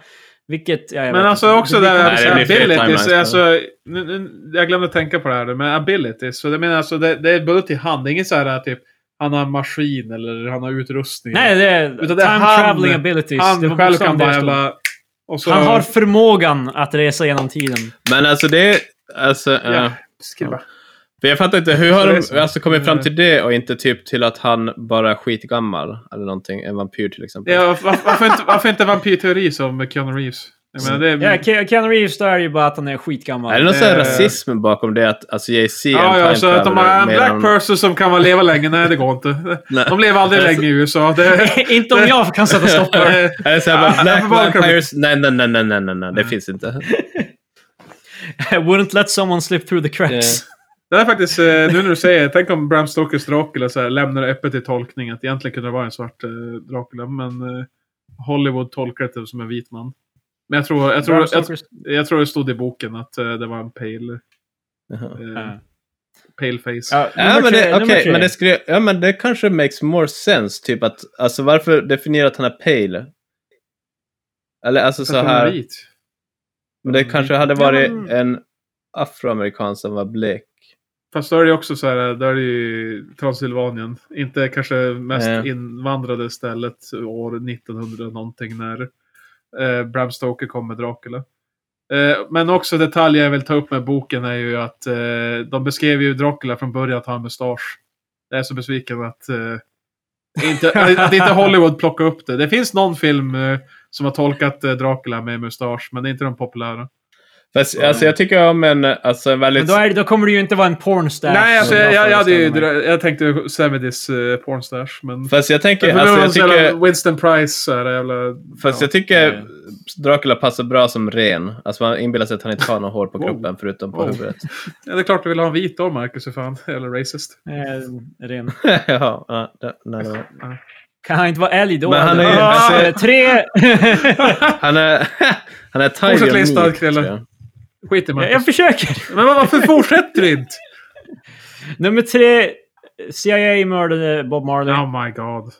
[SPEAKER 2] Vilket, ja, jag
[SPEAKER 3] Men
[SPEAKER 2] vet
[SPEAKER 3] alltså
[SPEAKER 2] inte.
[SPEAKER 3] också
[SPEAKER 2] Det
[SPEAKER 3] det
[SPEAKER 2] blir
[SPEAKER 3] här
[SPEAKER 1] Nej, det blir
[SPEAKER 3] alltså,
[SPEAKER 1] fel
[SPEAKER 3] abilities.
[SPEAKER 1] timelines.
[SPEAKER 3] Alltså, nu, nu, jag glömde tänka på det här men abilities. Så det menar alltså, det, det är både till hand. Det är inget så här typ han har en maskin eller han har utrustning.
[SPEAKER 2] Nej, det är
[SPEAKER 3] Utan
[SPEAKER 2] time
[SPEAKER 3] det är han-
[SPEAKER 2] traveling abilities. Det var
[SPEAKER 3] han själv kan
[SPEAKER 2] bokstavligen
[SPEAKER 3] bara
[SPEAKER 2] det det stod.
[SPEAKER 3] jävla... Och så,
[SPEAKER 2] Han har förmågan att resa genom tiden.
[SPEAKER 1] Men alltså det... är- Alltså,
[SPEAKER 3] Ja,
[SPEAKER 1] ja.
[SPEAKER 3] skriva.
[SPEAKER 1] För jag fattar inte, hur
[SPEAKER 3] Så
[SPEAKER 1] har
[SPEAKER 3] det är så.
[SPEAKER 1] de alltså, kommit fram till det och inte typ till att han bara är skitgammal eller någonting, en vampyr till exempel?
[SPEAKER 3] Ja, var- varför, inte, varför inte vampyrteori som Keanu Reeves? Jag menar, det är,
[SPEAKER 2] Ja, Ke- Keanu Reeves, där är ju bara att han är skitgammal.
[SPEAKER 1] Är det någon sån här
[SPEAKER 3] Eh.
[SPEAKER 1] rasism bakom det att alltså, JC är
[SPEAKER 3] Ja,
[SPEAKER 1] en
[SPEAKER 3] ja,
[SPEAKER 1] time
[SPEAKER 3] så att de har
[SPEAKER 1] traveler
[SPEAKER 3] en black
[SPEAKER 1] medan-
[SPEAKER 3] person som kan vara leva länge. Nej, det går inte.
[SPEAKER 1] Nej.
[SPEAKER 3] De lever aldrig
[SPEAKER 1] Alltså-
[SPEAKER 3] länge i USA. Det,
[SPEAKER 2] inte om jag kan sätta stopp för det.
[SPEAKER 3] eh,
[SPEAKER 1] Är det så här,
[SPEAKER 3] Ja,
[SPEAKER 1] bara,
[SPEAKER 3] varför
[SPEAKER 1] black
[SPEAKER 3] bakar vi-
[SPEAKER 1] vampires? Nej, nej, nej, nej, nej, nej, nej, det finns inte.
[SPEAKER 2] I wouldn't let someone slip through the cracks.
[SPEAKER 3] det är faktiskt, eh, nu när du säger det, tänk om Bram Stokers Dracula så här, lämnar det öppet till tolkning. Att egentligen kunde det vara en svart eh, Dracula, men eh, Hollywood tolkar det som en vit man. Men jag tror, jag, tror,
[SPEAKER 2] Bram
[SPEAKER 3] jag,
[SPEAKER 2] Stokers-
[SPEAKER 3] jag tror det stod i boken att eh, det var en pale,
[SPEAKER 1] Jaha.
[SPEAKER 3] eh,
[SPEAKER 2] Ja.
[SPEAKER 3] pale face.
[SPEAKER 2] Ja,
[SPEAKER 1] Ja,
[SPEAKER 2] nummer
[SPEAKER 1] men
[SPEAKER 2] tre-
[SPEAKER 1] det,
[SPEAKER 2] nummer
[SPEAKER 1] okay,
[SPEAKER 2] tre.
[SPEAKER 1] men det skulle, ja, men det kanske makes more sense, typ att, alltså varför definiera att han är pale? Eller alltså
[SPEAKER 3] För
[SPEAKER 1] så
[SPEAKER 3] att de är
[SPEAKER 1] här,
[SPEAKER 3] vit.
[SPEAKER 1] men det kanske hade
[SPEAKER 2] Ja,
[SPEAKER 1] varit
[SPEAKER 2] men-
[SPEAKER 1] en afroamerikan som var blek.
[SPEAKER 3] Fast då är det ju också så här, då är det ju Transylvanien. Inte kanske mest
[SPEAKER 1] Eh.
[SPEAKER 3] invandrade stället år 1900 någonting när eh, Bram Stoker kom med Dracula. Eh, men också detalj jag vill ta upp med boken är ju att eh, de beskrev ju Dracula från början att han har mustasch. Jag är så besviken att, eh, inte, att inte Hollywood plockade upp det. Det finns någon film eh, som har tolkat eh, Dracula med mustasch, men det är inte de populära.
[SPEAKER 1] Fast, alltså jag tycker om en, alltså en väldigt...
[SPEAKER 2] Men då, är, det- då kommer det ju inte vara en pornstar.
[SPEAKER 3] Nej, alltså,
[SPEAKER 2] som
[SPEAKER 3] jag, jag, jag, hade ju,
[SPEAKER 2] föreställer mig.
[SPEAKER 3] jag tänkte ju 70s eh, pornstash, men...
[SPEAKER 1] Fast jag tänker,
[SPEAKER 3] Alltså,
[SPEAKER 1] alltså jag tycker,
[SPEAKER 3] Winston Price så här, jävla...
[SPEAKER 1] fast
[SPEAKER 3] ja.
[SPEAKER 1] jag tycker
[SPEAKER 2] Ja.
[SPEAKER 1] Dracula passar bra som ren. Alltså man inbillar sig att han inte har något hår på
[SPEAKER 3] Wow.
[SPEAKER 1] kroppen förutom på
[SPEAKER 3] Wow.
[SPEAKER 1] huvudet.
[SPEAKER 3] Ja, det är klart du vill ha en vit då, Marcus, för fan. Eller racist.
[SPEAKER 2] Eh, ren.
[SPEAKER 1] ja, ja, det, nej, det var.
[SPEAKER 2] Kan han inte vara älg då?
[SPEAKER 1] Men han är ju-
[SPEAKER 2] eller?
[SPEAKER 1] alltså-
[SPEAKER 2] Eh, tre...
[SPEAKER 1] Han är, han är tiger
[SPEAKER 3] Fortsätt lista,
[SPEAKER 1] meat,
[SPEAKER 3] Krille.
[SPEAKER 1] tror jag.
[SPEAKER 3] Skit i
[SPEAKER 2] jag,
[SPEAKER 3] Marcus.
[SPEAKER 2] jag försöker.
[SPEAKER 3] Men vad- varför fortsätter du inte?
[SPEAKER 2] Nummer tre. CIA mördade Bob Marley.
[SPEAKER 3] Oh my god.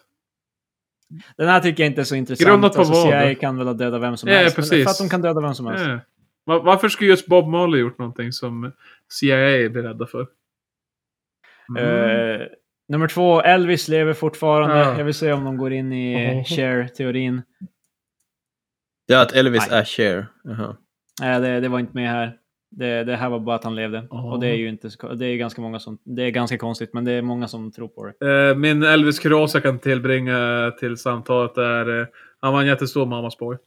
[SPEAKER 2] Den här tycker jag inte är så intressant. Alltså,
[SPEAKER 3] Grundat på vad?
[SPEAKER 2] CIA kan väl ha dödat vem som
[SPEAKER 3] Ja,
[SPEAKER 2] helst. men
[SPEAKER 3] precis.
[SPEAKER 2] För att de kan döda vem som helst.
[SPEAKER 3] Eh. Va- Varför skulle just Bob Marley gjort någonting som CIA blir rädda för? Mm.
[SPEAKER 2] Eh, nummer två, Elvis lever fortfarande.
[SPEAKER 3] Ja.
[SPEAKER 2] Jag vill se om de går in i
[SPEAKER 3] Oho.
[SPEAKER 2] Cher-teorin.
[SPEAKER 1] Ja, att Elvis
[SPEAKER 2] Nej.
[SPEAKER 1] är Cher. Jaha.
[SPEAKER 2] Nej, det, det var inte med här. Det, det här var bara att han levde.
[SPEAKER 3] Oho.
[SPEAKER 2] Och det är ju inte så, det är ganska många som, det är ganska konstigt, men det är många som tror på det.
[SPEAKER 3] Eh, Min Elvis Kuros jag kan tillbringa till samtalet är... eh, Han var en jättestor mammas boy.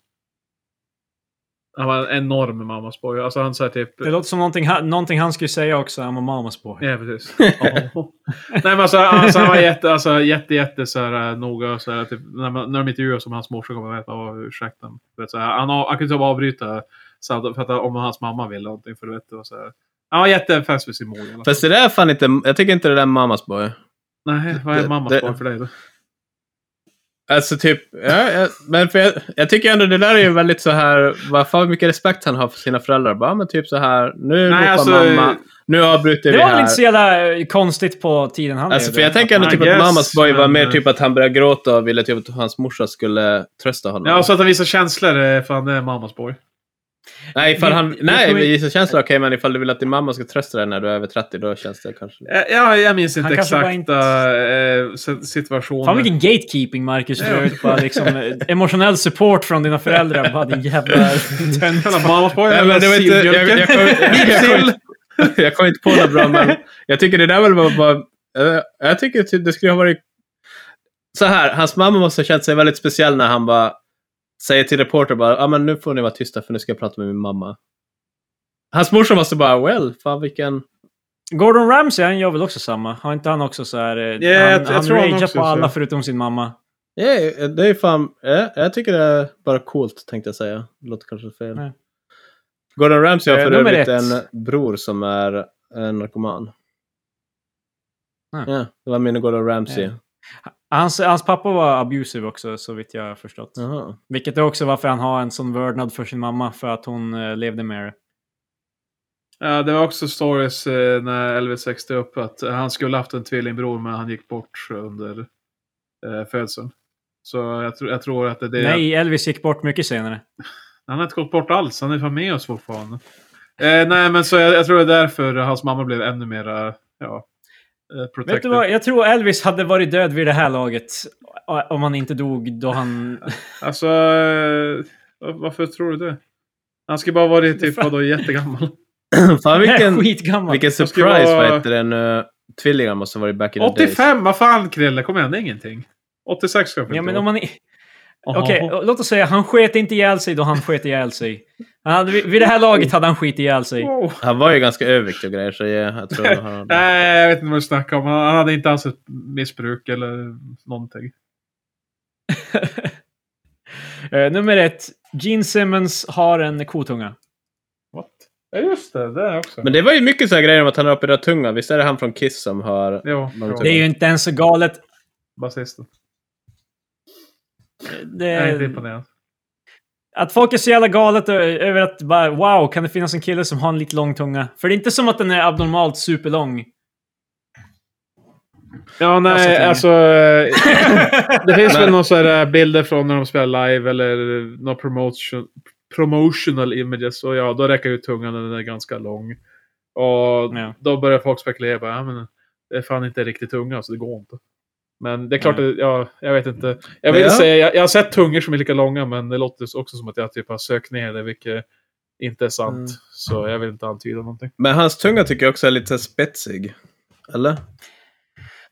[SPEAKER 3] Han var en enorm mammas boy. Alltså han så här typ...
[SPEAKER 2] Det låter som någonting, han- någonting han skulle säga också, I'm a mamas boy.
[SPEAKER 3] Ja, precis. Ja. Nej, men alltså, alltså, han var jätte, alltså, jätte, jätte så här, eh, noga. Så här, typ, när, man, när de intervjuade som hans morsa kommer att veta, "Åh, ursäkta. Du vet, så här, han, har- han kunde typ avbryta samtal för att, om hans mamma ville någonting. För, du vet, det var så här. Han var jättefast vid sin mor. i alla fall.
[SPEAKER 1] Fast det där är fan inte, jag tycker inte det där är mammas boy.
[SPEAKER 3] Nej, vad är
[SPEAKER 1] det-
[SPEAKER 3] mammas
[SPEAKER 1] det-
[SPEAKER 3] barn för dig då?
[SPEAKER 1] Alltså typ, ja, jag, men för jag, jag tycker ändå det där är ju väldigt så här, vad fan mycket respekt han har för sina föräldrar. Bara, men typ så här, nu
[SPEAKER 3] Nej,
[SPEAKER 1] ropar
[SPEAKER 3] alltså,
[SPEAKER 1] mamma, Nu avbryter
[SPEAKER 2] Det
[SPEAKER 1] vi
[SPEAKER 2] var väl
[SPEAKER 1] här.
[SPEAKER 2] inte så jävla eh, konstigt på tiden han
[SPEAKER 1] Alltså,
[SPEAKER 2] levde.
[SPEAKER 1] för jag tänker ändå
[SPEAKER 3] I
[SPEAKER 1] typ att
[SPEAKER 3] guess,
[SPEAKER 1] Mamas Boy var
[SPEAKER 3] men- eh,
[SPEAKER 1] mer typ att han började gråta och ville typ att hans morsa skulle trösta honom.
[SPEAKER 3] Ja, alltså, så att han visar känslor. eh, Fan, det är mammas boy.
[SPEAKER 1] nej, ifall han,
[SPEAKER 2] vi-
[SPEAKER 1] nej,
[SPEAKER 2] vi-
[SPEAKER 1] men gissa känns det okej, men ifall du vill att din mamma ska trösta dig när du är över 30, då känns det kanske...
[SPEAKER 3] Eh, Ja, jag minns inte
[SPEAKER 2] Han kanske bara
[SPEAKER 3] exakta
[SPEAKER 2] inte-
[SPEAKER 3] eh, si- situationer.
[SPEAKER 2] Fan vilken gatekeeping Marcus
[SPEAKER 3] Ja.
[SPEAKER 2] för övrigt. Bara liksom eh, emotionell support från dina föräldrar. Bara din jävla tönt.
[SPEAKER 3] Jävla mammas boy.
[SPEAKER 1] Nej,
[SPEAKER 3] jävla
[SPEAKER 1] men det var inte, jag, jag, jag, kom, jag,
[SPEAKER 3] Sill.
[SPEAKER 1] kom, jag kom inte på något bra, men jag tycker det där väl var bara... eh, Jag tycker typ det skulle ha varit... Så här, hans mamma måste ha känt sig väldigt speciell när han bara säger till reporter bara ah, men nu får ni vara tysta för nu ska jag prata med min mamma. Hans morsa måste bara well, fan vilken...
[SPEAKER 2] Gordon Ramsay han gör väl också samma? Har inte han också så här... eh,
[SPEAKER 3] Ja, jag-
[SPEAKER 2] han
[SPEAKER 3] jag
[SPEAKER 2] han
[SPEAKER 3] tror han
[SPEAKER 2] ragear
[SPEAKER 3] också
[SPEAKER 2] på
[SPEAKER 3] så.
[SPEAKER 2] alla förutom sin mamma.
[SPEAKER 1] Yeah, det är fan, eh, jag tycker det är bara coolt tänkte jag säga. Det låter kanske fel.
[SPEAKER 2] Nej.
[SPEAKER 1] Gordon Ramsay har
[SPEAKER 2] Eh,
[SPEAKER 1] för
[SPEAKER 2] nummer
[SPEAKER 1] övrigt
[SPEAKER 2] ett.
[SPEAKER 1] en bror som är en narkoman.
[SPEAKER 2] Ah.
[SPEAKER 1] Ja, det var min Gordon Ramsay.
[SPEAKER 2] Ja. Hans, hans pappa var abusive också, så vitt jag har förstått.
[SPEAKER 1] Jaha.
[SPEAKER 2] Vilket är också varför han har en sån vördnad för sin mamma, för att hon eh, levde med det.
[SPEAKER 3] Ja, det var också stories eh, när Elvis växte upp att eh, han skulle haft en tvillingbror men han gick bort under eh, födseln. Så jag, tror- jag tror att det är det.
[SPEAKER 2] Nej, Elvis gick bort mycket senare.
[SPEAKER 3] Han har inte gått bort alls. Han är fan med oss fortfarande. Eh, nej, men så jag, jag tror det är därför hans mamma blev ännu mer ja, eh, protected.
[SPEAKER 2] Vet du vad, jag tror Elvis hade varit död vid det här laget. o- Om han inte dog då han...
[SPEAKER 3] Alltså, eh, var- varför tror du det? Han ska bara vara typ vadå, jättegammal.
[SPEAKER 1] fan vilken,
[SPEAKER 2] Skitgammal.
[SPEAKER 1] vilken
[SPEAKER 3] skulle
[SPEAKER 1] surprise,
[SPEAKER 3] vara-
[SPEAKER 1] vad heter den? Uh, tvillingar måste ha varit back in the days.
[SPEAKER 3] 85, vad fan Krille, kom igen, det är ingenting. 86 kanske
[SPEAKER 2] Ja,
[SPEAKER 3] inte
[SPEAKER 2] men
[SPEAKER 3] var.
[SPEAKER 2] om man... i-
[SPEAKER 3] Jaha.
[SPEAKER 2] Okej, låt oss säga han sket inte ihjäl sig då han sket ihjäl sig. Han hade, vid vid det här laget hade han skit ihjäl sig.
[SPEAKER 3] Wow.
[SPEAKER 1] Han var ju ganska överviktig och grejer, så jag, jag tror han hade...
[SPEAKER 3] Nej, jag vet inte vad du snackar om. Han han hade inte alls ett missbruk eller någonting.
[SPEAKER 2] Eh, nummer ett. Gene Simmons har en kotunga.
[SPEAKER 3] What? Ja, just det. Det också.
[SPEAKER 1] Men det var ju mycket så här grejer om att han har opererat tunga. Visst är det han från Kiss som har...
[SPEAKER 3] Jo,
[SPEAKER 1] Men
[SPEAKER 3] jo,
[SPEAKER 2] Det är ju inte ens så galet. Eh,
[SPEAKER 3] basisten.
[SPEAKER 2] Det,
[SPEAKER 3] Jag är inte imponerad.
[SPEAKER 2] Att folk är så jävla galet ö- över att bara, wow, kan det finnas en kille som har en lite lång tunga? För det är inte som att den är abnormalt superlång.
[SPEAKER 3] Ja,
[SPEAKER 2] Jag
[SPEAKER 3] nej,
[SPEAKER 2] sätter
[SPEAKER 3] alltså. eh, det finns väl några sådana eh, bilder från när de spelar live eller några promotion, promotional images. Och ja, då räcker ju tungan den är ganska lång. Och
[SPEAKER 2] Ja.
[SPEAKER 3] då börjar folk spekulera. Bara, ja, men det är fan inte riktigt tunga, så det går inte. Men det är klart, att- ja, jag vet inte. Jag vill
[SPEAKER 1] Ja.
[SPEAKER 3] säga, jag, jag har sett tungor som är lika långa, men det låter också som att jag typ har sökt ner det, vilket inte är sant.
[SPEAKER 1] Mm.
[SPEAKER 3] Så jag vill inte antyda någonting.
[SPEAKER 1] Men hans tunga tycker jag också är lite så här spetsig. Eller?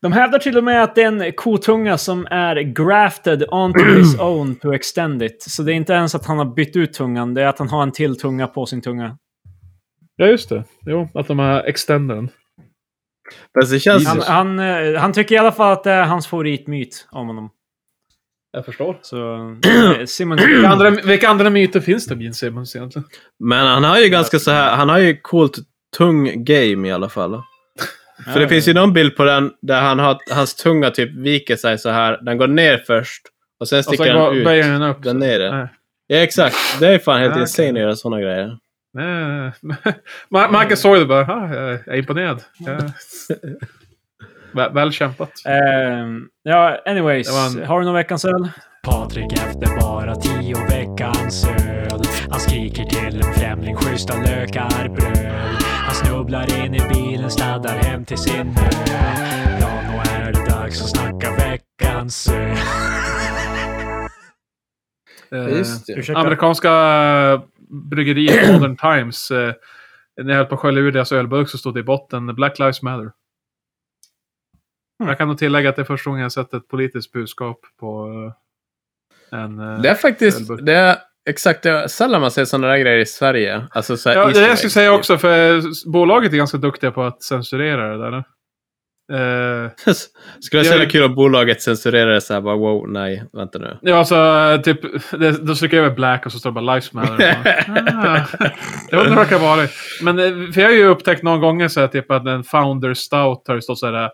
[SPEAKER 2] De hävdar till och med att det är en kotunga som är grafted onto his own to extend it. Så det är inte ens att han har bytt ut tungan, det är att han har en till tunga på sin tunga.
[SPEAKER 3] Ja, just det. Jo, att de har extendern.
[SPEAKER 1] Fast det känns...
[SPEAKER 2] Han, han, eh, han tycker i alla fall att det är hans favoritmyt om honom.
[SPEAKER 3] Jag förstår.
[SPEAKER 2] Så eh, Simmons...
[SPEAKER 3] Vilka andra, vilka andra myter finns det om Gene Simmons egentligen?
[SPEAKER 1] Men han har ju ganska så här, han har ju coolt tung game i alla fall. För det finns ju någon bild på den där han har, hans tunga typ viker sig så här. Den går ner först och sen
[SPEAKER 3] Och
[SPEAKER 1] sticker
[SPEAKER 3] sen
[SPEAKER 1] den
[SPEAKER 3] går-
[SPEAKER 1] ut.
[SPEAKER 3] böjer den upp.
[SPEAKER 1] Den ner det.
[SPEAKER 3] Nej.
[SPEAKER 1] Ja, exakt. Det är fan helt
[SPEAKER 3] Ja, okej.
[SPEAKER 1] insane att göra sådana grejer.
[SPEAKER 3] Nej. Ma- Marcus såg det bara. Ah, jag är imponerad. Ja. Väl, väl kämpat.
[SPEAKER 2] Ehm, ja, anyways.
[SPEAKER 3] Det var en-
[SPEAKER 2] Har du någon veckans öl?
[SPEAKER 5] Patrik efter bara tio veckans öl Han skriker till en främling schyssta lökar bröd Han snubblar in i bilen, sladdar hem till sin ö Ja, nu är det dags att snacka veckans öl
[SPEAKER 3] Eh,
[SPEAKER 2] Ursäkta.
[SPEAKER 3] Amerikanska eh, bryggeriet Modern Times. Eh, när jag höll på att skölja ur deras ölburk så stod det i botten Black Lives Matter. Jag kan nog tillägga att det är första gången jag sett ett politiskt budskap på eh, en... eh,
[SPEAKER 1] Det är faktiskt,
[SPEAKER 3] Ölburk.
[SPEAKER 1] det är exakt, det är sällan man ser sådana där grejer i Sverige. Alltså så här
[SPEAKER 3] Ja, det är
[SPEAKER 1] Easter
[SPEAKER 3] det jag skulle
[SPEAKER 1] eggs,
[SPEAKER 3] säga
[SPEAKER 1] typ.
[SPEAKER 3] också, för eh, bolaget är ganska duktiga på att censurera det där. nu. Eh,
[SPEAKER 1] skulle
[SPEAKER 3] Jag-
[SPEAKER 1] vara så kul om bolaget censurerade det så här bara wow, nej, vänta nu.
[SPEAKER 3] ja, alltså, eh, typ, det, de trycker över black och så står det bara Lives Matter. Ah, jag undrar vad det kan vara. Men, eh, för jag har ju upptäckt någon gånger så här, typ, att en founder stout har det stått så här. eh,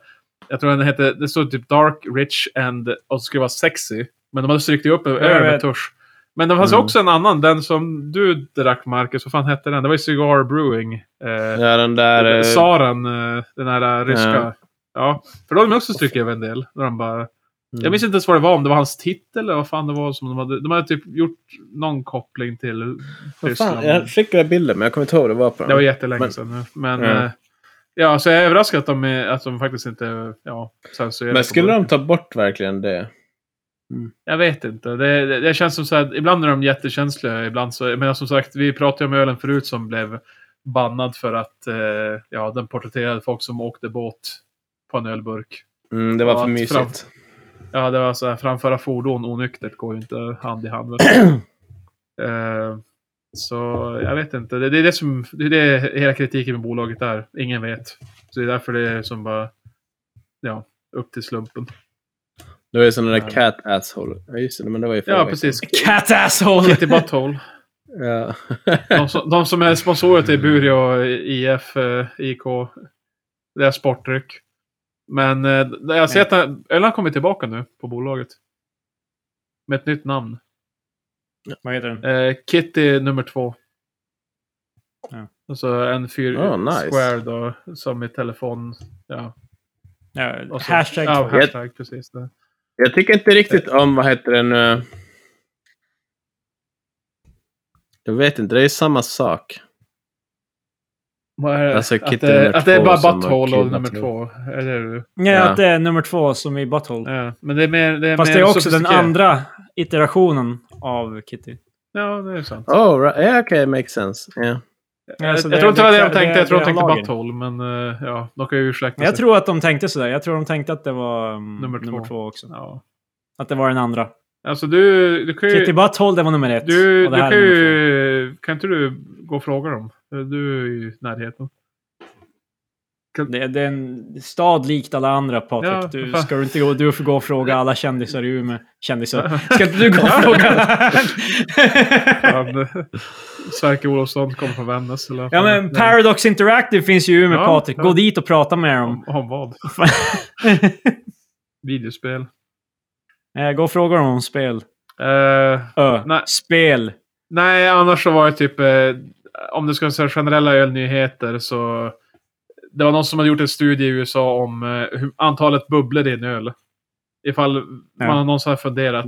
[SPEAKER 3] Jag tror den hette, det stod typ dark, rich and, och så skulle det vara sexy. Men de hade strykt ihop över
[SPEAKER 2] jag
[SPEAKER 3] med
[SPEAKER 2] vet.
[SPEAKER 3] tusch. Men det fanns ju
[SPEAKER 1] Mm.
[SPEAKER 3] också en annan, den som du drack Marcus, vad fan hette den? Det var ju Cigar Brewing. Eh,
[SPEAKER 1] Ja, den där... eh,
[SPEAKER 3] Saren, eh, den här eh, ryska.
[SPEAKER 1] Ja.
[SPEAKER 3] Ja, för då hade de också strukit över en del. När de bara, Jag
[SPEAKER 1] mm.
[SPEAKER 3] minns inte ens vad det var, om det var hans titel eller vad fan det var som de hade. De hade typ gjort någon koppling till
[SPEAKER 1] Vad
[SPEAKER 3] Ryssland.
[SPEAKER 1] fan, jag skickade bilder, men jag kommer inte ihåg vad det var på den.
[SPEAKER 3] Det var jättelänge
[SPEAKER 1] Men-
[SPEAKER 3] sedan. nu. Men,
[SPEAKER 1] Ja.
[SPEAKER 3] eh, ja, så jag är överraskad att de, är, att de faktiskt inte ja, censurerar.
[SPEAKER 1] men
[SPEAKER 3] på
[SPEAKER 1] skulle
[SPEAKER 3] burken.
[SPEAKER 1] de ta bort verkligen det?
[SPEAKER 3] Jag vet inte. Det, det, det känns som så här, ibland är de jättekänsliga, ibland så... Men som sagt, vi pratade ju om ölen förut som blev bannad för att eh, ja, den porträtterade folk som åkte båt på en ölburk.
[SPEAKER 1] Mm, det var
[SPEAKER 3] Ja,
[SPEAKER 1] för
[SPEAKER 3] att
[SPEAKER 1] mysigt.
[SPEAKER 3] fram- Ja, det var så här, framföra fordon onyktert går ju inte hand i hand. väl? eh, så jag vet inte. Det, det är det som det är det hela kritiken med bolaget är. Ingen vet. Så det är därför det är som bara ja, upp till slumpen.
[SPEAKER 1] Det var ju sån där
[SPEAKER 3] Ja.
[SPEAKER 1] cat asshole. Ja, just det. Men det var ju förra
[SPEAKER 3] Ja,
[SPEAKER 1] veckan.
[SPEAKER 3] precis.
[SPEAKER 2] Cat asshole!
[SPEAKER 3] Kitty Butthole.
[SPEAKER 1] Ja.
[SPEAKER 3] De som, de som är sponsorer till Buri och IF, eh, IK, deras sportdryck. Men eh, jag ser att den- ölen har kommit tillbaka nu på bolaget. Med ett nytt namn.
[SPEAKER 2] Vad heter den?
[SPEAKER 3] Eh, Kitty nummer två.
[SPEAKER 2] Ja.
[SPEAKER 3] Och så en fyr
[SPEAKER 1] Oh, nice.
[SPEAKER 3] square då, som i telefon. Ja,
[SPEAKER 2] Ja,
[SPEAKER 3] och så,
[SPEAKER 2] hashtag.
[SPEAKER 3] Ja,
[SPEAKER 2] hashtag.
[SPEAKER 3] hashtag precis. Det.
[SPEAKER 1] jag tycker inte riktigt om, vad heter den nu? Jag vet inte, det är ju samma sak.
[SPEAKER 3] Vad är det?
[SPEAKER 1] Alltså,
[SPEAKER 3] att,
[SPEAKER 1] Kitty
[SPEAKER 3] det
[SPEAKER 1] nummer
[SPEAKER 3] att det är
[SPEAKER 1] två
[SPEAKER 3] bara
[SPEAKER 1] som
[SPEAKER 3] butthole
[SPEAKER 1] har
[SPEAKER 3] och nummer
[SPEAKER 1] kidnappat
[SPEAKER 3] två. Eller,
[SPEAKER 2] Nej,
[SPEAKER 1] Ja.
[SPEAKER 2] att det är nummer två som i Butthole.
[SPEAKER 3] ja. Men det är mer, det är
[SPEAKER 2] Fast
[SPEAKER 3] mer
[SPEAKER 2] det är också den
[SPEAKER 3] sofistikerat.
[SPEAKER 2] andra iterationen av Kitty.
[SPEAKER 3] Ja, det är sant.
[SPEAKER 1] Oh, right. yeah, okej, makes sense. Yeah.
[SPEAKER 2] Alltså,
[SPEAKER 3] jag, jag tror inte det var det de tänkte. Jag tror de
[SPEAKER 2] det är
[SPEAKER 3] tänkte
[SPEAKER 2] lager.
[SPEAKER 3] butthole. Men eh, ja, de kan ju ursäkta
[SPEAKER 2] Jag
[SPEAKER 3] sig.
[SPEAKER 2] tror att de tänkte sådär. Jag tror de tänkte att det var mm,
[SPEAKER 3] Nummer två.
[SPEAKER 2] nummer två också.
[SPEAKER 3] Ja.
[SPEAKER 2] Att det var den andra.
[SPEAKER 3] Alltså du, du kan ju...
[SPEAKER 2] Kitty Butthole, det var nummer ett.
[SPEAKER 3] Du,
[SPEAKER 2] och det
[SPEAKER 3] du
[SPEAKER 2] här
[SPEAKER 3] kan
[SPEAKER 2] är nummer två.
[SPEAKER 3] ju... Kan inte du gå och fråga dem? Du är ju i närheten.
[SPEAKER 2] Det, det är en stad likt alla andra, Patrik.
[SPEAKER 3] Ja,
[SPEAKER 2] du,
[SPEAKER 3] fan.
[SPEAKER 2] ska du, inte gå, du får gå och fråga alla kändisar i Umeå. Kändisar. Ska inte du gå och fråga?
[SPEAKER 3] Han, eh, Sverker Olofsson kommer från Vännäs. eller vad
[SPEAKER 2] ja,
[SPEAKER 3] fan.
[SPEAKER 2] men Paradox Interactive finns ju i Umeå,
[SPEAKER 3] Ja,
[SPEAKER 2] Patrik. Gå
[SPEAKER 3] ja.
[SPEAKER 2] dit och prata med dem.
[SPEAKER 3] Om, om vad? Videospel.
[SPEAKER 2] Eh, Gå och fråga dem om spel.
[SPEAKER 3] Eh,
[SPEAKER 2] Ö.
[SPEAKER 3] Nej.
[SPEAKER 2] Spel.
[SPEAKER 3] nej, annars så var det typ... Eh, om du ska säga generella ölnyheter så... Det var någon som hade gjort en studie i USA om eh, hur, antalet bubblor i en öl. Ifall
[SPEAKER 2] Ja.
[SPEAKER 3] man har någonsin har funderat.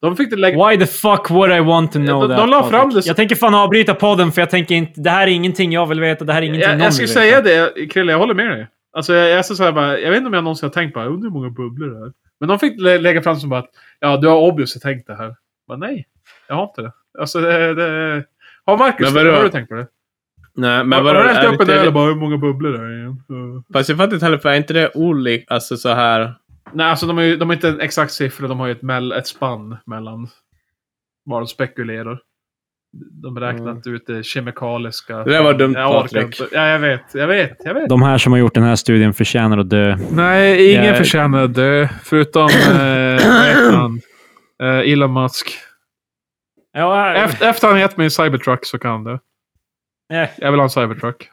[SPEAKER 3] De fick det lägga...
[SPEAKER 2] Why the fuck would I want to know
[SPEAKER 3] De- de
[SPEAKER 2] that?
[SPEAKER 3] la
[SPEAKER 2] Patrik?
[SPEAKER 3] fram det så-
[SPEAKER 2] Jag tänker fan avbryta podden för jag tänker inte... Det här är ingenting jag vill veta. Det här är ingenting
[SPEAKER 3] Jag,
[SPEAKER 2] någon
[SPEAKER 3] jag skulle
[SPEAKER 2] vill
[SPEAKER 3] säga
[SPEAKER 2] veta.
[SPEAKER 3] det, Krille, jag håller med dig. Alltså, jag, jag, ska säga bara, jag vet inte om jag någonsin har tänkt bara, undrar hur många bubblor det är. Men de fick lä lägga fram som bara att, ja, du har obviously tänkt det här. Men nej, jag har inte det. Alltså, det, det... Har Marcus
[SPEAKER 1] Men vadå?
[SPEAKER 3] har du tänkt på det?
[SPEAKER 1] Nej,
[SPEAKER 3] Men
[SPEAKER 1] men
[SPEAKER 3] har
[SPEAKER 1] vadå?
[SPEAKER 3] du räknat upp en
[SPEAKER 1] inte-
[SPEAKER 3] öl och bara, hur många bubblor det är igen? Så-
[SPEAKER 1] Fast jag fattar inte heller, för är inte det olikt? Alltså så här...
[SPEAKER 3] Nej, alltså de har ju de har inte en exakt siffra, de har ju ett, mell, ett spann mellan vad de spekulerar. De har räknat ut det kemikaliska.
[SPEAKER 1] Mm. Det där var dumt,
[SPEAKER 3] jag orkar
[SPEAKER 1] Patrik.
[SPEAKER 3] inte. Ja, jag vet. Jag vet. Jag vet.
[SPEAKER 2] De här som har gjort den här studien förtjänar att dö.
[SPEAKER 3] Nej, ingen
[SPEAKER 2] Jag-
[SPEAKER 3] förtjänar att dö. Förutom eh, vad heter han? Eh, Elon Musk.
[SPEAKER 2] Ja, äh,
[SPEAKER 3] Efter, efter han gett mig en Cybertruck så kan han det.
[SPEAKER 2] eh,
[SPEAKER 3] Jag vill ha en Cybertruck.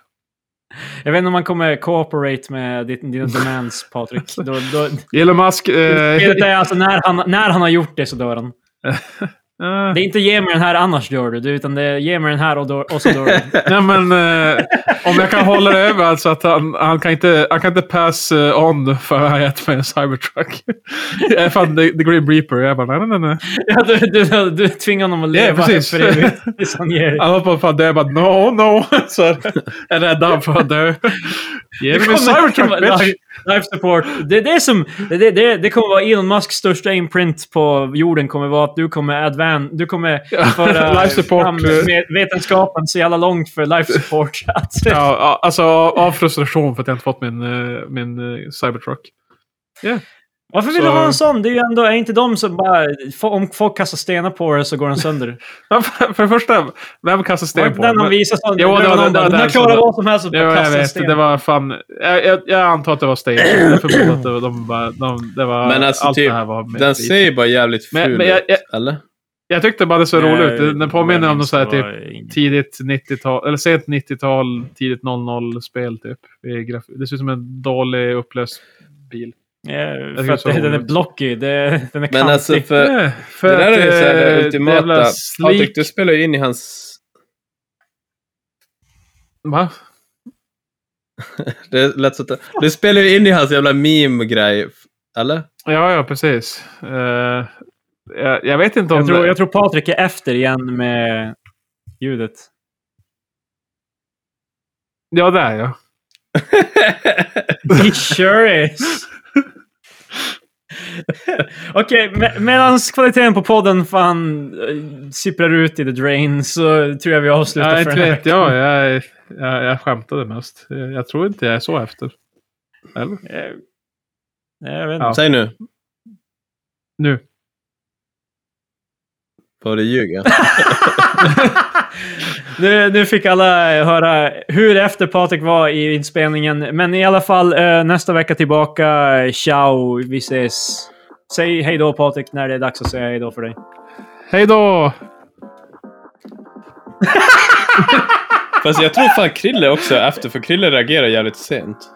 [SPEAKER 2] jag vet inte om man kommer cooperate med ditt- dina demands, Patrik. Då, då,
[SPEAKER 3] Elon Musk. Eh,
[SPEAKER 2] det är alltså när han, när han har gjort det så dör han.
[SPEAKER 3] eh,
[SPEAKER 2] Det är inte ge mig den här annars dör du, utan det är ge mig den här och, då, och så dör du.
[SPEAKER 3] nej, men eh, om jag kan hålla det över alltså att han, han, kan inte, han kan inte pass eh, on för att han gett mig en Cybertruck. jag är fan the, the Green Reaper. Jag bara, nej, nej, nej.
[SPEAKER 2] Ja, du, du, du tvingar honom att
[SPEAKER 3] Ja,
[SPEAKER 2] leva
[SPEAKER 3] precis.
[SPEAKER 2] för evigt. tills han ger dig.
[SPEAKER 3] Han håller på att fan dö. Jag bara, no, no. Så jag räddar honom för att dö. Ge mig min Cybertruck, bitch.
[SPEAKER 2] life, life support. Det, det, är som, det, det, det kommer vara Elon Musks största imprint på jorden kommer vara att du kommer advan, du kommer
[SPEAKER 3] Ja,
[SPEAKER 2] föra
[SPEAKER 3] life support. eh.
[SPEAKER 2] fram med vetenskapen så jävla långt för life support. Att,
[SPEAKER 3] Ja, a- alltså av av frustration för att jag inte fått min, eh, min eh, Cybertruck.
[SPEAKER 2] Varför vill
[SPEAKER 3] så-
[SPEAKER 2] du ha en sån? Det är ju ändå, är inte de som bara, få- om folk kastar stenar på dig så går den sönder.
[SPEAKER 3] för det första, vem kastar
[SPEAKER 2] Var
[SPEAKER 3] sten
[SPEAKER 2] inte
[SPEAKER 3] på?
[SPEAKER 2] den han
[SPEAKER 3] Men,
[SPEAKER 2] visade sönder?
[SPEAKER 3] Jo, det var
[SPEAKER 2] någon
[SPEAKER 3] den-
[SPEAKER 2] bara,
[SPEAKER 3] det var
[SPEAKER 2] den här
[SPEAKER 3] den
[SPEAKER 2] klarar
[SPEAKER 3] som-
[SPEAKER 2] vad som helst och
[SPEAKER 3] det
[SPEAKER 2] bara
[SPEAKER 3] var, jag
[SPEAKER 2] kastar en
[SPEAKER 3] vet,
[SPEAKER 2] sten.
[SPEAKER 3] det var fan... Jag, jag, jag antar att det var stage. Jag förmodar att det var, de, bara- de, det var
[SPEAKER 1] Men alltså
[SPEAKER 3] allt
[SPEAKER 1] typ,
[SPEAKER 3] det här var med
[SPEAKER 1] Den
[SPEAKER 3] flit.
[SPEAKER 1] ser ju bara jävligt ful
[SPEAKER 3] Men- men jag-
[SPEAKER 1] ut,
[SPEAKER 3] jag-
[SPEAKER 1] eller?
[SPEAKER 3] Jag tyckte bara det såg
[SPEAKER 2] Nej,
[SPEAKER 3] roligt ut. Den påminner om något så här,
[SPEAKER 2] det
[SPEAKER 3] typ
[SPEAKER 2] var inget.
[SPEAKER 3] tidigt 90-tal, eller sent 90-tal, tidigt 00-spel typ. I graf- Det ser ut som en dålig upplöst bil.
[SPEAKER 2] Eh, För
[SPEAKER 3] tycker
[SPEAKER 2] att
[SPEAKER 3] det är så
[SPEAKER 2] den är
[SPEAKER 3] roligt.
[SPEAKER 2] blockig, det, den är kantig.
[SPEAKER 1] Men alltså för...
[SPEAKER 3] Eh, för
[SPEAKER 1] det där är ju så här
[SPEAKER 3] eh,
[SPEAKER 1] det
[SPEAKER 3] det jävla
[SPEAKER 1] ultimata. Patrik,
[SPEAKER 3] Sleek...
[SPEAKER 1] du spelar ju in i hans...
[SPEAKER 3] Va?
[SPEAKER 1] Det är lätt så att... Du spelar ju in i hans jävla meme-grej. Eller?
[SPEAKER 3] Ja, ja, precis. Eh, jag, jag vet inte om
[SPEAKER 2] Jag tror,
[SPEAKER 3] det...
[SPEAKER 2] jag tror Patrik är efter igen med ljudet.
[SPEAKER 3] Ja, det är jag.
[SPEAKER 2] He sure is. Okej, me- medan kvaliteten på podden fan eh, sipprar ut i the drain så tror jag vi avslutar
[SPEAKER 3] Ja,
[SPEAKER 2] för
[SPEAKER 3] inte
[SPEAKER 2] den här
[SPEAKER 3] vet
[SPEAKER 2] veckan.
[SPEAKER 3] jag. Jag, jag. jag skämtade mest. Eh, Jag tror inte jag är så efter. Eller?
[SPEAKER 2] Eh, nej, jag vet
[SPEAKER 3] Ja.
[SPEAKER 2] inte.
[SPEAKER 1] Säg nu.
[SPEAKER 3] Nu.
[SPEAKER 1] Får du ljuga?
[SPEAKER 2] nu, nu fick alla höra hur efter Patrik var i inspelningen. Men i alla fall, eh, nästa vecka tillbaka. Ciao, vi ses. Säg hej då Patrik när det är dags att säga hej då för dig.
[SPEAKER 3] Hej då!
[SPEAKER 1] Fast jag tror fan Krille också är efter, för Krille reagerar jävligt sent.